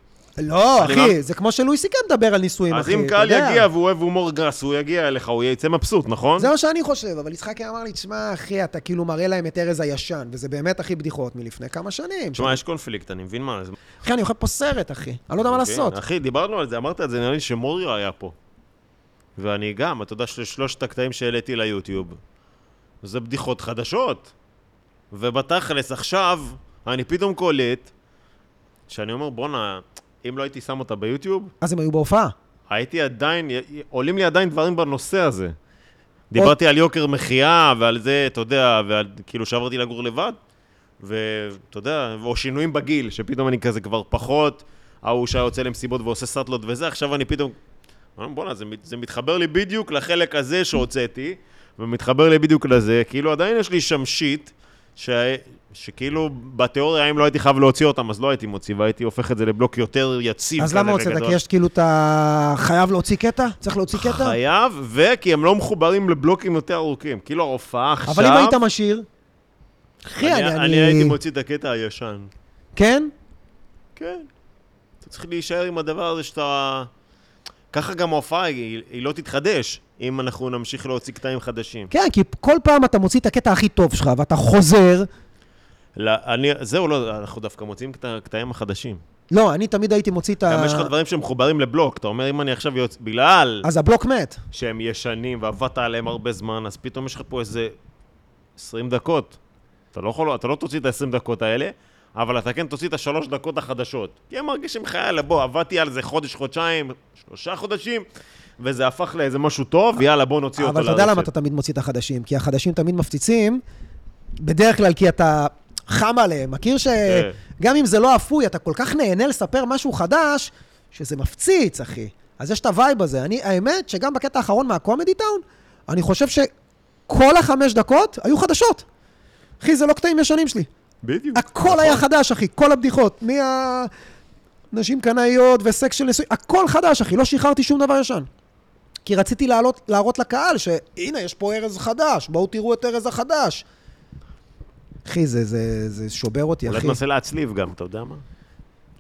Speaker 1: לא,
Speaker 2: אני
Speaker 1: אחי,
Speaker 2: מאמ-
Speaker 1: זה כמו שלואי סיקם אמ מדבר על נישואים,
Speaker 2: אז
Speaker 1: אחי,
Speaker 2: אם
Speaker 1: אתה
Speaker 2: קהל
Speaker 1: יודע.
Speaker 2: יגיע והוא אוהב הומור גס, הוא יגיע אליך, הוא יצא מבסוט, נכון?
Speaker 1: זה מה שאני חושב, אבל יצחקי אמר לי, תשמע, אחי, אתה כאילו מראה להם את ארז הישן, וזה באמת, אחי, בדיחות מלפני כמה שנים.
Speaker 2: תשמע, יש קונפליקט, אני מבין מה זה.
Speaker 1: אחי, אני אוכל פה סרט, אחי. אני לא יודע מה
Speaker 2: כן,
Speaker 1: לעשות.
Speaker 2: אחי, דיברנו על זה, אמרת את זה, נראה לי שמוריו היה פה. ואני גם, אתה יודע ששלושת הקטעים שהעליתי ליוטיוב, זה בדיחות חדשות. ובתכלס, עכשיו, אני פתאום קולט, שאני אומר, בואנה, אם לא הייתי שם אותה ביוטיוב,
Speaker 1: אז הם היו בהופעה.
Speaker 2: הייתי עדיין, עולים לי עדיין דברים בנושא הזה. דיברתי על יוקר מחיה ועל זה, אתה יודע, ועל כאילו שעברתי לגור לבד, ואתה יודע, או שינויים בגיל, שפתאום אני כזה כבר פחות, ההוא שהיה יוצא למסיבות ועושה סאטלות וזה, עכשיו אני פתאום... אני אומר, בואנה, זה, מת- זה מתחבר לי בדיוק לחלק הזה שהוצאתי, ומתחבר לי בדיוק לזה, כאילו עדיין יש לי שם שיט, ש... שכאילו בתיאוריה, אם לא הייתי חייב להוציא אותם, אז לא הייתי מוציא, והייתי הופך את זה לבלוק יותר יציב.
Speaker 1: אז למה
Speaker 2: כזה
Speaker 1: הוצאת?
Speaker 2: וגדול.
Speaker 1: כי יש כאילו את ה... חייב להוציא קטע? צריך להוציא קטע?
Speaker 2: חייב, וכי הם לא מחוברים לבלוקים יותר ארוכים. כאילו ההופעה עכשיו...
Speaker 1: אבל אם היית משאיר... אחי, אני...
Speaker 2: אני הייתי מוציא את הקטע הישן.
Speaker 1: כן?
Speaker 2: כן. אתה צריך להישאר עם הדבר הזה שאתה... ככה גם ההופעה, היא, היא לא תתחדש, אם אנחנו נמשיך להוציא קטעים חדשים.
Speaker 1: כן, כי כל פעם אתה מוציא את הקטע הכי טוב שלך, ואתה חוזר.
Speaker 2: לא, אני, זהו, לא, אנחנו דווקא מוציאים את הקטעים החדשים.
Speaker 1: לא, אני תמיד הייתי מוציא את ה...
Speaker 2: גם יש לך דברים שמחוברים לבלוק, אתה אומר, אם אני עכשיו יוצא... בגלל
Speaker 1: אז הבלוק מת.
Speaker 2: שהם ישנים ועבדת עליהם הרבה זמן, אז פתאום יש לך פה איזה 20 דקות. אתה לא, יכול, אתה לא תוציא את ה-20 דקות האלה, אבל אתה כן תוציא את השלוש דקות החדשות. כי הם מרגישים לך, יאללה, בוא, עבדתי על זה חודש, חודשיים, שלושה חודשים, וזה הפך לאיזה משהו טוב, יאללה, בוא נוציא אותו
Speaker 1: אבל אתה יודע
Speaker 2: לרשת.
Speaker 1: למה אתה תמיד מוציא את החדשים? כי החדשים תמיד מפציצים, בדרך כלל כי אתה חם עליהם. מכיר
Speaker 2: כן.
Speaker 1: שגם אם זה לא אפוי, אתה כל כך נהנה לספר משהו חדש, שזה מפציץ, אחי. אז יש את הווייב הזה. אני, האמת שגם בקטע האחרון מהקומדי טאון, אני חושב שכל החמש דקות היו חדשות. אחי, זה לא קטעים ישנים שלי.
Speaker 2: בדיוק.
Speaker 1: הכל
Speaker 2: נכון.
Speaker 1: היה חדש, אחי, כל הבדיחות. מה... נשים קנאיות וסקס של נישואים, הכל חדש, אחי, לא שחררתי שום דבר ישן. כי רציתי להעלות, להראות לקהל שהנה, יש פה ארז חדש, בואו תראו את ארז החדש. אחי, זה, זה, זה שובר אותי,
Speaker 2: אולי
Speaker 1: אחי.
Speaker 2: תנסה להצליב גם, אתה יודע מה?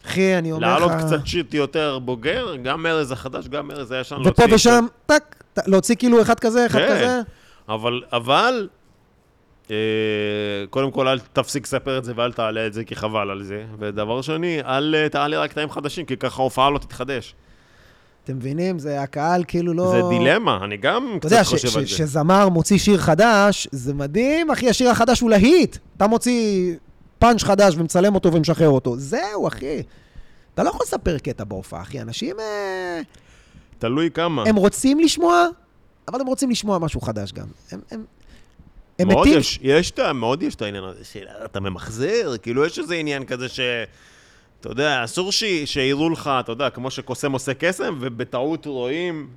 Speaker 1: אחי, אני אומר לך...
Speaker 2: להעלות קצת שיט יותר בוגר, גם ארז החדש, גם ארז הישן.
Speaker 1: ופה
Speaker 2: להוציא
Speaker 1: ושם, טק, ט- להוציא כאילו אחד כזה, אחד
Speaker 2: כן.
Speaker 1: כזה.
Speaker 2: אבל, אבל, אה, קודם כל, אל תפסיק לספר את זה ואל תעלה את זה, כי חבל על זה. ודבר שני, אל אה, תעלה רק קטעים חדשים, כי ככה ההופעה לא תתחדש.
Speaker 1: אתם מבינים? זה הקהל כאילו לא...
Speaker 2: זה דילמה, אני גם
Speaker 1: אתה יודע,
Speaker 2: קצת
Speaker 1: ש-
Speaker 2: חושב
Speaker 1: ש-
Speaker 2: על זה.
Speaker 1: שזמר מוציא שיר חדש, זה מדהים, אחי, השיר החדש הוא להיט. אתה מוציא פאנץ' חדש ומצלם אותו ומשחרר אותו. זהו, אחי. אתה לא יכול לספר קטע בהופעה, אחי. אנשים, אה,
Speaker 2: תלוי כמה.
Speaker 1: הם רוצים לשמוע, אבל הם רוצים לשמוע משהו חדש גם. הם- הם הם
Speaker 2: מאוד
Speaker 1: מתים.
Speaker 2: אה, יש, יש את ה... מאוד יש את העניין הזה של אתה ממחזר, כאילו יש איזה עניין כזה ש... אתה יודע, אסור ש... שיראו לך, אתה יודע, כמו שקוסם עושה קסם, ובטעות רואים...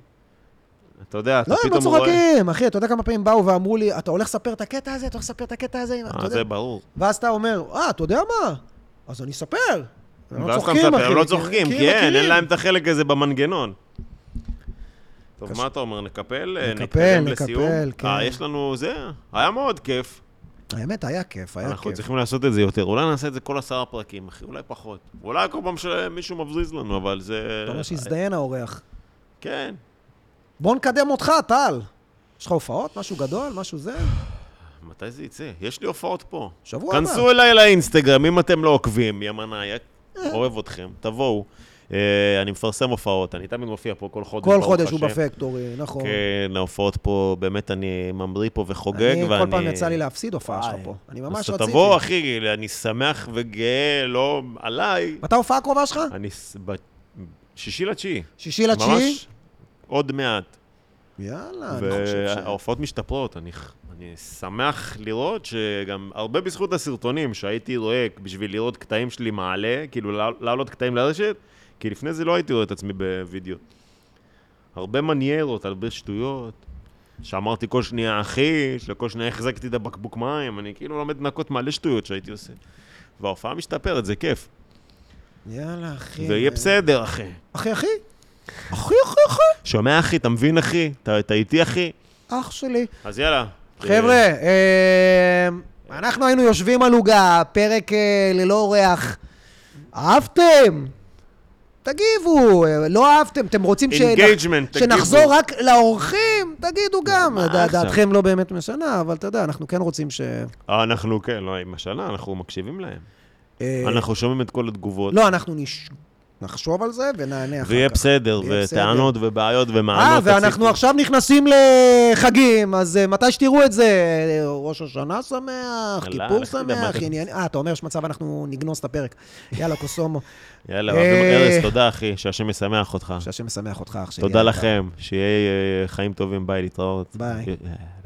Speaker 2: אתה יודע, אתה
Speaker 1: לא, הם לא
Speaker 2: פתאום רואה...
Speaker 1: צוחקים, אחי, אתה יודע כמה פעמים באו ואמרו לי, אתה הולך לספר את הקטע הזה, אתה הולך לספר את הקטע הזה, אתה
Speaker 2: אה,
Speaker 1: יודע.
Speaker 2: זה ברור.
Speaker 1: ואז אתה אומר, אה, אתה יודע מה? אז אני אספר. הם לא
Speaker 2: ואז אתה
Speaker 1: צוחקים,
Speaker 2: מספר,
Speaker 1: אחי, כן,
Speaker 2: הם לא
Speaker 1: כי-
Speaker 2: צוחקים,
Speaker 1: כי הם
Speaker 2: כי אין, אין
Speaker 1: מכירים.
Speaker 2: להם את החלק הזה במנגנון. טוב,
Speaker 1: קשה.
Speaker 2: מה אתה אומר, נקפל? אה,
Speaker 1: נקפל,
Speaker 2: נתקדם
Speaker 1: נקפל,
Speaker 2: לסיום?
Speaker 1: כן.
Speaker 2: אה, יש לנו זה, היה מאוד כיף.
Speaker 1: האמת, היה כיף, היה
Speaker 2: אנחנו
Speaker 1: כיף.
Speaker 2: צריכים לעשות את זה יותר. אולי נעשה את זה כל עשרה פרקים, אחי, אולי פחות. אולי כל פעם שמישהו מבזיז לנו, אבל זה...
Speaker 1: אתה אומר שהזדיין האורח.
Speaker 2: כן.
Speaker 1: בוא נקדם אותך, טל. יש לך הופעות? משהו גדול? משהו זה?
Speaker 2: מתי זה יצא? יש לי הופעות פה.
Speaker 1: שבוע הבא.
Speaker 2: כנסו אליי לאינסטגרם, אם אתם לא עוקבים, ימנאי, אוהב אתכם, תבואו. אה, אני מפרסם הופעות, אני תמיד מופיע פה כל חודש.
Speaker 1: כל
Speaker 2: ברוך
Speaker 1: חודש הוא
Speaker 2: השם.
Speaker 1: בפקטורי, נכון.
Speaker 2: כן, ההופעות פה, באמת, אני ממריא פה וחוגג,
Speaker 1: אני,
Speaker 2: ואני...
Speaker 1: כל פעם יצא לי להפסיד הופעה שלך
Speaker 2: וואי.
Speaker 1: פה. אני ממש
Speaker 2: אז
Speaker 1: רציתי.
Speaker 2: תבוא, אחי, אני שמח וגאה, לא עליי.
Speaker 1: מתי ההופעה הקרובה שלך?
Speaker 2: אני... ס- ב- שישי לתשיעי.
Speaker 1: שישי לתשיעי?
Speaker 2: ממש עוד מעט.
Speaker 1: יאללה, אה, אני לא חושב ש...
Speaker 2: וההופעות משתפרות, אני, ח- אני שמח לראות שגם הרבה בזכות הסרטונים שהייתי רואה בשביל לראות קטעים שלי מעלה, כאילו לע- להעלות קטעים לרשת, כי לפני זה לא הייתי רואה את עצמי בווידאו. הרבה מניירות, הרבה שטויות, שאמרתי כל שנייה אחי, שכל שנייה החזקתי את הבקבוק מים, אני כאילו לומד לנקות מלא שטויות שהייתי עושה. וההופעה משתפרת, זה כיף.
Speaker 1: יאללה, אחי.
Speaker 2: זה יהיה בסדר, אחי.
Speaker 1: אחי, אחי. אחי, אחי, אחי.
Speaker 2: שומע, אחי? אתה מבין, אחי? אתה אתה איתי, אחי?
Speaker 1: אח שלי.
Speaker 2: אז יאללה.
Speaker 1: חבר'ה, אמ, אנחנו היינו יושבים על עוגה, פרק אה, ללא אורח. אהבתם? תגיבו, אה, לא אהבתם, אתם רוצים שנח-
Speaker 2: Engagement, תגיבו.
Speaker 1: שנחזור רק לאורחים? תגידו גם.
Speaker 2: מה
Speaker 1: דע-
Speaker 2: עכשיו?
Speaker 1: דעתכם לא באמת משנה, אבל אתה יודע, אנחנו כן רוצים ש...
Speaker 2: אה, אנחנו, כן, לא, עם השנה, אנחנו מקשיבים להם.
Speaker 1: אה,
Speaker 2: אנחנו שומעים את כל התגובות.
Speaker 1: לא, אנחנו נש- נחשוב על זה ונענה אחר
Speaker 2: ויהיה
Speaker 1: כך.
Speaker 2: בסדר,
Speaker 1: ויהיה בסדר.
Speaker 2: וטענות ובעיות
Speaker 1: אה,
Speaker 2: ומענות.
Speaker 1: ואנחנו
Speaker 2: תציפו.
Speaker 1: עכשיו נכנסים לחגים, אז אה, מתי שתראו את זה, אה, ראש השנה שמח,
Speaker 2: יאללה,
Speaker 1: כיפור
Speaker 2: לך תדע מה
Speaker 1: שמח,
Speaker 2: אתה-
Speaker 1: עניין... אה, אתה אומר יש מצב אנחנו נגנוז את הפרק. יאללה, קוסומו.
Speaker 2: יאללה,
Speaker 1: אה,
Speaker 2: ארז, תודה, אחי, שהשם ישמח אותך.
Speaker 1: שהשם ישמח אותך, אח שלי.
Speaker 2: תודה לכם, שיהיה אה, חיים טובים, ביי, להתראות.
Speaker 1: ביי.
Speaker 2: אה,